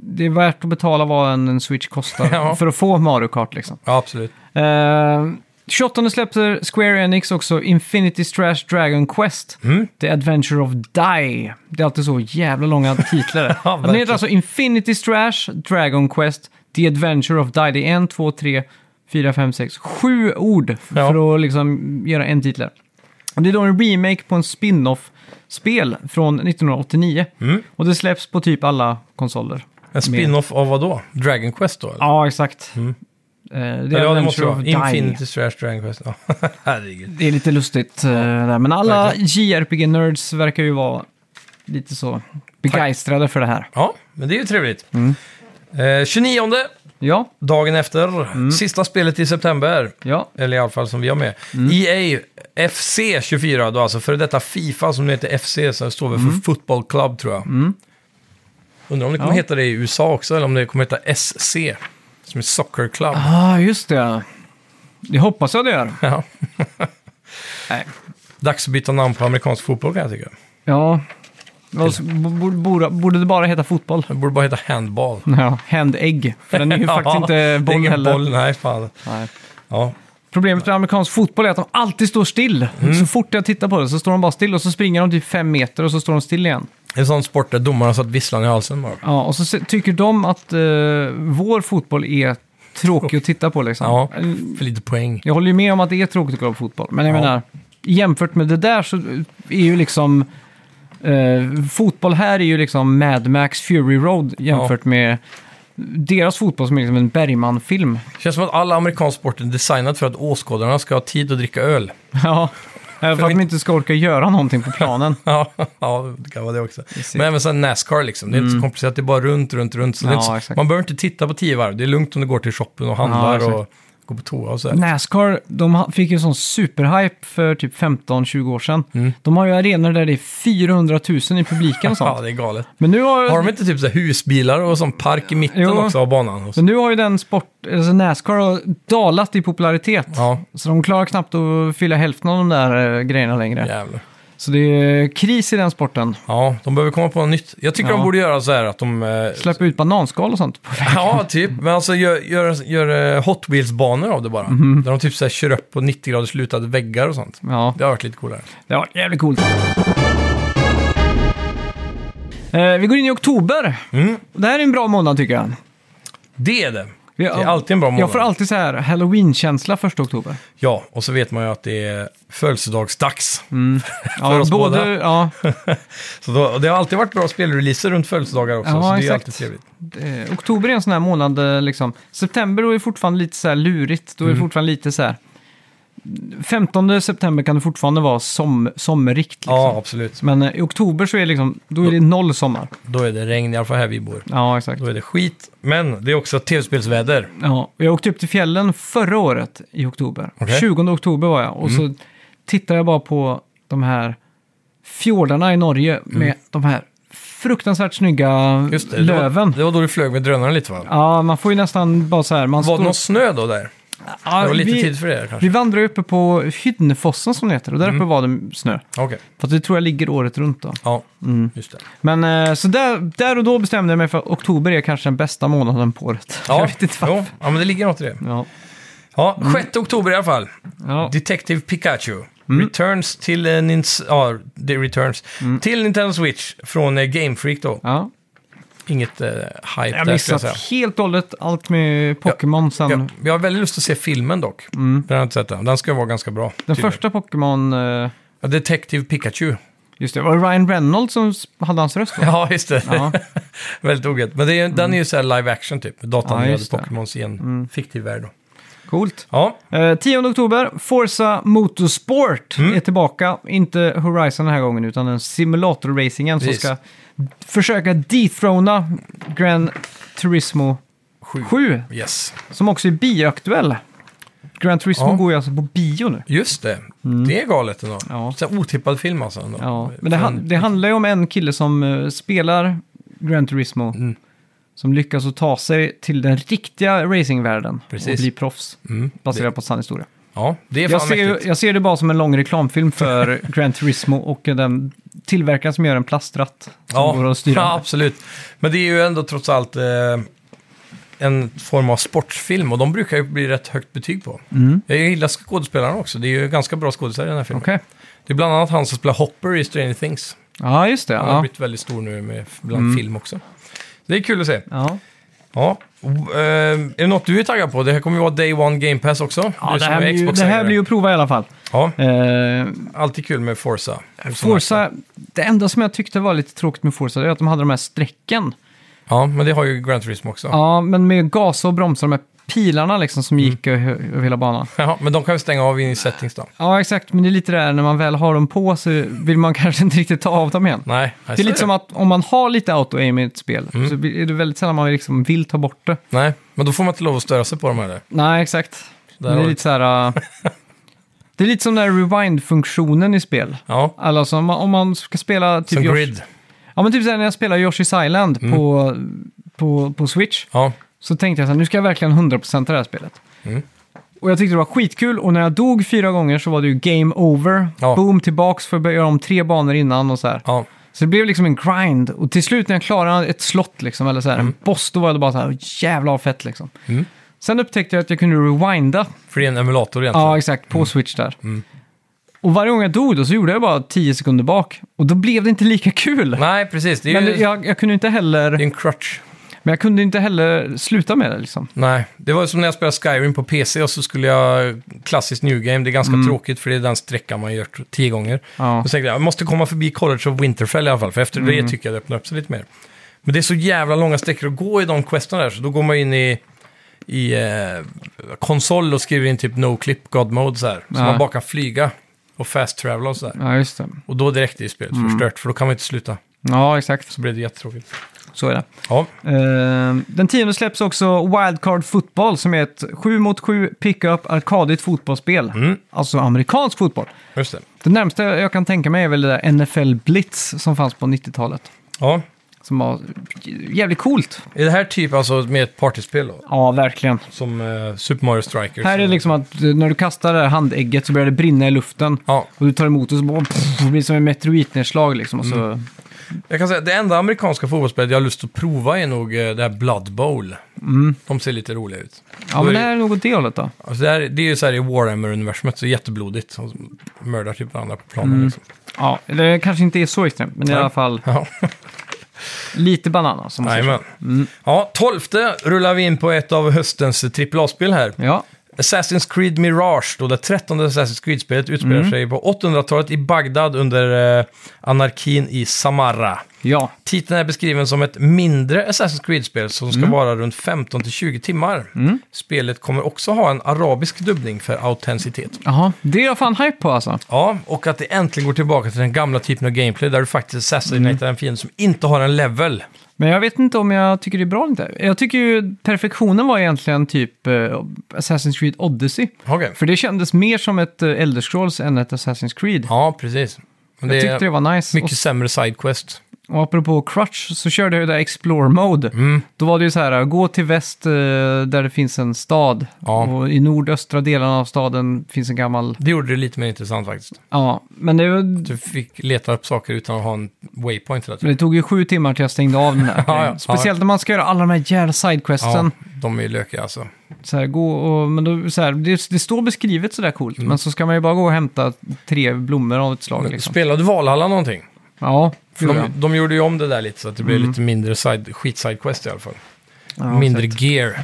A: det är värt att betala vad en, en Switch kostar
B: Ja.
A: för att få Mario Kart liksom.
B: Ja, absolut.
A: Eh, 28 släppte Square Enix också Infinity Strash Dragon Quest.
B: Mm.
A: The Adventure of Die. Det är alltid så jävla långa titlar.
B: Ja,
A: Den
B: verkligen.
A: heter alltså Infinity Strash Dragon Quest The Adventure of Die. Det är en, två, tre, fyra, fem, sex, sju ord
B: Ja.
A: för att liksom göra en titel. Och det är då en remake på en spin-off-spel från 1989. Och det släpps på typ alla konsoler.
B: Mm. En spin-off av vad då? Dragon Quest då? Eller?
A: Ja, exakt. Eh, The
B: Eller ja, det måste
A: Adventure
B: det
A: of
B: vara.
A: Die.
B: Infinity Strash Dragon Quest. Ja, herregud.
A: Det är lite lustigt eh, där, men alla JRPG-nerds verkar ju vara lite så begeistrade för det här.
B: Ja, men det är ju trevligt.
A: Mm.
B: Eh, 29
A: Ja,
B: Dagen efter,
A: Mm.
B: sista spelet i september,
A: ja,
B: eller i alla fall som vi har med.
A: Mm.
B: E EA FC 24, då alltså före detta Fifa som nu heter FC, så det står väl för Football Club tror jag. Undrar om det kommer
A: Mm. Ja.
B: heta det i USA också, eller om det kommer heta SC, som är Soccer Club.
A: ah, just det. Det hoppas jag det gör.
B: Ja.
A: Nej.
B: Dags att byta namn på amerikansk fotboll kan jag tycka.
A: Ja, Och så borde, borde, borde det bara heta fotboll?
B: Det borde bara heta handball.
A: Ja, handegg. För den är ju faktiskt inte
B: det är
A: boll
B: ingen
A: heller.
B: Boll, nej, fan.
A: Nej.
B: Ja.
A: Problemet med amerikansk fotboll är att de alltid står still. Så fort jag tittar på det så står de bara still och så springer de typ fem meter och så står de still igen.
B: Det är en sån sport där domarna satt visslan i halsen bara.
A: Ja, och så se- tycker de att eh, vår fotboll är tråkig att titta på liksom.
B: Ja, för lite poäng.
A: Jag håller ju med om att det är tråkigt att kolla på fotboll, men jag
B: Ja.
A: menar, jämfört med det där så är ju liksom... Eh, fotboll här är ju liksom Mad Max Fury Road jämfört med deras fotboll som är liksom en Bergman-film.
B: Känns som att alla amerikanska sporter är designat för att åskådarna ska ha tid att dricka öl.
A: Ja, för att de inte ska orka göra någonting på planen.
B: Ja, ja det kan vara det också.
A: Precis. Mm.
B: Men även sen Nascar liksom. Det är inte så komplicerat, det är bara runt, runt, runt. Så det är
A: Ja,
B: inte så,
A: exakt.
B: Man behöver inte titta på tio varv. Det är lugnt om du går till shoppen och handlar
A: exakt.
B: och går på toa och så. här.
A: Nascar, de ha- fick ju sån superhype för typ 15-20 år sedan.
B: Mm.
A: De har ju arenor där det är 400 000 i publiken och
B: Ja,
A: sånt.
B: det är galet.
A: Men nu har,
B: Har de inte typ så här husbilar och sån park i mitten
A: Jo.
B: också av banan? Och så?
A: men nu har ju den sport, alltså Nascar har dalat i popularitet.
B: Ja,
A: Så de klarar knappt att fylla hälften av de där eh, grejerna längre.
B: jävlar.
A: Så det är kris i den sporten.
B: Ja, de behöver komma på något nytt. Jag tycker
A: Ja.
B: de borde göra så här att de... eh,
A: Släppa ut bananskal och sånt. på vägen.
B: Ja, typ. Men alltså gör, gör, gör eh, Hot Wheels-banor av det bara.
A: Mhm.
B: Där de typ så här kör upp på 90 graders lutade väggar och sånt.
A: Ja,
B: Det har varit lite coolare.
A: det var jävligt coolt. Eh, vi går in i oktober.
B: Mm.
A: Det här är en bra månad tycker jag.
B: Det är det.
A: Vi-
B: Det är alltid en bra månad.
A: Jag får alltid så här halloween-känsla första oktober.
B: Ja, och så vet man ju att det är födelsedagsdags.
A: Ja,
B: oss båda.
A: Ja,
B: Så då, och det har alltid varit bra spelreleaser runt födelsedagar också,
A: Ja,
B: så det är ju
A: exakt.
B: alltid trevligt.
A: eh, oktober är en sån här månad eh, liksom. September då är det fortfarande lite så här lurigt. Då är det
B: Mm.
A: fortfarande lite så här. 15 september kan det fortfarande vara som, sommerigt. Liksom.
B: Ja, absolut.
A: Men eh, i oktober så är det liksom, då är det noll sommar.
B: Då är det regn, i alla fall här vi bor.
A: Ja, exakt.
B: Då är det skit, men det är också tv-spelsväder.
A: Ja, och jag åkte upp till fjällen förra året i oktober.
B: Okej. Mm.
A: 20 oktober var jag och så tittade jag bara på de här fjordarna i Norge med de här fruktansvärt snygga
B: Mm. Just det, det var-
A: löven.
B: Det var då du flög med drönaren lite va?
A: Ja, man får ju nästan bara så här... Man
B: Var det
A: står-
B: någon snö då där?
A: Ja,
B: Det var lite
A: vi,
B: tid för det här, kanske.
A: Vi vandrade uppe på Hydnefossen som det heter och där uppe
B: Mm.
A: var det snö.
B: Okej,
A: För det tror jag ligger året runt då.
B: ja,
A: Mm.
B: just det.
A: Men eh, så där, där och då bestämde jag mig för att oktober är kanske den bästa månaden på året.
B: Ja,
A: jag vet inte varför.
B: jo, ja, men det ligger något i det.
A: Ja.
B: Ja, 6 oktober i alla fall.
A: Mm. Ja. Mm.
B: Detective Pikachu. Returns till eh, Nins- ja, det returns. Till Nintendo Switch från eh, Game Freak då.
A: Ja.
B: Inget eh, hype där
A: Jag har
B: skulle jag
A: missat
B: säga.
A: helt och hållet allt med Pokémon sen.
B: Jag, jag har väldigt lust att se filmen dock. Den har jag inte sett än. Den ska vara ganska bra.
A: Mm. Den
B: tydligen.
A: första Pokémon, eh,
B: Ja, Detective Pikachu.
A: just det, var det Ryan Reynolds som s- hade hans röst va?
B: Ja, just det.
A: Ja.
B: väldigt ogett. Men det är, den är ju så här live action typ.
A: Ja,
B: Datanimerade
A: just det. Mm.
B: Pokémons i en fiktiv värld då.
A: Coolt.
B: Ja,
A: Eh, 10 oktober, Forza Motorsport
B: Mm.
A: är tillbaka. Inte Horizon den här gången, utan den simulator-racingen som
B: Precis.
A: ska försöka dethrona Gran Turismo 7,
B: Sju. yes.
A: som också är bioaktuell. Gran Turismo
B: Ja.
A: går ju alltså på bio nu.
B: Just det. Det är galet ändå.
A: Mm. Ja.
B: Så här otippad film alltså. Ändå.
A: Ja, men det, han, det handlar ju om en kille som eh, spelar Gran Turismo.
B: Mm.
A: Som lyckas att ta sig till den riktiga racingvärlden och
B: Precis.
A: bli proffs.
B: Mm.
A: Baserat på sann historia.
B: Ja, det är fan
A: Jag ser, ju-
B: mäktigt.
A: jag ser det bara som en lång reklamfilm för Gran Turismo och den tillverkaren som gör en plastratt. Som går att styra.
B: ja,
A: med.
B: absolut. Men det är ju ändå trots allt eh, en form av sportfilm och de brukar ju bli rätt högt betyg på. Jag gillar skådespelarna också. Det är ju ganska bra skådespelare i den här filmen.
A: Mm. Okej.
B: Det är bland annat han som spelar Hopper i Stranger Things.
A: Ja, just det.
B: Han har
A: Ja. Mm.
B: blivit väldigt stor nu med, bland film också. Det är kul att se.
A: Ja.
B: Ja. O- eh, är det något du är taggad på? Det här kommer ju vara Day One Game Pass också.
A: Ja,
B: Du
A: det,
B: som
A: här blir
B: är
A: ju, det här
B: Xbox-ägare.
A: blir ju att prova i alla fall.
B: Ja,
A: Eh,
B: alltid kul med Forza.
A: Forza, det enda som jag tyckte var lite tråkigt med Forza det är att de hade de här strecken.
B: Ja, men det har ju Gran Turismo också.
A: Ja, men med gas och bromsar, de här pilarna liksom som gick ö- över hela banan.
B: Jaha, men de kan vi stänga av in i settings då.
A: Ja, exakt, men det är lite det där när man väl har dem på så vill man kanske inte riktigt ta av dem igen.
B: Nej, jag
A: Det är
B: ser
A: lite som att om man har lite auto-aim i ett spel
B: Mm.
A: så blir- är det väldigt sällan man liksom vill ta bort det.
B: Nej, men då får man inte lov att störa sig på dem heller.
A: Nej, exakt.
B: Där
A: det
B: har
A: är
B: du-
A: lite så här... äh, det är lite som den här rewind-funktionen i spel.
B: Ja,
A: Alltså om man, om man ska spela... Typ
B: som
A: Yoshi-
B: grid. Mm.
A: Ja, men typ så här när jag spelar Yoshi's Island på, på, på Switch.
B: Ja, Mm.
A: Så tänkte jag så här, nu ska jag verkligen 100% det här spelet. Och jag tyckte det var skitkul och när jag dog fyra gånger så var det ju game over.
B: Ja.
A: Boom, tillbaks för att börja göra om tre banor innan och så här.
B: Ja.
A: Så det blev liksom en grind. Och till slut när jag klarade ett slott, liksom, eller så här, en boss, då var jag bara så här, "Åh, jävlar vad fett liksom. Sen upptäckte jag att jag kunde rewinda.
B: För det är en emulator egentligen.
A: Ja, exakt, Mm. på Switch där. Och varje gång jag dog då så gjorde jag bara 10 sekunder bak. Och då blev det inte lika kul.
B: Nej, precis. Det är
A: Men
B: ju
A: jag, jag kunde inte
B: det är
A: heller,
B: en crutch.
A: men jag kunde inte heller sluta med det liksom.
B: Nej, det var som när jag spelade Skyrim på PC och så skulle jag klassiskt New Game. Det är ganska tråkigt för det är den sträckan man gör t- tio gånger.
A: Mm. Ja. Mm.
B: Och så tänkte jag, jag måste komma förbi College of Winterfell i alla fall, för efter det tycker jag det öppnar upp sig lite mer. Men det är så jävla långa sträckor att gå i de questen där, så då går man in i, i eh, konsol och skriver in typ no clip god mode så här. Så
A: Ja.
B: man bara kan flyga och fast travela och så där.
A: Ja, just det.
B: Och då direkt är spelet
A: Mm.
B: förstört, för då kan man inte sluta.
A: Ja, exakt.
B: Så blir det jättetråkigt.
A: Så är det.
B: Ja,
A: Eh, den tionde släpps också Wildcard Football som är ett 7 mot 7 pickup arkadigt fotbollsspel. Alltså amerikansk fotboll.
B: just det.
A: Det närmaste jag kan tänka mig är väl det där NFL Blitz som fanns på 90-talet.
B: Ja.
A: Som var jävligt coolt.
B: Är det här typ alltså med ett partyspel då?
A: Ja, verkligen.
B: Som eh, Super Mario Strikers?
A: Här är det liksom att eh, när du kastar det här handägget så börjar det brinna i luften.
B: Ja.
A: Och du tar emot det så bara, pff, det blir som ett meteoritnedslag liksom. Och så,
B: Mm. Jag kan säga, det enda amerikanska fotbollsspelet jag har lust att prova är nog eh, det här Blood Bowl.
A: Mm.
B: De ser lite roliga ut.
A: Ja,
B: Då
A: men
B: är
A: det här är något det hållet då.
B: Alltså det, här, det är ju så här i Warhammer-universumet, så jätteblodigt. Och mördar typ varandra på planen.
A: Mm.
B: Liksom.
A: Ja, det kanske inte är så extremt, men i alla fall
B: Ja,
A: lite bananas. Som man säger.
B: jajamän. Ja, tolfte rullar vi in på ett av höstens AAA-spel här.
A: Ja,
B: Assassin's Creed Mirage, då det trettonde Assassin's Creed-spelet utspelar
A: Mm.
B: sig på 800-talet i Bagdad under eh, anarkin i Samarra.
A: ja.
B: Titeln är beskriven som ett mindre Assassin's Creed-spel som ska
A: Mm.
B: vara runt 15-20 timmar. Spelet kommer också ha en arabisk dubbning för autenticitet.
A: Jaha, det är jag fan hype på alltså.
B: Ja, och att det äntligen går tillbaka till den gamla typen av gameplay där du faktiskt
A: Mm.
B: assassinatar en fiende som inte har en level.
A: Men jag vet inte om jag tycker det är bra eller inte. Jag tycker ju perfektionen var egentligen typ eh, Assassin's Creed Odyssey.
B: Okej.
A: För det kändes mer som ett eh, Elder Scrolls än ett Assassin's Creed.
B: Ja, precis. Men det
A: jag tyckte
B: är
A: det var nice.
B: mycket sämre sidequest.
A: Och, och apropå Crutch så körde jag ju det där Explore Mode.
B: Mm.
A: Då var det ju så här, gå till väst eh, där det finns en stad.
B: Ja.
A: Och i nordöstra delarna av staden finns en gammal...
B: Det gjorde det lite mer intressant faktiskt.
A: Ja, men det, men
B: Du fick leta upp saker utan att ha en waypoint hela tiden.
A: det tog ju sju timmar till jag stängde av den där.
B: Ja, ja.
A: Speciellt när man ska göra alla de här jävla sidequestsen.
B: Ja, de är ju lökiga alltså.
A: så här, gå och, men då, så här, det, det står beskrivet sådär coolt,
B: Mm.
A: men så ska man ju bara gå och hämta tre blommor av ett slag. Liksom.
B: Spelade Valhalla någonting?
A: Ja,
B: För
A: gjorde jag. Mm.
B: de, de gjorde ju om det där lite så att det blev lite mindre side, skit-sidequest i alla fall. mindre gear.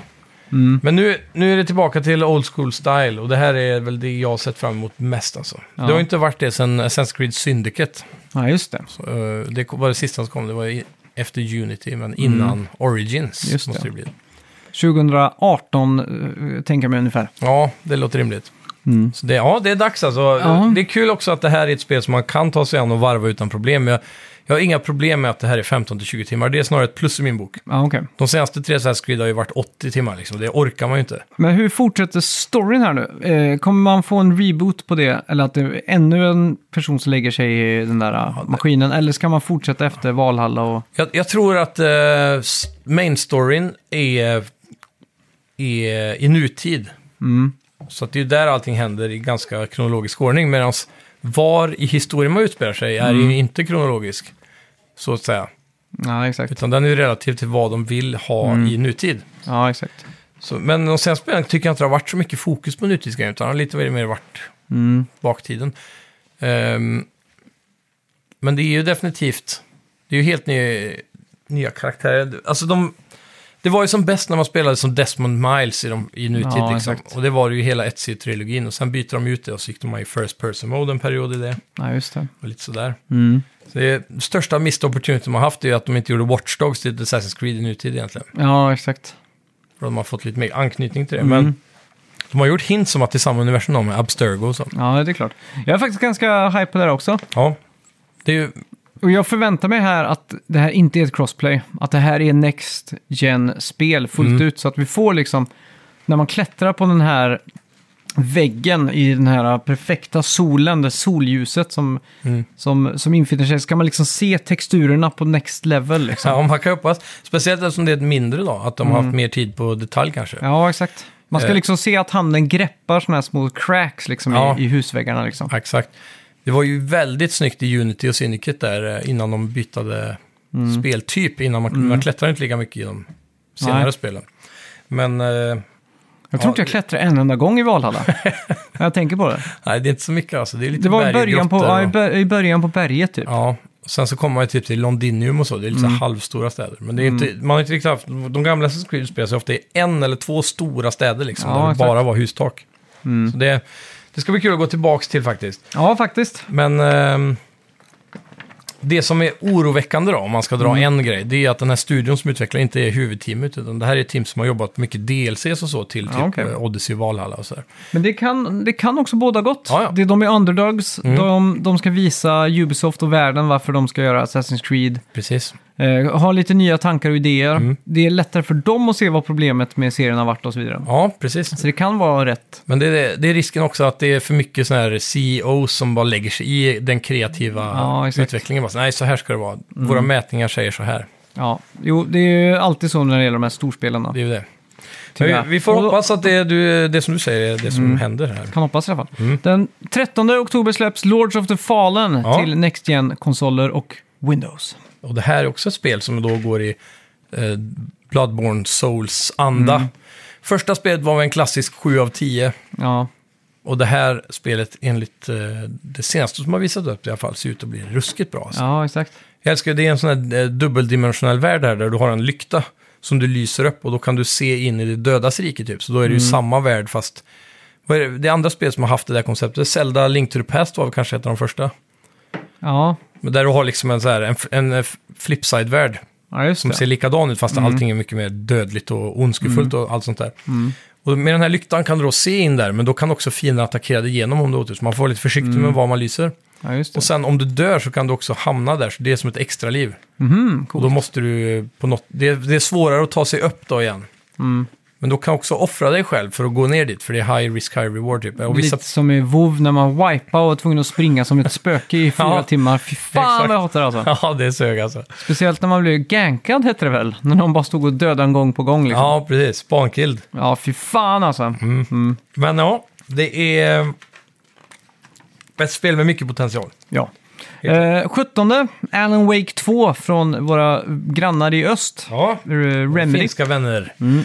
A: Mm.
B: Men nu, nu är det tillbaka till old school style och det här är väl det jag har sett fram emot mest alltså. Det har ju inte varit det sedan Assassin's Creed Syndicate.
A: ja, just det.
B: Så, eh, det kom- var det sista som kom, det var i, efter Unity men innan Origins.
A: Mm. Just
B: måste
A: det.
B: det. bli.
A: 2018, eh, tänker jag mig ungefär.
B: Ja, det låter rimligt.
A: Mm.
B: Så det, ja, det är dags alltså.
A: Ja.
B: Det är kul också att det här är ett spel som man kan ta sig an och varva utan problem. Jag, jag har inga problem med att det här är 15-20 timmar, det är snarare ett plus i min bok.
A: Ja, okej.
B: De senaste tre Assassin's Creed har ju varit 80 timmar liksom. Det orkar man ju inte.
A: Men hur fortsätter storyn här nu? Eh, kommer man få en reboot på det? Eller att det är ännu en person som lägger sig i den där eh, maskinen? Eller ska man fortsätta efter Valhalla? Och...
B: Jag, jag tror att eh, s- main storyn är, är i nutid.
A: Mm.
B: Så att det är ju där allting händer i ganska kronologisk ordning. Medan var i historien man utspelar sig är
A: Mm.
B: ju inte kronologisk. Så att säga.
A: Ja, exakt.
B: Utan den är ju relativ till vad de vill ha
A: Mm.
B: i nutid.
A: Ja, exakt.
B: Så, men de senaste spelen tycker jag inte det har varit så mycket fokus på nutidsgrejen. Utan det har lite mer varit
A: Mm.
B: baktiden. Ehm, men det är ju definitivt, det är ju helt ny, nya karaktärer. Alltså de, det var ju som bäst när man spelade som Desmond Miles i, de, i nutid.
A: Ja,
B: liksom.
A: exakt.
B: Och det var det ju hela Etsy-trilogin. Och sen byter de ut det och så gick de i First Person Mode en period i det.
A: Ja, just det.
B: Och lite sådär. Så det största missed opportunity de har haft är ju att de inte gjorde Watch Dogs till Assassin's Creed i nutid egentligen.
A: Ja, exakt.
B: För de har fått lite mer anknytning till det.
A: Mm.
B: Men de har gjort hints om att det är samma universum då med Abstergo och så.
A: Ja, det är klart. Jag är faktiskt ganska hype på det här också.
B: Ja, det är ju
A: Och jag förväntar mig här att det här inte är ett crossplay. Att det här är next
B: Mm.
A: gen spel fullt ut. Så att vi får liksom, när man klättrar på den här väggen i den här perfekta solen, det solljuset som,
B: Mm.
A: som, som infinner sig, så kan man liksom se texturerna på next level. Liksom.
B: Ja, man kan ju hoppas. Speciellt eftersom det är ett mindre då, att de har haft mer tid på detalj kanske.
A: Mm. Ja, exakt. Man ska
B: Eh.
A: liksom se att handen greppar sådana här små cracks liksom
B: Ja.
A: i, i husväggarna. Liksom.
B: Exakt. Det var ju väldigt snyggt i Unity och Syndicate där eh, innan de bytade
A: Mm.
B: speltyp. Innan man, man klättrade inte lika mycket i de senare
A: Nej.
B: spelen. Men eh,
A: Jag tror inte jag klättrade en enda gång i Valhalla. När jag tänker på det.
B: nej, det är inte så mycket alltså. Det är lite
A: Det var i
B: berg,
A: början på,
B: grottor
A: ja, i
B: och-
A: bör- i början på berget typ.
B: Ja, och sen så kommer man ju typ till Londinium och så. Det är lite
A: Mm.
B: så här halvstora städer. Men det är inte, man har inte riktigt haft, de gamla Assassin's Creed spelar sig ofta i en eller två stora städer liksom.
A: Ja,
B: där det
A: exakt. Mm.
B: bara var hustak. Så det, det ska bli kul att gå tillbaka till faktiskt.
A: Ja, faktiskt.
B: Men ehm, det som är oroväckande då, om man ska dra
A: Mm.
B: en grej, det är att den här studion som utvecklar inte är huvudteamet, utan det här är ett team som har jobbat på mycket DLCs och så till typ
A: okej.
B: eh, Odyssey och Valhalla och så där.
A: Men det kan, det kan också båda gott.
B: Ja, Mm. ja.
A: Det, de är underdogs, de, de ska visa Ubisoft och världen varför de ska göra Assassin's Creed.
B: Precis.
A: Eh, ha lite nya tankar och idéer.
B: Mm.
A: Det är lättare för dem att se vad problemet med serien har varit och så vidare.
B: Ja, precis.
A: Så det kan vara rätt.
B: Men det är, det är risken också att det är för mycket sådana här CEOs som bara lägger sig i den kreativa
A: Ja, exakt. Mm.
B: utvecklingen. Bara, så, Nej, så här ska det vara. Våra mätningar säger så här.
A: Ja, jo, det är ju alltid så när det gäller de här storspelen. då.
B: Det är ju det.
A: Tyvärr.
B: Men vi, vi får
A: Och- Mm.
B: hoppas att det, du, det som du säger är det som händer här.
A: Kan hoppas i alla fall.
B: Mm.
A: Den 13 oktober släpps Lords of the Fallen
B: Ja.
A: till Next Gen-konsoler och Windows.
B: Och det här är också ett spel som då går i eh, Bloodborne Souls-anda.
A: Mm.
B: Första spelet var väl en klassisk 7 av 10.
A: Ja,
B: Och det här spelet, enligt eh, det senaste som har visat upp i alla fall, ser ut att bli ruskigt bra. Alltså.
A: ja exakt.
B: Jag älskar, det är en sån här eh, dubbeldimensionell värld här, där du har en lykta som du lyser upp och då kan du se in i det dödas rike typ. Så då är det ju samma värld fast... Vad är det? det är andra spel som har haft det där konceptet. Zelda Link to the Past var väl kanske ett av de första.
A: Ja,
B: Men där du har liksom en, så här, en, f- en eh, f- flipside-värld
A: ja just
B: som
A: det.
B: ser likadan ut fast allting är mycket mer dödligt och ondskefullt och allt sånt där. Och med den här lyktan kan du då se in där, men då kan också fienden attackera dig igenom om du åter. Så man får vara lite försiktig med var man lyser.
A: Ja, just det.
B: Och sen om du dör så kan du också hamna där, så det är som ett extra liv.
A: Mhm,
B: och då måste du på något... Det, det är svårare att ta sig upp då igen.
A: Mm.
B: Men då kan du också offra dig själv för att gå ner dit, för det är high risk, high reward typ. Och vissa,
A: Lite som i WoW när man wipa och var tvungen att springa som ett spöke i fyra
B: Ja,
A: timmar. Fy fan
B: exakt.
A: vad jag hatar det alltså.
B: ja, det sög alltså.
A: Speciellt när man blev gankad hette det väl? När någon bara stod och dödade en gång på gång liksom. Ja,
B: Ja, Mm. precis. Spankilled.
A: fy fan alltså.
B: Men ja, det är... eh, Ett spel med mycket potential.
A: Ja. Eh, 17. Alan Wake 2 från våra grannar i öst.
B: Ja,
A: Eh, Remedy.
B: Finska vänner.
A: Mm.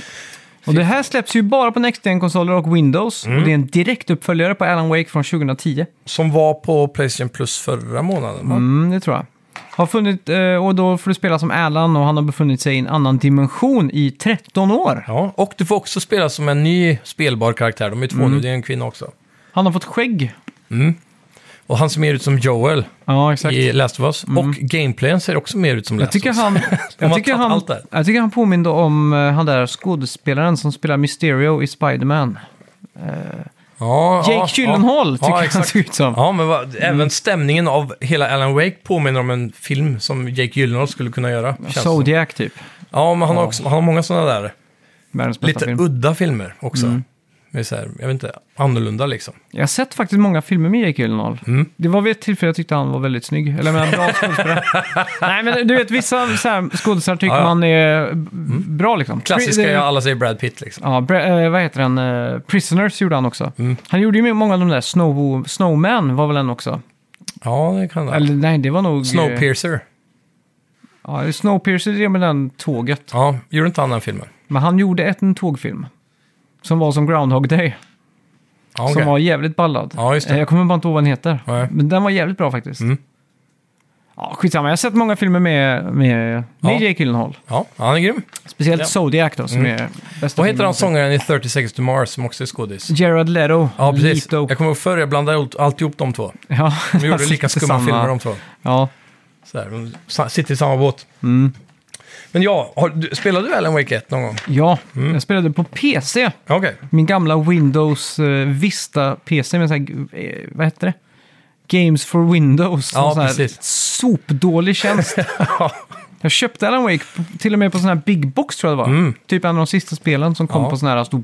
A: Och det här släpps ju bara på Next gen konsoler och Windows.
B: Mm.
A: Och det är en direktuppföljare på Alan Wake från 2010.
B: Som var på Playstation Plus förra månaden. va?
A: Mm, det tror jag. Har funnit, eh, och då får du spela som Alan och han har befunnit sig i en annan dimension i 13 år.
B: Ja, och du får också spela som en ny spelbar karaktär. De är två
A: Mm.
B: nu, det är en kvinna också.
A: Han har fått skägg.
B: Och han ser mer ut som Joel
A: Ja, exakt.
B: i Last of Us. Och gameplayen ser också mer ut som
A: Mm. Jag
B: Last
A: tycker
B: of Us.
A: han, jag
B: Alltså, har
A: tycker
B: tagit
A: han,
B: allt där.
A: jag tycker han påminner om eh, han där skådespelaren som spelar Mysterio i Spiderman.
B: Ja,
A: Jake
B: ja,
A: Gyllenhaal
B: ja,
A: tycker
B: ja,
A: jag han
B: exakt.
A: ser ut som. Mm.
B: Ja, men vad, även stämningen av hela Alan Wake påminner om en film som Jake Gyllenhaal skulle kunna göra. känns det som.
A: Zodiac typ.
B: Ja, men han har, också, han har många sådana där
A: Världens bästa
B: lite
A: film. Mm.
B: udda filmer också. Med så här, jag vet inte, annorlunda liksom.
A: Jag har sett faktiskt många filmer med Jake Gyllenhaal.
B: Mm.
A: Det var vid ett tillfälle jag tyckte han var väldigt snygg. Eller jag menar, bra skådespelare. Nej, men du vet, vissa så här skådespelare tycker
B: Ja, ja.
A: man är b- bra liksom.
B: Klassiska,
A: Pri-
B: ja, alla säger Brad Pitt liksom.
A: Ja, Bra- eh, vad heter den? Eh, Prisoners gjorde han också.
B: Mm.
A: Han gjorde ju många av de där. Snow, Snowman var väl en också?
B: Ja, det kan det.
A: Eller nej, det var nog... eh,
B: Snowpiercer.
A: Ja, Snowpiercer det är med den tåget.
B: Ja, gjorde inte han den filmen?
A: Men han gjorde ett, en tågfilm. Som var som Groundhog Day.
B: Ja, okej.
A: Som var jävligt ballad.
B: Ja, just det.
A: Eh, Jag kommer bara inte ihåg vad den heter.
B: Nej.
A: Men den var jävligt bra faktiskt.
B: Mm.
A: Ja, skitsamma. Jag har sett många filmer med, med, med
B: Ja.
A: Jake Gyllenhaal.
B: Ja, han är grym.
A: Speciellt
B: Ja. Mm.
A: Zodiac då, som är bästa
B: Vad heter
A: filmen
B: han
A: jag sett.
B: sångaren i 30 Seconds to Mars som också är skådis?
A: Gerard Leto.
B: Ja, precis.
A: Leto.
B: Jag kommer ihåg förr, jag blandade ihop- alltid ihop de två.
A: Ja,
B: De gjorde lika
A: sitter
B: skumma
A: samma-
B: filmer de två.
A: Ja.
B: Så här, de sa- sitter i samma båt.
A: Mm.
B: Men ja, har, du, spelade du Alan Wake 1 någon gång?
A: ja.
B: Mm.
A: jag spelade på PC.
B: Ja, Okej.
A: Min gamla Windows eh, Vista-PC med så här, eh, vad heter det? Games for Windows.
B: Ja,
A: En sån här
B: precis.
A: Sopdålig tjänst. Jag köpte Alan Wake på- till och med på sån här Big Box tror jag det var. Typ en av de sista spelen som kom
B: Mm. Ja.
A: på sån här stor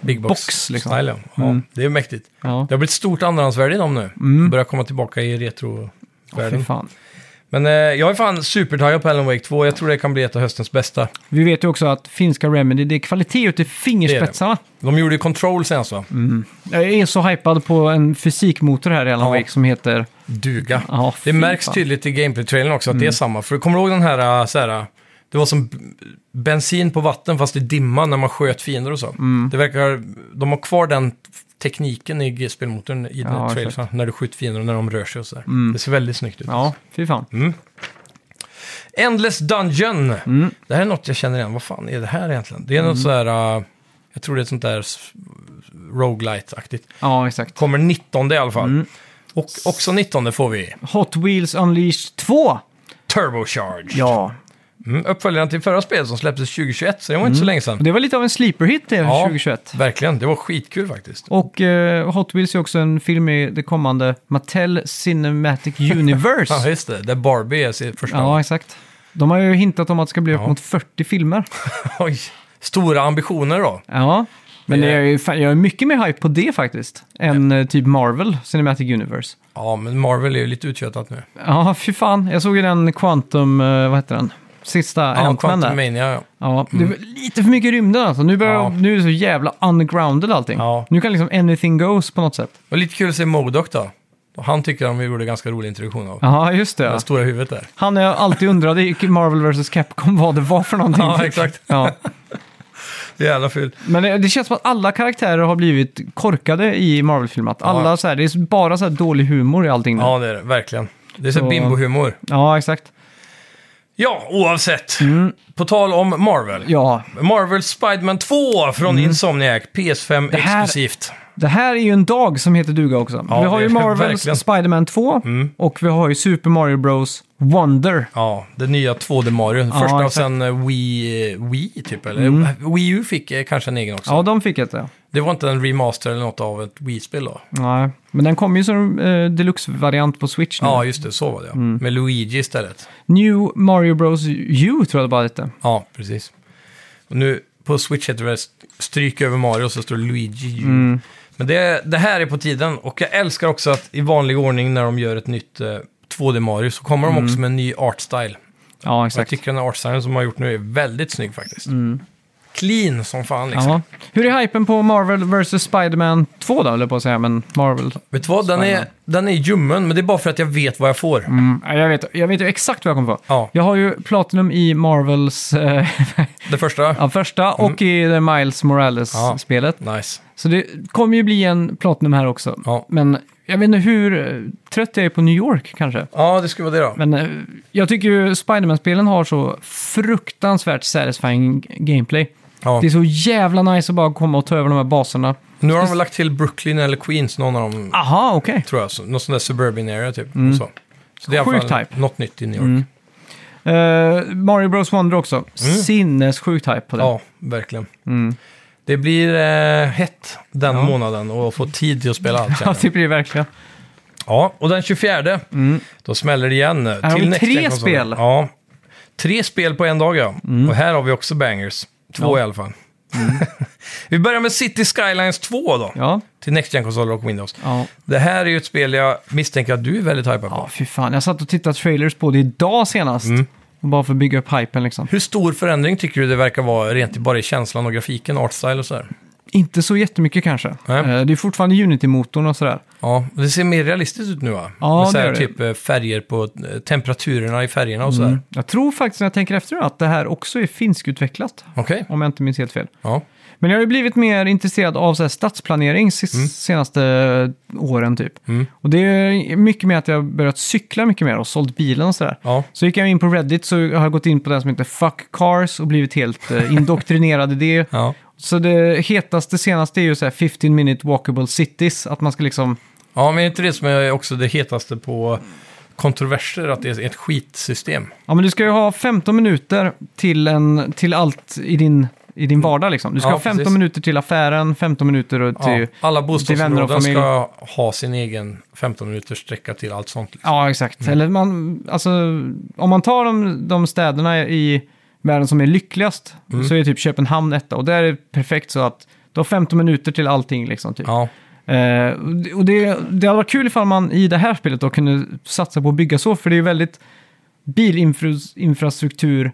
B: Big box,
A: box, liksom.
B: style, ja. Ja,
A: Mm.
B: Det är mäktigt.
A: Ja,
B: Det har blivit stort andrahandsvärde i dem nu.
A: Mm.
B: Börjar komma tillbaka i
A: Åh, fy
B: retrovärlden.
A: fan.
B: Men eh, jag är fan supertaggad på Alan Wake 2. Jag tror det kan bli ett av höstens bästa.
A: Vi vet ju också att finska Remedy, det är kvalitet ut i fingerspetsarna.
B: De gjorde ju Control senast va?
A: Mm. Jag är så hypad på en fysikmotor här i Alan
B: Ja.
A: Wake som heter...
B: Duga.
A: Ja,
B: det
A: fy
B: märks
A: fan. Mm.
B: tydligt i gameplay-trailern också att det är samma. För kommer du ihåg den här, äh, så här, äh, det var som b- bensin på vatten fast i dimma när man sköt fiender och så.
A: Mm.
B: Det verkar, de har kvar den tekniken i g- spelmotorn i den
A: Ja, Mm.
B: här trailern, när du skjuter fiender och när de rör sig och så där. Det ser väldigt snyggt ut.
A: Ja, fy fan.
B: Endless Dungeon.
A: Mm.
B: Det här är något jag känner igen. Vad fan är det här egentligen? Det är något så här, äh, jag tror det är ett sånt där s- roguelite-aktigt.
A: Ja, exakt.
B: Kommer 19 i alla fall.
A: Mm.
B: Och också 19 får vi
A: Hot Wheels Unleashed 2!
B: Turbocharge.
A: Ja.
B: Mm, uppföljaren till förra spelet som släpptes 2021, så det var inte så länge sedan.
A: Mm. Det var lite av en sleeper hit det 2021.
B: verkligen. Det var skitkul faktiskt.
A: Och eh, Hot Wheels är också en film i det kommande Mattel Cinematic Universe.
B: Ja, just det. Där Barbie är sitt första.
A: Ja, exakt. De har ju hintat om att det ska bli upp mot 40 filmer.
B: Oj. Stora ambitioner då.
A: Ja, men
B: Det-
A: det... jag, är, ju fan- jag är mycket mer hype på det faktiskt. Än eh, typ Marvel Cinematic Universe.
B: Ja, men Marvel är ju lite uttjötat nu.
A: Ja, fy fan. Jag såg ju den Quantum, eh, vad heter den? Sista
B: Ja,
A: Ant-Man
B: Quantum
A: där.
B: Mania, ja.
A: Ja, det var lite för mycket i rymden alltså. Nu, börjar,
B: Ja.
A: nu är det så jävla ungrounded allting.
B: Ja.
A: Nu kan liksom anything goes på något sätt.
B: Och lite kul att se Modok då. Han tycker de gjorde en ganska rolig introduktion av.
A: Ja, just det.
B: Det stora huvudet där.
A: Han jag alltid undrade i Marvel vs. Capcom vad det var för någonting.
B: Ja, exakt.
A: Ja.
B: Jävla ful.
A: Men det, det känns som att alla karaktärer har blivit korkade i Marvel-filmer. Att Alla så här, det är bara så här dålig humor i allting nu.
B: Ja, det är det. Verkligen. Det är så,
A: Så-
B: bimbo-humor.
A: Ja, exakt.
B: Ja, oavsett. På tal om Marvel.
A: Mm. Ja, Mm.
B: Marvel Spiderman 2 från Insomniac. PS5
A: här-
B: exklusivt.
A: det här är ju en dag som heter duga också.
B: Ja,
A: vi har ju
B: det är det
A: Marvels
B: verkligen. Mm.
A: Spider-Man 2 och vi har ju Super Mario Bros Wonder.
B: Ja, det nya 2D Mario.
A: Ja,
B: Första och
A: exakt. Mm.
B: sen eh, Wii, Wii typ, eller Wii U fick eh, kanske en egen också.
A: Ja, de fick ett ja.
B: Det var inte en remaster eller något av ett Wii-spel då?
A: Nej, men den kommer ju som eh, deluxe-variant på Switch nu.
B: Ja, just det, så var det ja.
A: Mm.
B: Med Luigi istället.
A: New Mario Bros U tror jag det bara hette.
B: Ja, precis. Och nu på Switch heter det stryk över Mario och så står det Luigi U.
A: Mm.
B: Men det, det här är på tiden och jag älskar också att i vanlig ordning när de gör ett nytt eh, 2D Mario så kommer de också med en ny art style.
A: Ja,
B: Jag
A: Mm. exakt. Mm.
B: tycker den här art stylen som de har gjort nu är väldigt snygg faktiskt. Clean som fan liksom.
A: Ja. Hur är hypen på Marvel vs. Spider-Man 2 då, höll jag på att säga, men Marvel?
B: Vet du vad, den är, den är ljummen, men det är bara för att jag vet vad jag får.
A: Ja, Mm, Jag vet, jag vet ju exakt vad jag kommer få.
B: Ja.
A: Jag har ju Platinum i Marvels eh,
B: Det första?
A: ja, första och i det Miles Morales-spelet.
B: Nice.
A: Så det kommer ju bli en Platinum här också.
B: Ja.
A: Men jag vet inte hur eh, trött jag är på New York kanske.
B: Ja, det skulle vara det då.
A: Men eh, jag tycker ju Spider-Man-spelen har så fruktansvärt satisfying g- gameplay.
B: ja.
A: Det är så jävla nice att bara komma och ta över de här baserna.
B: Nu har de väl lagt till Brooklyn eller Queens, någon av dem,
A: Aha, okej.
B: tror jag. Så, någon sån där suburban area typ.
A: Mm.
B: Så. så det är i alla
A: Sjukt
B: fall
A: hype.
B: något nytt i New York.
A: Mm. Eh, Mario Bros Wonder också. Sinnessjukt hype på det.
B: Mm. Ja, verkligen.
A: Mm.
B: Det blir eh, hett den månaden och få tid till att spela allt.
A: Ja,
B: känner jag.
A: det blir det verkligen.
B: ja, och den 24, då smäller det igen.
A: har vi
B: Next
A: tre
B: Gen-konsolen.
A: spel. Mm.
B: Ja, tre spel på en dag ja. Och här har vi också bangers. Två i alla fall. vi börjar med City Skylines 2 då.
A: Ja.
B: Till Next Gen-konsoler och Windows.
A: Ja.
B: Det här är ju ett spel jag misstänker att du är väldigt hypad på.
A: ja, fy fan. Jag satt och tittade trailers på det idag senast.
B: Mm.
A: Och bara för att bygga upp hypen liksom.
B: Hur stor förändring tycker du det verkar vara rent i- bara i känslan och grafiken, artstyle och sådär?
A: Inte så jättemycket kanske.
B: Nej.
A: Eh, det är fortfarande Unity-motorn och sådär.
B: Ja, det ser mer realistiskt ut nu va?
A: Ja,
B: Med så
A: det
B: här,
A: gör det. Mm.
B: typ eh, färger på eh, temperaturerna i färgerna och sådär.
A: Jag tror faktiskt när jag tänker efter att det här också är finskutvecklat.
B: Okej,
A: Om jag inte minns helt fel.
B: ja.
A: Men jag har ju blivit mer intresserad av så här stadsplanering sis-
B: Mm.
A: senaste åren typ. Och det är mycket med att jag har börjat cykla mycket mer och sålt bilen och sådär.
B: ja.
A: Så gick jag in på Reddit så har jag gått in på den som heter Fuck Cars och blivit helt eh, indoktrinerad i det.
B: Ja,
A: Så det hetaste senaste är ju så här 15 minute walkable cities, att man ska liksom...
B: ja men är inte det som är också det hetaste på kontroverser, att det är ett skitsystem?
A: Ja men du ska ju ha 15 minuter till, en, till allt i din, i din vardag liksom. Du ska
B: Ja,
A: ha 15
B: precis.
A: minuter till affären, 15 minuter och till...
B: Ja,
A: Ja,
B: alla
A: vänner och
B: bostadsområden
A: familj.
B: ska ha sin egen 15 minuters sträcka till allt sånt. Liksom.
A: exakt. Eller man, alltså, om man tar de, de städerna i världen som är lyckligast
B: Mm.
A: så är typ Köpenhamn etta. Och där är det perfekt så att du har 15 minuter till allting liksom. Typ.
B: Ja.
A: Eh, och det- och det, det hade varit kul ifall man i det här spelet då kunde satsa på att bygga så, för det är ju väldigt bilinfrastruktur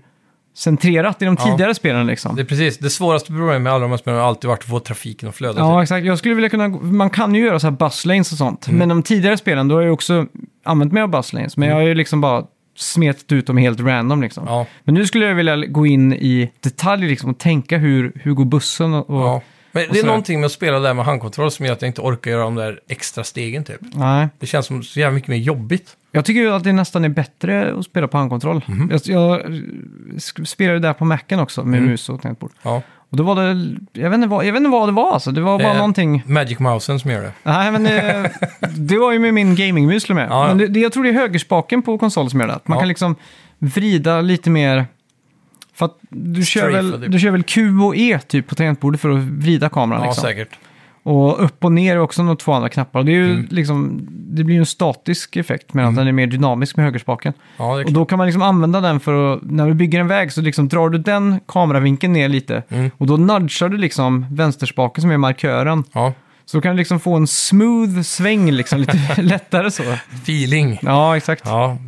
A: centrerat i de
B: Ja.
A: tidigare spelen liksom.
B: Det är precis, det svåraste problemet med alla de här spelen har alltid varit att få trafiken att flöda.
A: Ja,
B: typ.
A: exakt. Jag skulle vilja kunna, man kan ju göra så här bus lanes och sånt.
B: Mm.
A: Men de tidigare spelen, då har jag ju också använt mig av bus lanes. Men jag har ju liksom bara smetat ut dem helt random liksom.
B: Mm. Ja.
A: Men nu skulle jag vilja gå in i detalj liksom och tänka hur, hur går bussen och...
B: Ja. Men
A: Och
B: det är
A: så-
B: någonting med att spela där med handkontroll som gör att jag inte orkar göra de där extra stegen typ.
A: Nej.
B: Det känns som så jävla mycket mer jobbigt.
A: Jag tycker ju att det nästan är bättre att spela på handkontroll.
B: Mhm.
A: Jag, jag sk- spelade där på Macen också med mus och tangentbord.
B: Ja.
A: Och då var det, jag vet inte vad, jag vet inte vad det var alltså. Det var bara
B: Eh,
A: någonting...
B: Magic Mousen som gör det.
A: Nej, men eh, det var ju med min gamingmus till och med.
B: Ja, ja.
A: Men det, det, jag tror det är högerspaken på konsol som gör det. Att Man
B: Ja.
A: kan liksom vrida lite mer... För att du kör,
B: Strafe,
A: väl,
B: typ.
A: du kör väl Q och E typ på tangentbordet för att vrida kameran.
B: Ja,
A: liksom.
B: säkert.
A: Och upp och ner är också de två andra knappar. Och Det, är
B: Mm.
A: ju liksom, det blir ju en statisk effekt medan den är mer dynamisk med högerspaken.
B: Ja, det är
A: Och då kan man liksom använda den för att, när du bygger en väg så liksom drar du den kameravinkeln ner lite.
B: Mm.
A: Och då nudgar du liksom vänsterspaken som är markören.
B: ja.
A: Så då kan du liksom få en smooth sväng, liksom, lite lättare så.
B: Feeling.
A: Ja, exakt.
B: Ja.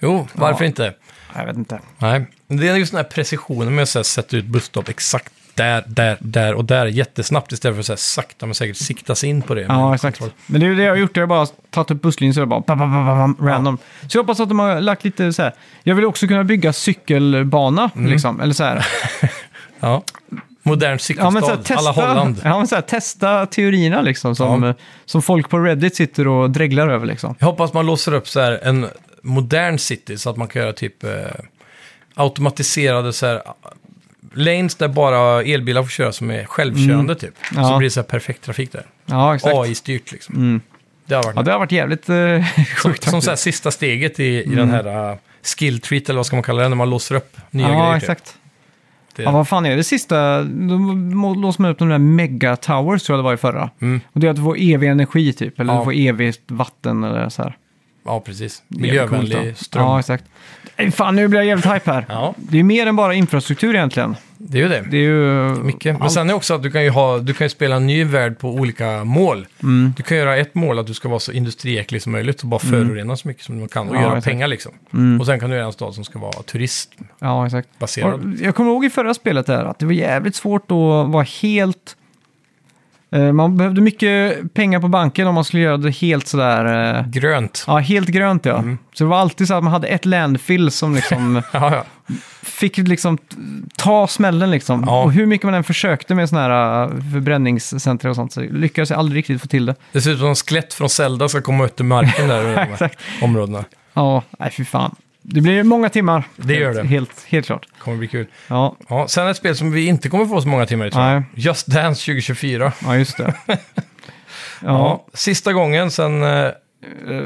B: Jo, varför
A: Ja.
B: inte?
A: Jag vet inte.
B: Nej. Det är just den här precisionen med att så här sätta ut busstopp exakt där, där, där och där jättesnabbt istället för att så här sakta men säkert sikta sig in på det.
A: Ja, exakt. Men det är ju det jag har gjort. Jag har bara tagit upp busslinjen så jag bara bam, bam, bam, bam, bam, random. Så jag hoppas att de har lagt lite så här. Jag vill också kunna bygga cykelbana,
B: Mm.
A: liksom. Eller så här.
B: Ja. Modern
A: Ja, men så
B: cykelstad,
A: här,
B: alla
A: testa,
B: Holland.
A: ja, men så här, testa teorierna liksom, som,
B: Ja.
A: som folk på Reddit sitter och dreglar över. Liksom.
B: Jag hoppas man låser upp så här en modern city så att man kan göra typ eh, automatiserade så här lanes där bara elbilar får köra som är självkörande typ.
A: Mm. Ja.
B: Så blir det så här perfekt trafik där.
A: Ja, exakt. Mm.
B: AI-styrt liksom. Det har varit
A: Ja, det har varit jävligt eh, sjukt.
B: Som, som
A: faktiskt.
B: så här sista steget i, i
A: Mm.
B: den här uh, skill treat, eller vad ska man kalla det, när man låser upp nya
A: ja,
B: grejer. typ.
A: exakt.
B: Det,
A: Ja, vad fan är det sista? Då må- låser man upp de där mega towers tror jag det var i förra. Och det är att du får evig energi typ, eller
B: Mm. Ja.
A: du får evigt vatten eller så här.
B: ja, precis.
A: Det är jävligt coolt,
B: Miljövänlig
A: då.
B: ström.
A: Ja,
B: Ja.
A: exakt. Nej, Fan, nu blir jag jävligt hype här. Det är mer än bara infrastruktur egentligen.
B: det är ju det.
A: Det är ju...
B: Mycket. Men sen är det också att du kan ju, ha, du kan ju spela en ny värld på olika mål.
A: Mm.
B: Du kan göra ett mål att du ska vara så industriäcklig som möjligt och bara förorena så mycket som du kan och
A: Ja,
B: göra
A: exakt. Mm.
B: pengar liksom. Och sen kan du göra en stad som ska vara turistbaserad.
A: Ja, exakt. Och Jag kommer ihåg i förra spelet där att det var jävligt svårt att vara helt... eh, Man behövde mycket pengar på banken om man skulle göra det helt sådär... eh,
B: Grönt.
A: Ja, helt grönt ja.
B: Mm.
A: Så det var alltid så att man hade ett landfill som liksom...
B: Ja, ja.
A: fick liksom t- ta smällen liksom.
B: Ja.
A: Och hur mycket man än försökte med sådana här äh, förbränningscentra och sånt så lyckades jag aldrig riktigt få till det.
B: Det ser ut som en skelett från Zelda ska komma ut ur marken där i de här
A: Exakt.
B: områdena.
A: Ja, nej fy fan. Det blir många timmar.
B: Det gör
A: helt,
B: det.
A: Helt, helt klart.
B: kommer bli kul.
A: Ja,
B: Ja, sen ett spel som vi inte kommer få så många timmar i tror
A: Nej.
B: jag. Just Dance 2024.
A: ja just det. ja,
B: Ja. Sista gången sen eh, är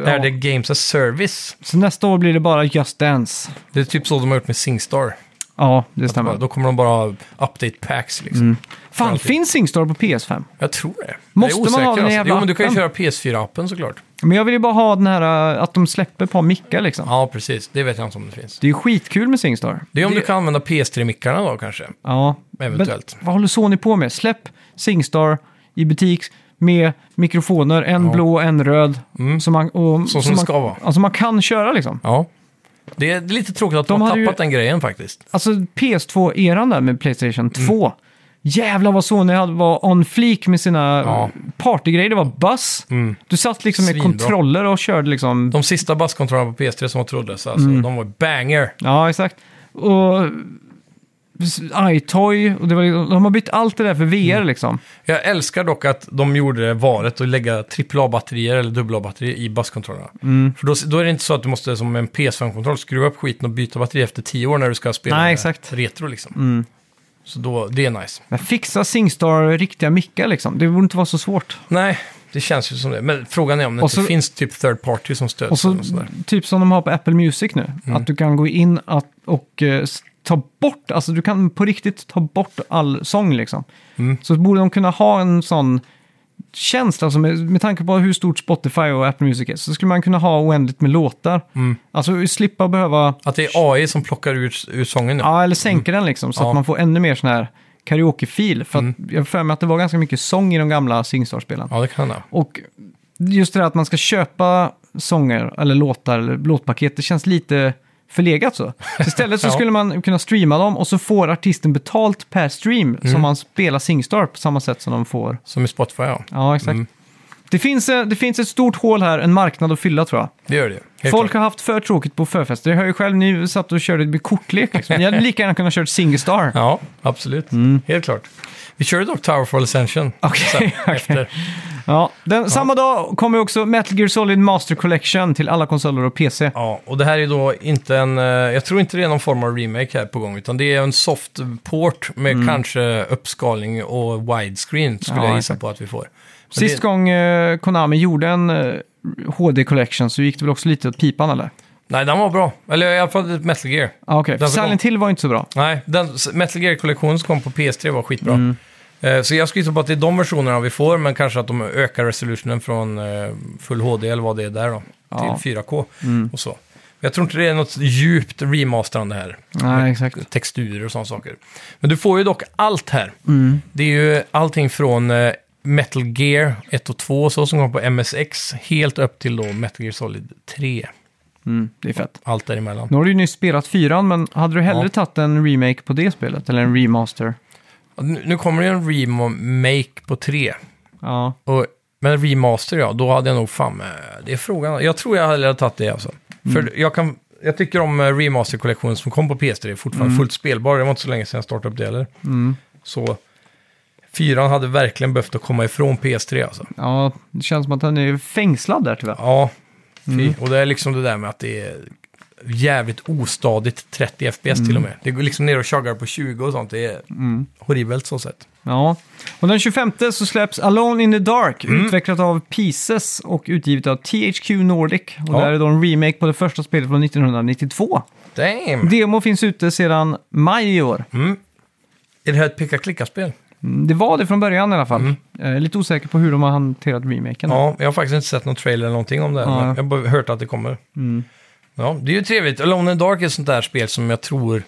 A: ja.
B: det Games as Service.
A: Så nästa år blir det bara Just Dance.
B: Det är typ så de har gjort med Singstar.
A: Ja, det
B: Bara,
A: stämmer.
B: då kommer de bara ha update packs liksom.
A: Mm. Fan, finns Singstar på PS5?
B: Jag tror det.
A: Måste
B: Jag är
A: man ha
B: osäker, alltså.
A: den jävla
B: Jo, men du kan ju
A: appen?
B: köra PS4-appen såklart.
A: Men jag vill ju bara ha den här äh, att de släpper ett par mickar liksom.
B: Ja, precis. Det vet jag inte om det finns.
A: Det är ju skitkul med Singstar.
B: Det är om du kan använda PS3-mickarna då kanske.
A: Ja,
B: Eventuellt.
A: Men vad håller Sony på med? Släpp Singstar i butik med mikrofoner, en blå och en röd. Som man, och,
B: Mm. som det
A: man,
B: ska vara.
A: Alltså man kan köra liksom.
B: Ja. Det är lite tråkigt att
A: De
B: de, har
A: hade ju-
B: tappat den grejen faktiskt.
A: Alltså PS2-eran där med Playstation
B: Mm.
A: 2. Jävlar vad Sony hade, var on fleek med sina
B: Ja. Mm.
A: partygrejer. Det var buzz. Du satt liksom med
B: Svinbra.
A: kontroller och körde liksom.
B: De sista basskontrollerna på PS3 som var trådlösa, alltså,
A: Mm.
B: de var banger.
A: Ja, exakt. Och iToy. Och det var, liksom- de har bytt allt det där för VR
B: Mm.
A: liksom.
B: Jag älskar dock att de gjorde valet att lägga AAA-batterier eller AA-batterier i basskontrollerna.
A: Mm.
B: För då, då är det inte så att du måste som en PS5-kontroll skruva upp skiten och byta batteri efter 10 år när du ska spela
A: Nej, exakt. Mm.
B: retro liksom. Så då, det är nice.
A: Men fixa Singstar riktiga mickar liksom. Det borde inte vara så svårt.
B: Nej, det känns ju som det. Men frågan är om det
A: Och så-
B: inte finns typ third party som stöds.
A: Och så,
B: eller sådär. Mm.
A: typ som de har på Apple Music nu, att du kan gå in att, och eh, s- ta bort, alltså
B: Mm.
A: du kan på riktigt ta bort all sång liksom. Så borde de kunna ha en sån tjänst, alltså med, med tanke på hur stort Spotify och Apple Music är, så skulle man kunna ha oändligt med låtar.
B: Mm.
A: Alltså slippa behöva,
B: Att det är AI som plockar ut, ut sången nu.
A: ja eller sänka den liksom, så
B: Mm. Ja. Mm.
A: att man får ännu mer sån här karaokefil. För att jag har för mig att det var ganska mycket sång i de gamla Singstar-spelen.
B: Ja, det kan hända.
A: Och just det där att man ska köpa sånger eller låtar eller låtpaket, det känns lite förlegat så. så istället så
B: Ja.
A: skulle man kunna streama dem och så får artisten betalt per stream
B: Mm.
A: som man spelar Singstar på samma sätt som de får.
B: Som i Spotify, ja.
A: Ja, exakt.
B: Mm.
A: Det, finns, eh, det finns ett stort hål här, en marknad att fylla tror jag.
B: Det gör det ju. Helt
A: Folk
B: klart.
A: har haft för tråkigt på förfester. Jag hör ju själv, ni satt och körde med kortlek. Liksom. Ni hade lika gärna kunnat kört Singstar.
B: Ja, absolut. Helt klart. Vi körde dock Tower for Ascension.
A: Mm. Ah, Okej,
B: sen
A: okej.
B: efter.
A: Ja. Den, Samma dag kommer också Metal Gear Solid Master Collection till alla konsoler och PC.
B: Ja, och det här är då inte en... eh, Jag tror inte det är någon form av remake här på gång, utan det är en soft port med kanske uppskalning och widescreen skulle
A: Mm. Ja,
B: jag gissa
A: exakt.
B: på att vi får. Men
A: Sist
B: det,
A: gång eh, Konami gjorde en eh, HD Collection så gick det väl också lite åt pipan eller?
B: nej, den var bra. Eller i alla fall Metal Gear.
A: Ah, Okej,
B: Den
A: okay.
B: som
A: Silent Hill var inte så bra.
B: Nej, den s- Metal Gear-kollektionen som kom på PS3 var skitbra.
A: Mm.
B: Eh, Så jag skulle gissa på att det är de versionerna vi får, men kanske att de ökar resolutionen från eh, full HD eller vad det är där då,
A: Ja. Mm.
B: till 4K och så. Jag tror inte det är något djupt remasterande här.
A: Nej, exakt.
B: texturer och sådana saker. Men du får ju dock allt här. Det är ju allting från eh, Metal Gear 1 och 2 och så som kom på MSX, helt upp till då Metal Gear Solid 3.
A: Mm, det är fett.
B: Allt däremellan.
A: Nu har du ju nyss spelat fyran, men hade du hellre
B: Ja.
A: tagit en remake på det spelet? Eller en remaster?
B: Nu nu kommer det ju en remake på 3.
A: Ja,
B: Och, men remaster ja, då hade jag nog fan, eh, det är frågan. Jag tror jag hade hellre tagit det alltså. För jag kan... Jag tycker om eh, remaster-kollektionen som kom på PS3, fortfarande fullt spelbar. Det var inte så länge sedan jag startade upp det heller. Så fyran hade verkligen behövt att komma ifrån PS3 alltså.
A: ja, det känns som att den är fängslad där tyvärr.
B: Ja, fy. och det är liksom det där med att det är jävligt ostadigt 30 FPS till och med. Det går liksom ner och chuggar på 20 och sånt. Det är horribelt så sett.
A: Ja. Och den 25 så släpps Alone in the Dark,
B: Mm.
A: utvecklat av Pieces och utgivet av THQ Nordic. Och
B: Ja.
A: det här är då en remake på det första spelet från 1992.
B: Damn!
A: Demo finns ute sedan maj i år.
B: Är det här ett peka-klicka-spel?
A: Mm, Det var det från början i alla fall. Jag är lite osäker på hur de har hanterat remaken.
B: Mm. Ja, jag har faktiskt inte sett någon trailer eller någonting om det. här,
A: Nej. Mm.
B: Men jag har bara hört att det kommer. Ja, det är ju trevligt. Alone in the Dark är ett sånt där spel som jag tror...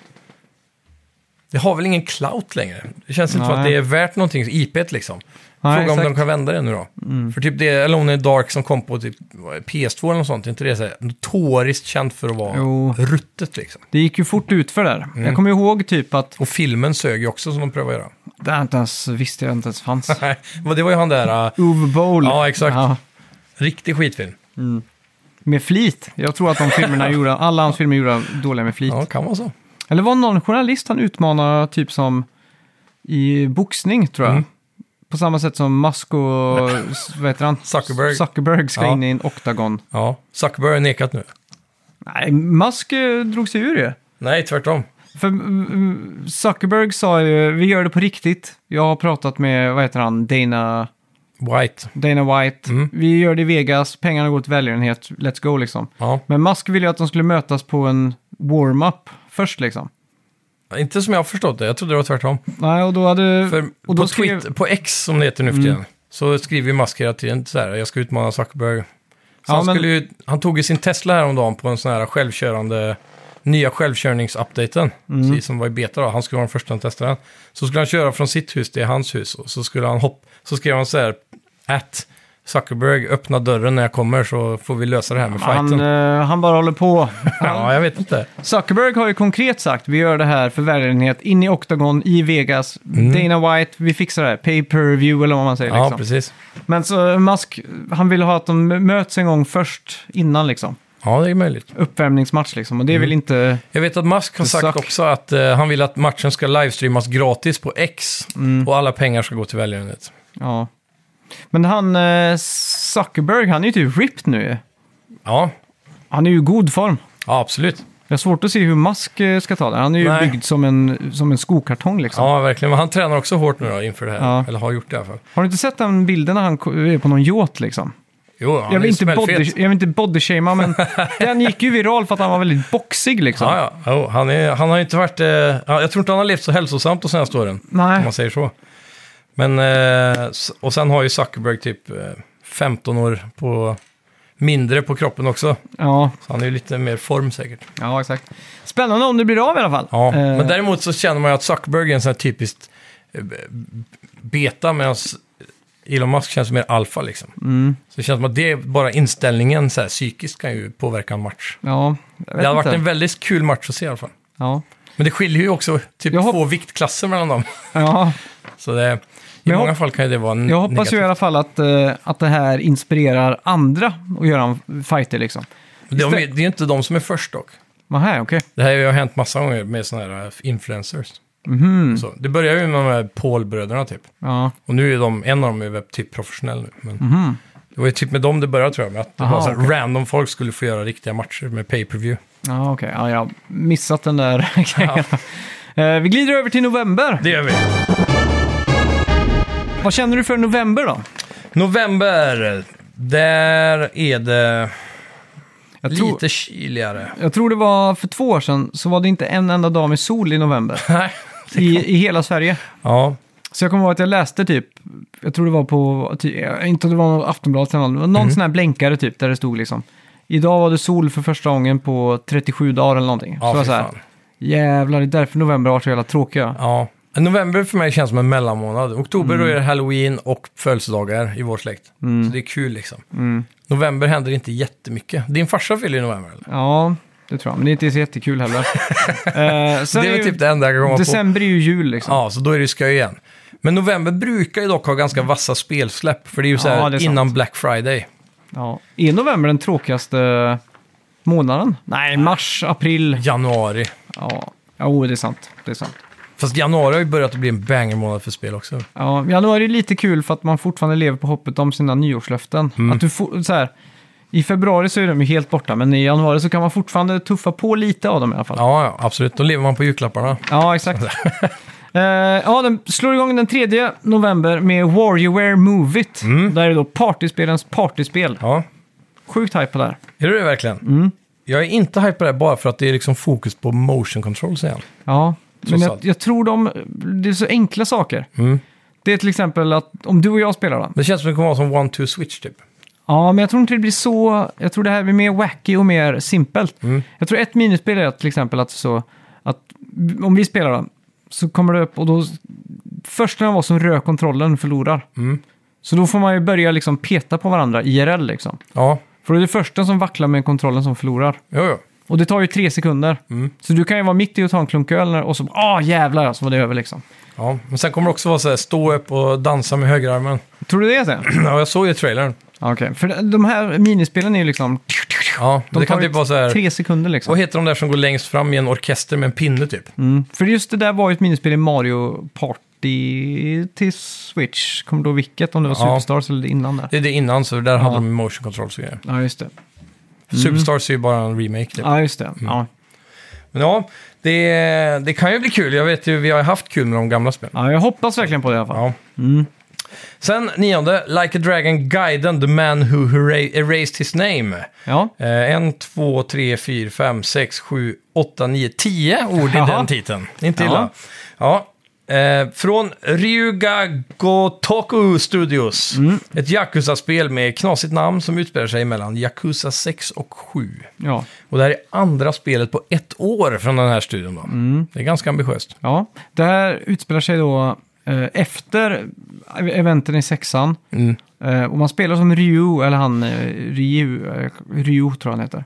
B: Det har väl ingen clout längre. Det känns inte som att
A: Nej.
B: det är värt någonting, IP't liksom.
A: Nej,
B: Fråga om
A: exakt. Mm.
B: de kan vända det nu då. För typ det Alone in the Dark som kom på typ PS2 eller något sånt, är inte det så här notoriskt känt för att vara
A: Jo.
B: ruttet liksom.
A: Det gick ju fort ut för där.
B: Mm.
A: Jag kommer ihåg typ att...
B: Och filmen sög ju också som de prövade göra.
A: Det här inte ens visste jag inte ens fanns.
B: Nej, men det var ju han där, äh,
A: Uwe Boll.
B: Ja, exakt. riktig skitfilm.
A: med flit. Jag tror att de filmerna gjorde, alla hans filmer gjorde dåliga med flit.
B: Ja, kan vara så.
A: Eller var någon journalist han utmanade typ som i boxning tror jag.
B: Mm.
A: På samma sätt som Musk och s- vad heter han?
B: Zuckerberg.
A: Zuckerberg ska
B: Ja.
A: in i en oktagon.
B: Ja, Zuckerberg har nekat nu.
A: Nej, Musk eh, drog sig ur det.
B: Nej, tvärtom.
A: För mm, Zuckerberg sa ju, vi gör det på riktigt. Jag har pratat med, vad heter han, Dana,
B: White.
A: Dana White.
B: Mm.
A: Vi gör det i Vegas, pengarna går till välgörenhet, let's go liksom.
B: Ja.
A: Men Musk ville ju att de skulle mötas på en warm-up först liksom.
B: Inte som jag har förstått det, jag trodde det var tvärtom.
A: Nej, och då hade...
B: För
A: och då Mm.
B: på,
A: skrev-
B: Twitter, på X, som det heter nu för tiden, så skriver ju Musk hela tiden så här, jag ska utmana Zuckerberg. Så
A: Ja,
B: han,
A: men-
B: skulle ju, han tog ju sin Tesla häromdagen på en sån här självkörande, nya självkörningsupdaten,
A: Mm.
B: precis som var i beta då, han skulle vara den första att testa den. Så skulle han köra från sitt hus till hans hus och så skulle han hopp, så skrev han så här, att Zuckerberg, öppna dörren när jag kommer så får vi lösa det här med
A: han,
B: fighten.
A: eh, han bara håller på.
B: ja, jag vet inte.
A: Zuckerberg har ju konkret sagt, vi gör det här för välgörenhet, in i oktagon i Vegas, Dana White, vi fixar det här, pay per view eller vad man säger.
B: Mm. Ja,
A: liksom.
B: precis.
A: Men så Musk, han vill ha att de möts en gång först innan liksom.
B: Ja, det är möjligt.
A: Uppvärmningsmatch liksom. Och det är
B: Mm.
A: väl inte...
B: Jag vet att Musk har
A: Det
B: sagt
A: suck.
B: också att eh, han vill att matchen ska livestreamas gratis på X
A: Mm.
B: och alla pengar ska gå till välgörenhet.
A: Ja. Men han eh, Zuckerberg, han är ju typ ripped nu.
B: Ja,
A: Han är ju i god form.
B: ja absolut.
A: Jag har svårt att se hur Musk eh, ska ta det. Han är ju
B: Nej.
A: byggd som en, som en skokartong liksom.
B: Ja, verkligen. Men han tränar också hårt nu då inför det här.
A: Ja.
B: Eller har gjort det i alla fall.
A: Har du inte sett den bilden när han ko- är på någon yacht liksom?
B: Jo, han
A: Jag
B: är
A: vill, inte
B: smällfet.
A: body, jag vill inte bodyshamea, men den gick ju viral för att han var väldigt boxig liksom.
B: Ja, ja. Jo, han, är, han har ju inte varit... Eh, ja, jag tror inte han har levt så hälsosamt de senaste åren. Om
A: Nej,
B: man säger så. Men, eh, s- och sen har ju Zuckerberg typ eh, 15 år på, mindre på kroppen också.
A: Ja,
B: Så han är ju lite mer form säkert.
A: ja exakt. Spännande om det blir av i alla fall.
B: Ja,
A: Eh,
B: men däremot så känner man ju att Zuckerberg är en sån här typiskt eh, b- beta medan Elon Musk känns mer alfa liksom.
A: Mm.
B: Så det känns som att det, bara inställningen så här, psykiskt kan ju påverka en match.
A: Ja, jag vet
B: Det hade varit
A: inte.
B: en väldigt kul match att se i alla fall.
A: Ja,
B: Men det skiljer ju också typ
A: Jag hopp-
B: två viktklasser mellan dem.
A: ja.
B: Så det, i
A: jag
B: många
A: hopp-
B: fall kan ju det vara en
A: Jag hoppas ju i
B: negativ.
A: alla fall att, eh, att det här inspirerar andra att göra en fighter liksom.
B: Det är, det är ju inte de som är först dock.
A: Nähä, okej.
B: Det här har ju hänt massa gånger med sådana här eh, influencers.
A: Mhm.
B: Så, det börjar ju med de här Paul-bröderna typ.
A: Ja,
B: Och nu är de, en av dem är väl typ professionell nu. Men Det var ju typ med dem det började tror jag, med att det
A: Mhm. Aha,
B: var så här,
A: okej.
B: random folk skulle få göra riktiga matcher med pay-per-view.
A: ja okej. Ja, jag har missat den där grejen. Eh, Vi glider över till november.
B: Det gör vi.
A: Vad känner du för november då?
B: November, där är det
A: Jag tror,
B: lite kyligare.
A: jag tror det var för två år sedan så var det inte en enda dag med sol i november
B: Nej.
A: i, i hela Sverige.
B: ja,
A: Så jag kommer ihåg att jag läste typ, jag tror det var på, ty- jag- inte det var något Aftonbladet eller något, det var någon
B: Mhm.
A: sån här blänkare typ där det stod liksom. Idag var det sol för första gången på 37 dagar eller någonting. så
B: ja
A: jag var
B: fy
A: så här,
B: fan.
A: jävlar det är därför november har varit så jävla tråkiga.
B: Ja. November för mig känns som en mellanmånad. Oktober
A: Mm.
B: då är det halloween och födelsedagar i vår släkt. Så det är kul liksom.
A: Mm.
B: November händer inte jättemycket. Din farsa fyller i november eller?
A: Ja, det tror jag, men det är inte så jättekul heller. Eh, sen
B: det är väl
A: ju-
B: typ det enda jag kan komma på.
A: December är ju jul liksom.
B: Ja, så då är det ju skoj igen. Men november brukar ju dock ha ganska vassa spelsläpp, för det är ju så
A: Mm. Ja,
B: här
A: det är sant.
B: innan Black Friday.
A: Ja. Är november den tråkigaste månaden? Nej, mars, april.
B: Januari.
A: Ja, jo det är sant. Det är sant.
B: Fast januari har ju börjat att bli en bangermånad för spel också.
A: Ja, januari är lite kul för att man fortfarande lever på hoppet om sina nyårslöften.
B: Mm.
A: Att du får, så här, I februari så är de ju helt borta, men i januari så kan man fortfarande tuffa på lite av dem i alla fall. Ja,
B: Ja, ja, absolut. Då lever man på julklapparna.
A: exakt. Eh, ja, den slår igång den 3 november med Warriorware Move It. Där är det då partyspelens partyspel.
B: Ja,
A: Sjukt hype på det här.
B: är du det verkligen?
A: Mm.
B: Jag är inte hype på det här bara för att det är liksom fokus på motion controls igen.
A: Ja, men
B: Trots
A: jag,
B: allt.
A: jag tror de... Det är så enkla saker. Det är till exempel att om du och jag spelar då.
B: Det känns som det kommer vara som one-two switch typ.
A: Ja, men jag tror inte det blir så... Jag tror det här blir mer wacky och mer simpelt.
B: Mm.
A: Jag tror ett minispel är att, till exempel att så... Att om vi spelar då, så kommer det upp och då... Första av oss som rör kontrollen förlorar.
B: Mm.
A: Så då får man ju börja liksom peta på varandra IRL liksom.
B: Ja,
A: För det är det första som vacklar med kontrollen som förlorar.
B: jo, jo.
A: Och det tar ju tre sekunder.
B: Mm.
A: Så du kan ju vara mitt i att ta en klunk öl och så ah jävlar så var det över liksom.
B: Ja, men sen kommer det också vara så här, stå upp och dansa med högerarmen.
A: Tror du det är så?
B: Ja, jag såg ju trailern.
A: Okej, för de här minispelen är ju liksom...
B: Ja,
A: De
B: det
A: tar
B: kan
A: ju
B: typ vara så här...
A: tre sekunder liksom.
B: Vad heter de där som går längst fram i en orkester med en pinne typ?
A: Mm. För just det där var ju ett minispel i Mario Party till Switch. Kommer du ihåg vilket? Om det var
B: Ja.
A: Superstars eller det innan där?
B: Det är det innan, så där
A: Ja.
B: hade de motion controls och grejer.
A: Ja, just det.
B: Superstars är ju bara en remake. Typ.
A: Ja, just det. Ja.
B: Men ja, det, det kan ju bli kul. Jag vet ju, vi har ju haft kul med de gamla spelen.
A: ja, jag hoppas verkligen på det i alla fall.
B: Ja. Sen nionde, Like a Dragon Guiden, The Man Who Hera- Erased His Name.
A: Ja,
B: Eh, en, två, tre, fyra, fem, sex, sju, åtta, nio, tio ord i
A: Jaha.
B: den titeln. Inte
A: Ja.
B: illa. Ja. Eh, från Ryuga Gotoku Studios.
A: Mm.
B: Ett Yakuza-spel med knasigt namn som utspelar sig mellan Yakuza 6 och 7.
A: ja.
B: Och det här är andra spelet på ett år från den här studion då.
A: Mm.
B: Det är ganska ambitiöst.
A: ja. Det här utspelar sig då eh, efter eventen i sexan. Eh, och man spelar som Ryu, eller han eh, Ryu, eh, Ryu tror jag han heter.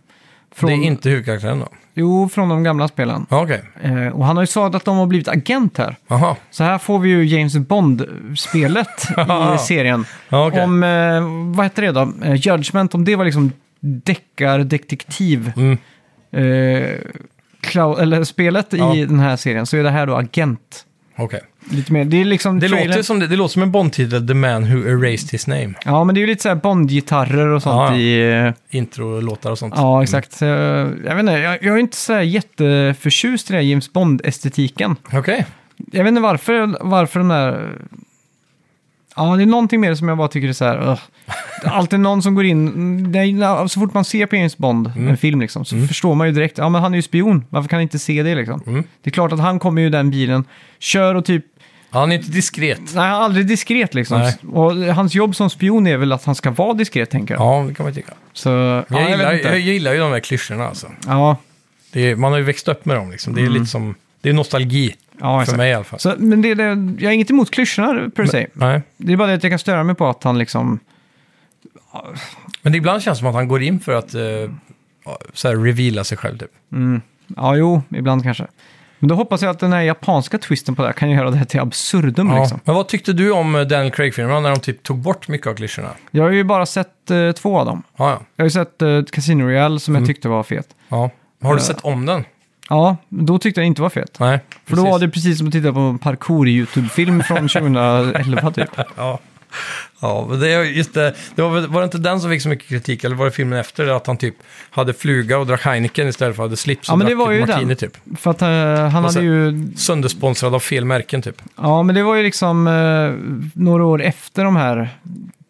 A: Från,
B: Det är inte huvudkaraktären då?
A: Jo, från de gamla spelen.
B: Ja, Okej,
A: Eh, och han har ju sagt att de har blivit agent här.
B: jaha.
A: Så här får vi ju James Bond-spelet i serien.
B: Ja, okej.
A: Om, eh, vad heter det då? Eh, Judgment, om det var liksom deckardetektiv.
B: Mm.
A: Eh, clou- eller spelet
B: Ja.
A: i den här serien så är det här då agent.
B: Okej.
A: Lite mer, det är liksom
B: Det,
A: trailern-
B: låter som, det, det låter som en Bond-titel, The Man Who Erased His Name.
A: Ja, men det är ju lite så här Bond-gitarrer och sånt
B: Ja, ja.
A: i... eh,
B: Intro-låtar och sånt.
A: Ja, exakt. Så, jag vet inte, jag, jag är inte så här jätteförtjust i den här James Bond-estetiken.
B: Mm. Okej,
A: Jag vet inte varför, varför den där... Ja, det är någonting med det som jag bara tycker är så här... Ugh. Det är alltid någon som går in... det är- Så fort man ser på James Bond,
B: Mm.
A: en film liksom, så förstår man ju direkt.
B: Mm.
A: Ja, men han är ju spion. Varför kan han inte se det liksom? Det är klart att han kommer ju i den bilen, kör och typ
B: Han är inte diskret.
A: Nej, han är aldrig diskret liksom.
B: Nej.
A: Och hans jobb som spion är väl att han ska vara diskret, tänker jag.
B: Ja, det kan man tycka.
A: Så,
B: Jag,
A: ja, jag
B: gillar,
A: vet inte.
B: jag gillar ju de här klyschorna alltså.
A: Ja,
B: Det är, man har ju växt upp med dem liksom. Det är lite som, det är nostalgi.
A: Mm. ja,
B: för
A: exakt.
B: mig i alla fall.
A: Så, men det, det, jag har inget emot klyschorna per se.
B: Nej.
A: Det är bara det att jag kan störa mig på att han liksom...
B: Men det ibland känns det som att han går in för att eh, ja, så här, reveala sig själv typ.
A: Ja, jo, ibland kanske. Men då hoppas jag att den här japanska twisten på det här kan göra det här till absurdum
B: Ja.
A: liksom.
B: Men vad tyckte du om eh, Daniel Craig-filmerna när de typ tog bort mycket av klyschorna?
A: Jag har ju bara sett eh, två av dem.
B: Ja, ja.
A: Jag har ju sett eh, Casino Royale som
B: Mm.
A: jag tyckte var fet.
B: ja. Har du
A: Ja.
B: sett om den?
A: Ja, då tyckte jag inte var fet.
B: Nej.
A: För då var det precis som att titta på en parkour-YouTube-film från 2011 typ.
B: Ja. Ja, men det, är just det, det var, väl- var det inte den som fick så mycket kritik, eller var det filmen efter det, att han typ hade fluga och drack Heineken istället för att hade slips och
A: Ja, men det
B: drack
A: var
B: typ
A: ju
B: martini
A: den.
B: typ.
A: För att eh, han
B: Och
A: hade
B: sen-
A: ju...
B: Söndersponsrad av fel märken typ.
A: Ja, men det var ju liksom eh, några år efter de här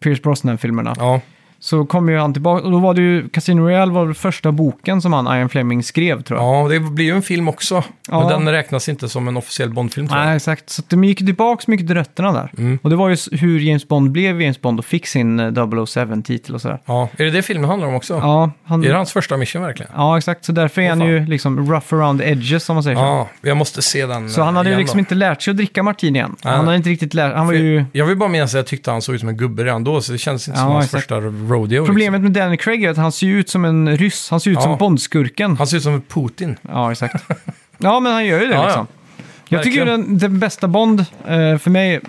A: Pierce Brosnan-filmerna.
B: Ja,
A: Så kom ju han tillbaka, och då var det ju Casino Royale var väl första boken som han, Ian Fleming, skrev tror jag.
B: ja det blir ju en film också. Men
A: Ja.
B: den räknas inte som en officiell Bondfilm tror jag. Mm.
A: Nej, exakt. Så att de gick tillbaka mycket till rötterna där. Och det var ju s- hur James Bond blev James Bond och fick sin eh, 007-titel och sådär.
B: Ja. Är det det filmen handlar om också?
A: Ja, han,
B: Är det hans första mission verkligen?
A: ja, exakt. Så därför är
B: Åh,
A: han
B: fan.
A: ju liksom rough around the edges, som man säger. så.
B: Ja, jag måste se den
A: Så han hade ju
B: igen
A: liksom
B: då.
A: inte lärt sig att dricka martini än.
B: Nej.
A: Han hade inte riktigt lärt Han var ju...
B: Jag vill bara minnas att jag tyckte han såg ut som en gubbe redan då, så det kändes inte
A: Ja,
B: som hans
A: exakt.
B: första rodeo. Liksom.
A: Problemet med Daniel Craig är att han ser ju ut som en ryss. Han ser ut
B: Ja.
A: som Bondskurken.
B: Han ser ut som Putin.
A: Ja, exakt. ja, men han gör ju det
B: Ja, ja.
A: liksom. Jag tycker ju
B: Verkligen.
A: den, den bästa Bond eh, för mig,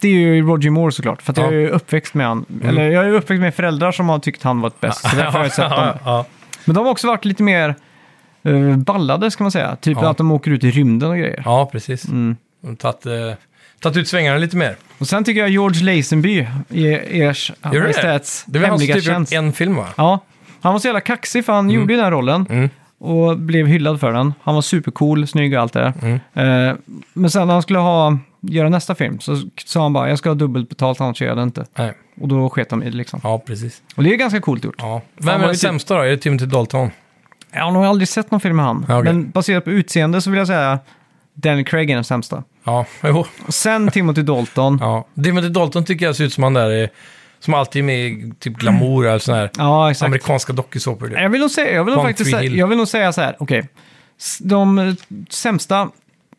A: det är ju Roger Moore såklart. För att
B: Ja. Mm.
A: jag är ju uppväxt med han. Eller jag är ju uppväxt med föräldrar som har tyckt han varit bäst. Så därför har jag sett dem.
B: ja.
A: Men de har också varit lite mer eh, ballade, ska man säga. Typ
B: Ja.
A: att de åker ut i rymden och grejer.
B: ja, precis.
A: Mm.
B: De Tatt, eh, tatt ut svängarna lite mer.
A: Och sen tycker jag George Lazenby, i- ers
B: det?
A: majestäts
B: Det var hans
A: hemliga
B: typ
A: tjänst.
B: en film va?
A: Ja, han var så jävla kaxig för han
B: Mm.
A: gjorde ju den här rollen. Och blev hyllad för den. Han var supercool, snygg och allt det där.
B: Mm.
A: Eh, men sen när han skulle ha, göra nästa film så sa han bara jag ska ha dubbelt betalt annars gör jag det inte.
B: Nej.
A: Och då sket de i det liksom.
B: Ja, precis.
A: Och det är ju ganska coolt gjort.
B: Ja.
A: Han
B: Vem
A: var
B: är
A: ju
B: den
A: typ-
B: sämsta då? Är det Timothy Dalton?
A: Jag har nog aldrig sett någon film med han.
B: Ja, okej.
A: Men baserat på utseende så vill jag säga Daniel Craig är den sämsta.
B: Ja, jo.
A: Och sen Timothy Dalton. ja.
B: Ja. Timothy Dalton tycker jag ser ut som han där eh, som alltid är med i typ glamour eller sån här
A: exakt.
B: amerikanska dokusåpor. typ.
A: Jag vill nog säga, jag vill nog
B: One
A: faktiskt
B: Tree
A: säga,
B: Hill.
A: jag vill nog säga så här, okej. S- De eh, sämsta,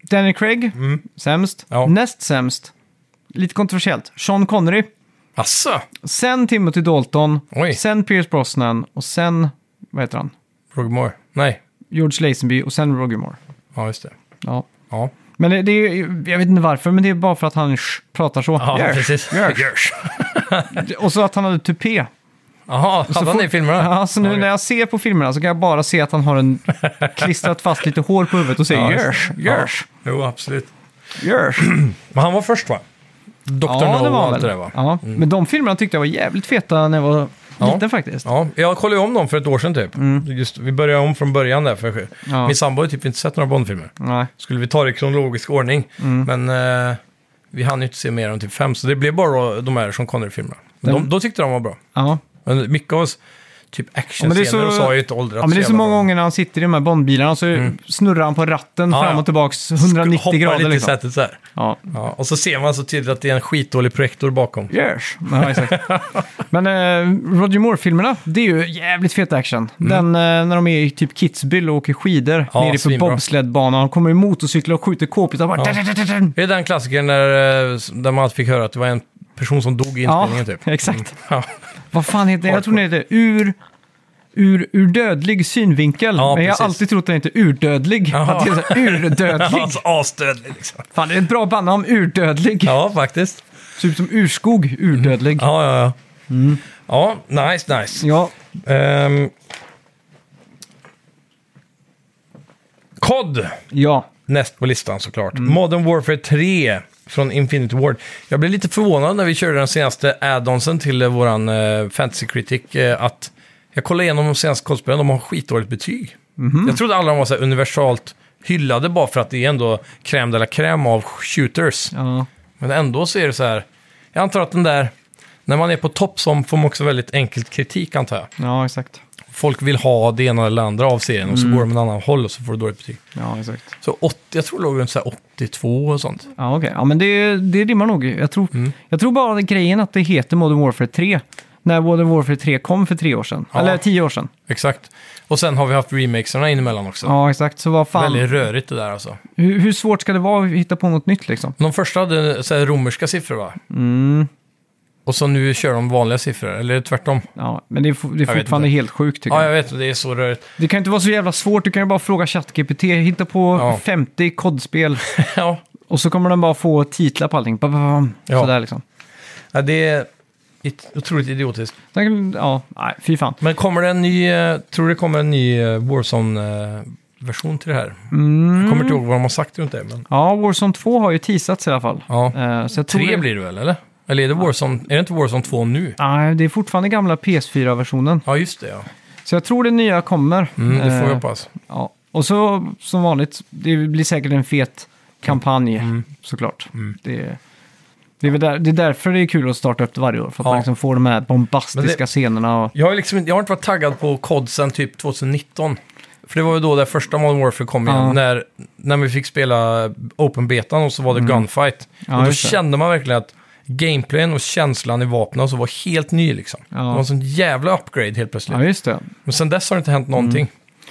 A: Daniel Craig, sämst.
B: Mm. Ja.
A: Näst sämst, lite kontroversiellt, Sean Connery.
B: Asså?
A: Sen Timothy Dalton,
B: Oj.
A: sen Pierce Brosnan och sen, vad heter han?
B: Roger Moore? Nej.
A: George Lazenby och sen Roger Moore.
B: Ja, just det.
A: Ja.
B: Ja,
A: Men det, det är, ju- jag vet inte varför, men det är bara för att han sh- pratar så.
B: ja
A: Gör.
B: precis. Görs.
A: Och så att han hade tupé.
B: Jaha, hade han det i filmerna?
A: Ja, så nu
B: Ja,
A: när jag ser på filmerna så kan jag bara se att han har en klistrat fast lite hår på huvudet och säger
B: Ja, just det.
A: görs, görs,
B: Ja. Jo, absolut.
A: görs.
B: Men han var först va? Dr. No och allt det där va? Mm.
A: Ja. Men de filmerna tyckte jag var jävligt feta när jag var
B: Ja.
A: liten faktiskt.
B: Ja, jag kollade ju om dem för ett år sedan typ. Just, vi började om från början där, för
A: Mm. Ja.
B: min sambo har ju typ inte sett några Bondfilmer.
A: Nej.
B: Skulle vi ta det i kronologisk ordning,
A: Mm.
B: men eh, vi hann ju inte se mer än typ fem, så det blev bara de här som Connery-filmerna. Men de,
A: Den-
B: då tyckte de var bra.
A: Ja.
B: Men mycket av oss,
A: men
B: typ
A: det är
B: actionscener
A: så-
B: och så har ju inte åldrats
A: ja, men det är så
B: jävla
A: många
B: bra. Mm.
A: gånger när han sitter i de här Bondbilarna så snurrar han på ratten
B: Ja,
A: fram
B: ja.
A: och tillbaks
B: Hoppar
A: 190 grader.
B: lite i
A: Liksom.
B: sätet så här.
A: Ja.
B: Ja, och så ser man så tydligt att det är en skitdålig projektor bakom.
A: Görs. Ja, exakt. Men eh, Roger Moore-filmerna, det är ju jävligt fet action. Den eh, när de är i typ Kitzbühel och åker skidor
B: Mm. Ja,
A: nere på
B: svinbra.
A: bobsledbanan. De kommer i motorcyklar och skjuter k-pistar. Bara... Ja,
B: Det är den klassikern där, eh, där man alltid fick höra att det var en person som dog i inspelningen typ.
A: exakt.
B: Ja.
A: Vad fan heter den? Jag tror den heter ur, ur, ur dödlig synvinkel.
B: Ja,
A: men jag
B: precis.
A: har alltid trott den heter urdödlig.
B: Jaha.
A: Att det är så här, urdödlig.
B: Alltså asdödlig liksom.
A: fan, det är ett bra bandnamn. Urdödlig.
B: Ja, Mm. faktiskt.
A: Typ som urskog. Urdödlig. Ja.
B: Ja, ja, ja. Mm. Ja, nice, nice. Ehm. COD,
A: ja.
B: näst på listan såklart. Modern Warfare 3 från Infinity Ward. Jag blev lite förvånad när vi körde den senaste add-onsen till eh, våran eh, Fantasy Critic. Eh, att jag kollade igenom de senaste kodspelen, de har skitdåligt betyg. Jag trodde alla de var så här universalt hyllade bara för att det är ändå crème de la crème av shooters.
A: ja.
B: Men ändå så är det så här. Jag antar att den där, när man är på topp som får man också väldigt enkelt kritik antar jag.
A: Ja, exakt.
B: folk vill ha det ena eller andra av serien och så går de en annan håll och så får du dåligt betyg.
A: Ja, exakt.
B: Så 80, jag tror det låg runt så här 82 och sånt.
A: Ja, okej. Ja, men det, det rimmar nog. Jag tror,
B: Mm.
A: jag tror bara att grejen att det heter Modern Warfare 3. När Modern Warfare 3 kom för tre år sedan.
B: Ja.
A: Eller tio år sedan.
B: Exakt. Och sen har vi haft remakesarna in emellan också.
A: Ja, exakt. Så vad Ah, fan.
B: Väldigt rörigt det där alltså.
A: Hur, hur svårt ska det vara att hitta på något nytt liksom?
B: De första hade så här romerska siffror va?
A: Mm.
B: Och så nu kör de vanliga siffror, eller tvärtom.
A: Ja, men det är, fo- det är
B: vet
A: fortfarande
B: inte.
A: helt sjukt tycker
B: Ja,
A: jag.
B: jag vet, det är så rörigt.
A: Det kan ju inte vara så jävla svårt. Du kan ju bara fråga ChatGPT, hitta på
B: Ja.
A: 50 kodspel
B: ja.
A: och så kommer den bara få titlar på allting. Ba, ba, bam.
B: Ja.
A: Sådär liksom.
B: ja, det är it- otroligt idiotiskt.
A: Sen kan- Ja, nej, fy fan.
B: Men kommer det en ny, eh, tror du det kommer en ny eh, Warzone-version till det här? Jag kommer inte ihåg vad de har sagt runt det, men...
A: Ja, Warzone 2 har ju teasats i alla fall.
B: Ja.
A: Eh, så jag tror
B: Tre
A: det...
B: blir det väl, eller? Eller är det Warzone, är det inte Warzone 2 nu?
A: Nej, det är fortfarande gamla PS4-versionen.
B: Ja, just det ja.
A: Så jag tror det nya kommer.
B: Mm, det får
A: Eh,
B: vi hoppas.
A: Ja. Och så som vanligt, det blir säkert en fet kampanj
B: Mm.
A: såklart. Det, det, är väl där, det är därför det är kul att starta upp det varje år, för att
B: Ja.
A: man liksom får de här bombastiska
B: Men det-
A: scenerna. Och,
B: Jag har, liksom, inte- jag har inte varit taggad på COD sen typ 2019. För det var ju då det första Modern Warfare kom igen,
A: Ja.
B: när, när vi fick spela Open-betan och så var det Gunfight.
A: Mm. Ja,
B: och då
A: just det.
B: kände man verkligen att gameplayen och känslan i vapnen och så var helt ny liksom.
A: Ja.
B: Det var en sån jävla upgrade helt plötsligt.
A: ja, Mm. just det.
B: Men sen dess har det inte hänt någonting.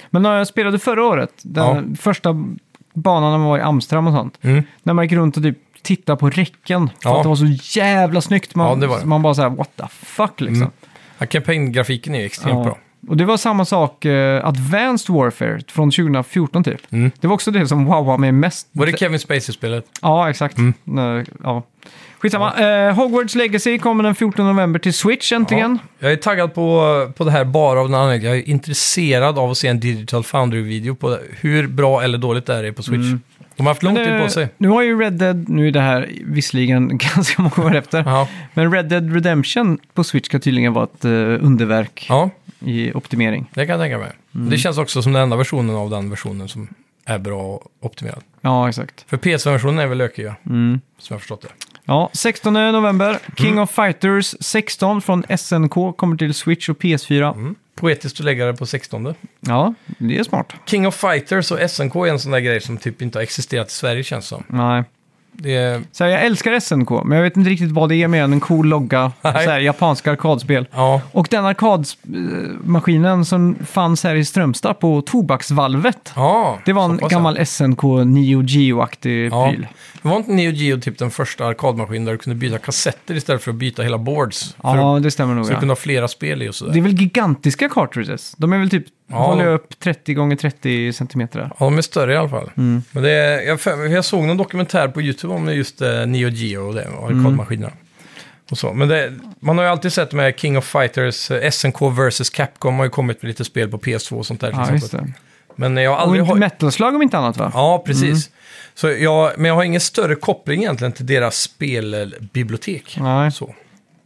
A: Men när jag spelade förra året, den
B: Ja.
A: första banan när man var i Amsterdam och sånt,
B: Mm.
A: när man gick runt och typ tittade på räcken, för
B: Ja.
A: att det var så jävla snyggt. Man,
B: Ja, det var det.
A: man bara såhär, what the fuck liksom.
B: Mm. Ja, Campaign-grafiken är ju extremt
A: Ja.
B: bra.
A: Och det var samma sak, eh, Advanced Warfare från 2014 typ.
B: Mm.
A: Det var också det som wowade mig mest.
B: Var det Mm. Kevin Spacey-spelet?
A: Ja, exakt. Nej, ja. Skitsamma. Eh, Hogwarts Legacy kommer den 14 november till Switch äntligen.
B: Jag är taggad på, på det här bara av den anledningen. Jag är intresserad av att se en Digital Foundry-video på det. hur bra eller dåligt det här är på Switch. De har haft lång
A: Mm. Men,
B: tid
A: eh,
B: på sig.
A: Nu har ju Red Dead, nu är det här visserligen ganska många år efter,
B: Ja.
A: men Red Dead Redemption på Switch ska tydligen vara ett eh, underverk
B: ja,
A: i optimering.
B: det kan jag tänka mig.
A: Mm.
B: Det känns också som den enda versionen av den versionen som är bra och optimerad.
A: Ja, exakt.
B: För PS5-versionen är väl lökig, ja.
A: Mm.
B: som jag har förstått det.
A: Ja, 16 november, King
B: Mm.
A: of Fighters 16 från SNK kommer till Switch och PS4.
B: Mm. Poetiskt att lägga det på 16.
A: Ja, det är smart.
B: King of Fighters och SNK är en sån där grej som typ inte har existerat i Sverige känns som.
A: Nej.
B: Det är,
A: Så här, jag älskar SNK, men jag vet inte riktigt vad det är mer än en cool logga och så
B: Nej.
A: här, japanska arkadspel.
B: ja,
A: Och den arkadmaskinen som fanns här i Strömstad på Tobaksvalvet.
B: ja.
A: Det var
B: så
A: en
B: pass, ja.
A: gammal SNK Neo Geo-aktig pryl.
B: Det var inte Neo Geo typ den första arkadmaskinen där du kunde byta kassetter istället för att byta hela boards? för
A: Ja,
B: att,
A: det stämmer nog.
B: så du
A: Ja.
B: kunde ha flera spel i och sådär.
A: Det är väl gigantiska cartridges? De är väl typ,
B: Ja.
A: håller jag upp 30 gånger 30 centimeter. där.
B: Ja, de är större i alla fall.
A: Mm.
B: Men det är, jag, för- jag såg någon dokumentär på YouTube om just eh, Neo Geo och det, och
A: Mm.
B: arkadmaskinerna. Och så. Men det, man har ju alltid sett med King of Fighters, eh, SNK vs Capcom har ju kommit med lite spel på PS2 och sånt där. till
A: Ja,
B: exempel.
A: just det.
B: Men jag har
A: Och Mm.
B: aldrig...
A: inte
B: har-
A: metalslag om inte annat va?
B: Ja, precis. Så jag, men jag har ingen större koppling egentligen till deras spelbibliotek.
A: Nej.
B: Så.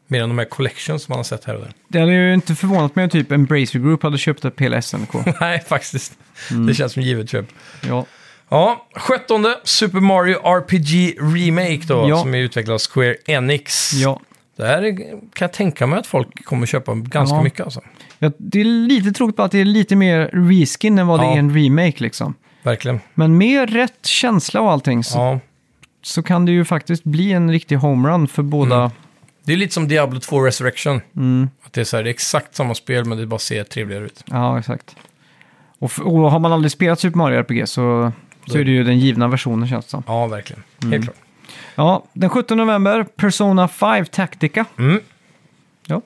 B: Mer än de här collections man har sett här och där.
A: Det hade ju inte förvånat mig om typ Embracer Group hade köpt upp hela SNK.
B: Nej, faktiskt.
A: Mm.
B: Det känns som givet köp.
A: ja.
B: Ja, sjuttonde Super Mario RPG Remake då,
A: Ja.
B: som är utvecklad av Square Enix.
A: ja.
B: Det här är, kan jag tänka mig att folk kommer köpa ganska
A: Ja.
B: mycket alltså.
A: Ja, det är lite tråkigt bara att det är lite mer reskin än vad det
B: Ja.
A: är en remake liksom.
B: Verkligen.
A: Men med rätt känsla och allting så,
B: Ja.
A: så kan det ju faktiskt bli en riktig homerun för båda.
B: Mm. Det är lite som Diablo 2 Resurrection.
A: Mm.
B: Att det, är så här, det är exakt samma spel men det bara ser trevligare ut.
A: Ja, exakt. Och, f- och har man aldrig spelat Super Mario RPG så, så är det ju den givna versionen känns det som.
B: Ja, verkligen.
A: Mm.
B: Helt klart.
A: Ja, den 17 november, Persona 5 Tactica.
B: Mm.
A: Ja.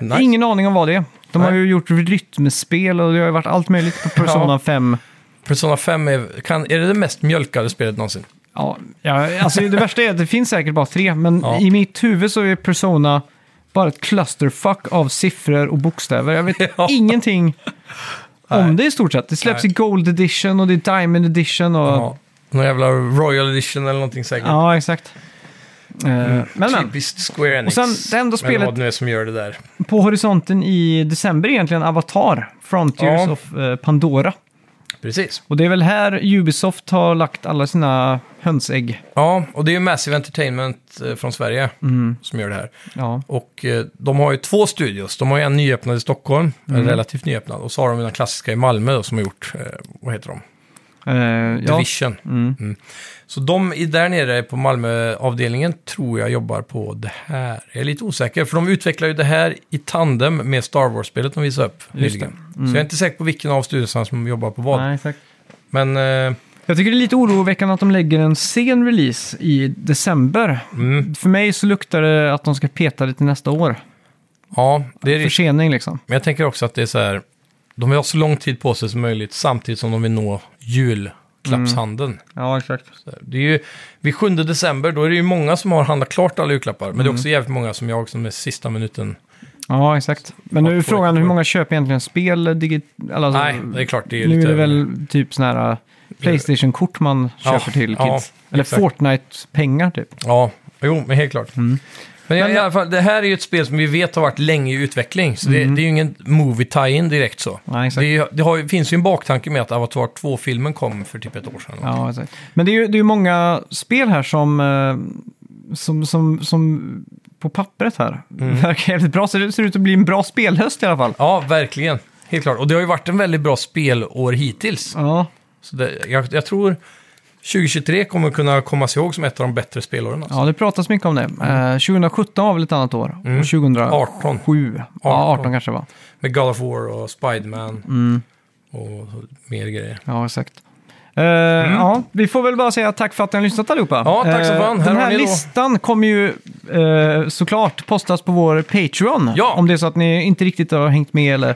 B: Nice.
A: Ingen aning om vad det är. De har
B: Nej.
A: ju gjort rytmspel och det har ju varit allt möjligt på Persona
B: Ja.
A: 5.
B: Persona 5 är, kan, är det det mest mjölkade spelet någonsin.
A: Ja, ja, alltså det värsta är att det finns säkert bara tre, men
B: Ja.
A: i mitt huvud så är Persona bara ett clusterfuck av siffror och bokstäver. Jag vet
B: Ja.
A: ingenting om det i stort sett. Det släpps
B: Nej.
A: i Gold Edition och det är Diamond Edition och... Ja,
B: Ja. Någon jävla Royal Edition eller någonting säkert.
A: exakt. Eh,
B: Typ.
A: Men, men
B: Typiskt Square Enix.
A: Och sen, det enda
B: Eller
A: spelet-
B: vad det nu är som gör det där.
A: på horisonten i december är egentligen Avatar, Frontiers
B: Ja.
A: of eh, Pandora.
B: Precis.
A: Och det är väl här Ubisoft har lagt alla sina hönsägg.
B: Ja, och det är ju Massive Entertainment eh, från Sverige
A: Mm.
B: som gör det här.
A: Ja,
B: Och eh, de har ju två studios. De har ju en nyöppnad i Stockholm,
A: Mm.
B: en relativt nyöppnad. Och så har de den klassiska i Malmö då, som har gjort, eh, vad heter de?
A: eh, ja.
B: Division. Mm. Så de i- där nere på Malmöavdelningen tror jag jobbar på det här. Jag är lite osäker, för de utvecklar ju det här i tandem med Star Wars-spelet de visade upp nyligen. Så jag är inte säker på vilken av studiosarna som jobbar på vad.
A: Mm. Nej, exakt.
B: Men eh,
A: Jag tycker det är lite oroväckande att de lägger en sen release i december.
B: Mm.
A: För mig så luktar det att de ska peta det till nästa år.
B: ja, det är risk.
A: Försening liksom.
B: Men jag tänker också att det är så här, de vill ha så lång tid på sig som möjligt samtidigt som de vill nå julklappshandeln.
A: Ja, exakt.
B: Så här, Det är ju, vid 7 december, då är det ju många som har handlat klart alla julklappar. Men det är
A: Mm.
B: också jävligt många som jag som är sista minuten.
A: Ja, exakt. Men nu är
B: Folk får
A: frågan
B: det.
A: hur många köper egentligen spel? Digit- alla-
B: Nej, det är klart, det är ju
A: Alltså, nu är
B: lite...
A: det väl typ sådana här Playstation-kort man
B: Ja,
A: köper till kids.
B: ja,
A: Eller
B: exakt.
A: Fortnite-pengar typ.
B: Ja, jo, men helt klart.
A: Mm.
B: Men, jag- i alla fall, det här är ju ett spel som vi vet har varit länge i utveckling. Så det, det är ju ingen movie tie-in direkt så.
A: Mm. Nej, exakt.
B: det är ju- det har, ju- finns ju en baktanke med att Avatar 2-filmen kom för typ ett år sedan.
A: Ja, exakt. Men det är ju det är ju många spel här som, eh, som, som, som på pappret här verkar jävligt bra. Så det ser ut att bli en bra spelhöst i alla fall.
B: Mm. Ja, verkligen. Helt klart. Och det har ju varit en väldigt bra spelår hittills.
A: Ja,
B: Så det, jag, jag tror 2023 kommer kunna komma sig ihåg som ett av de bättre spelåren. Alltså.
A: ja det pratas mycket om det.
B: Mm.
A: Eh, 2017 var väl ett annat år. Och
B: 18.
A: 2007. Ja,
B: 18
A: 18 kanske det var.
B: Med God of War och Spiderman
A: Mm.
B: och mer grejer.
A: Ja, exakt. Eh, ja, vi får väl bara säga tack för att ni har lyssnat allihopa.
B: Mm. Ja, tack så
A: Eh,
B: fan. Här
A: Den
B: har
A: här
B: ni då.
A: listan kommer ju eh, såklart postas på vår Patreon.
B: Ja. Mm.
A: Om det är så att ni inte riktigt har hängt med eller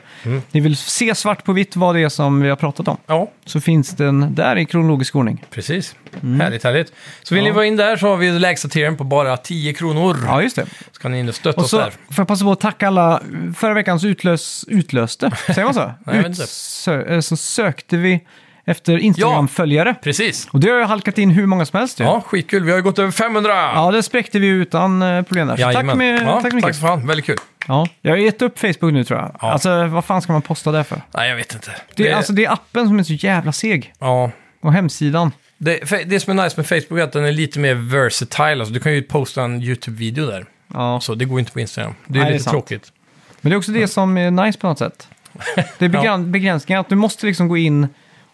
A: ni vill se svart på vitt vad det är som vi har pratat om.
B: Ja,
A: Så finns den där i kronologisk ordning.
B: precis.
A: Mm.
B: Härligt, härligt. Så vill ni vara in där så har vi lägsta tieren på bara 10 kronor.
A: Ja, just det.
B: Så kan ni in och stötta
A: Och
B: oss
A: så
B: där.
A: får jag passa på att tacka alla. Förra veckans utlös, utlöste, säger man så?
B: jag vet inte.
A: Utsö- eh, så sökte vi efter Instagram-följare.
B: Precis.
A: Och det har ju halkat in hur många som helst ju.
B: Ja, skitkul. Vi har ju gått över 500!
A: Ja, det spräckte vi utan eh, problem där. Så tack,
B: Jajamän.
A: med,
B: ja,
A: tack så mycket.
B: Tack för fan. Väldigt kul.
A: ja, jag har gett upp Facebook nu tror jag.
B: Ja.
A: Alltså, vad fan ska man posta där för?
B: Nej, jag vet inte.
A: Det, är Alltså, det är appen som är så jävla seg.
B: ja.
A: Och hemsidan.
B: det, fe- det som är nice med Facebook är att den är lite mer versatile. Alltså, du kan ju posta en YouTube-video där.
A: Ja.
B: Så det går inte på Instagram. Det är
A: Nej, det är
B: lite
A: sant.
B: tråkigt.
A: Men det är också det som är nice på något sätt. Det är begräns- begränsningar, att du måste liksom gå in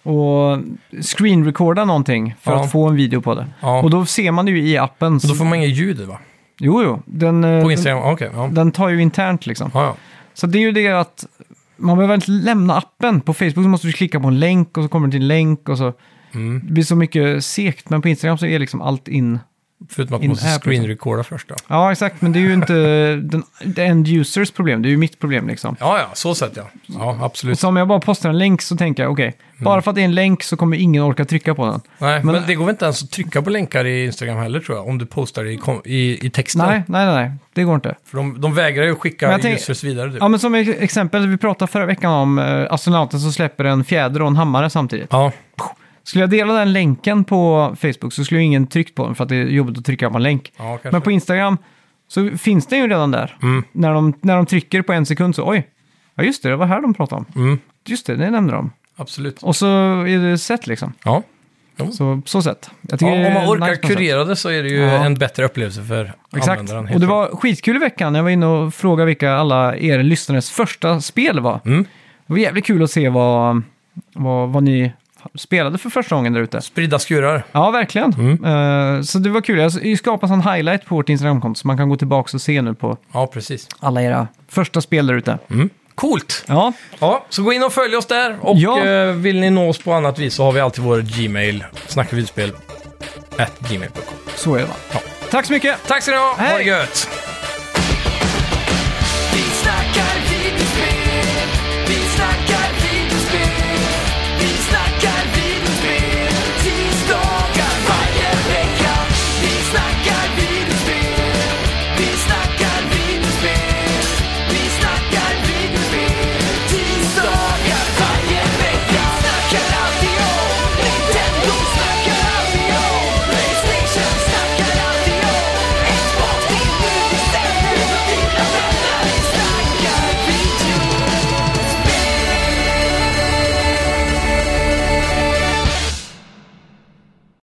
A: och screenrecorda någonting för
B: Ja.
A: att få en video på det.
B: Ja.
A: Och då ser man det ju i appen.
B: Och då får man inget ljud va?
A: Jo, jo. Den, eh,
B: På Instagram? Ja, Okej, ja.
A: den, den tar ju internt liksom.
B: Ja, ja.
A: Så det är ju det att man behöver inte lämna appen. På Facebook så måste du klicka på en länk och så kommer det till en länk och så. Det blir så mycket segt, men på Instagram så är liksom allt in.
B: Förutom att man
A: In
B: måste
A: app,
B: screen-recorda först då.
A: Ja, exakt, men det är ju inte den, the end users problem, det är ju mitt problem liksom.
B: Ja, ja, så sett ja. Ja, absolut.
A: Så om jag bara postar en länk så tänker jag, okej, bara för att det är en länk så kommer ingen orka trycka på den.
B: Nej, men,
A: men-
B: det går väl inte ens att trycka på länkar i Instagram heller tror jag, om du postar det i, kom- i, i texten.
A: Nej, nej, nej, nej, det går inte.
B: För de, de vägrar ju skicka
A: Men jag tänk-
B: users vidare typ.
A: Ja, men som ex- exempel, vi pratade förra veckan om eh, astronauten som släpper en fjäder och en hammare samtidigt.
B: Ja,
A: Skulle jag dela den länken på Facebook så skulle ju ingen tryckt på den för att det är jobbigt att trycka på en länk.
B: ja kanske.
A: Men på Instagram så finns den ju redan där.
B: Mm.
A: När, de, när de trycker på en sekund så, oj, ja just det, det var här de pratade om.
B: Mm,
A: Just det, det nämnde de.
B: absolut.
A: Och så är det sett liksom.
B: Ja.
A: Så, så sett. Jag tycker
B: Ja, om
A: det är
B: man orkar
A: nice koncept.
B: kurera det så är det ju
A: Ja.
B: en bättre upplevelse för
A: Exakt.
B: användaren. helt
A: Och det
B: klart.
A: var skitkul i veckan. Jag var inne och frågade vilka alla er lyssnares första spel var.
B: Mm.
A: Det var jävligt kul att se vad, vad, vad ni spelade för första gången där ute.
B: Spridda skurar.
A: Ja, verkligen. Eh, så det var kul. Jag skapade en highlight på vårt Instagramkonto så man kan gå tillbaka och se nu på
B: Ja, precis.
A: alla era första spel där ute.
B: Coolt!
A: Ja,
B: Ja, så gå in och följ oss där. Och
A: Ja.
B: eh, vill ni nå oss på annat vis så har vi alltid vår Gmail, snackavidspel, at gmail.com.
A: så är det va. Tack så mycket!
B: Tack ska ni ha! Ha det
A: Hej.
B: gött!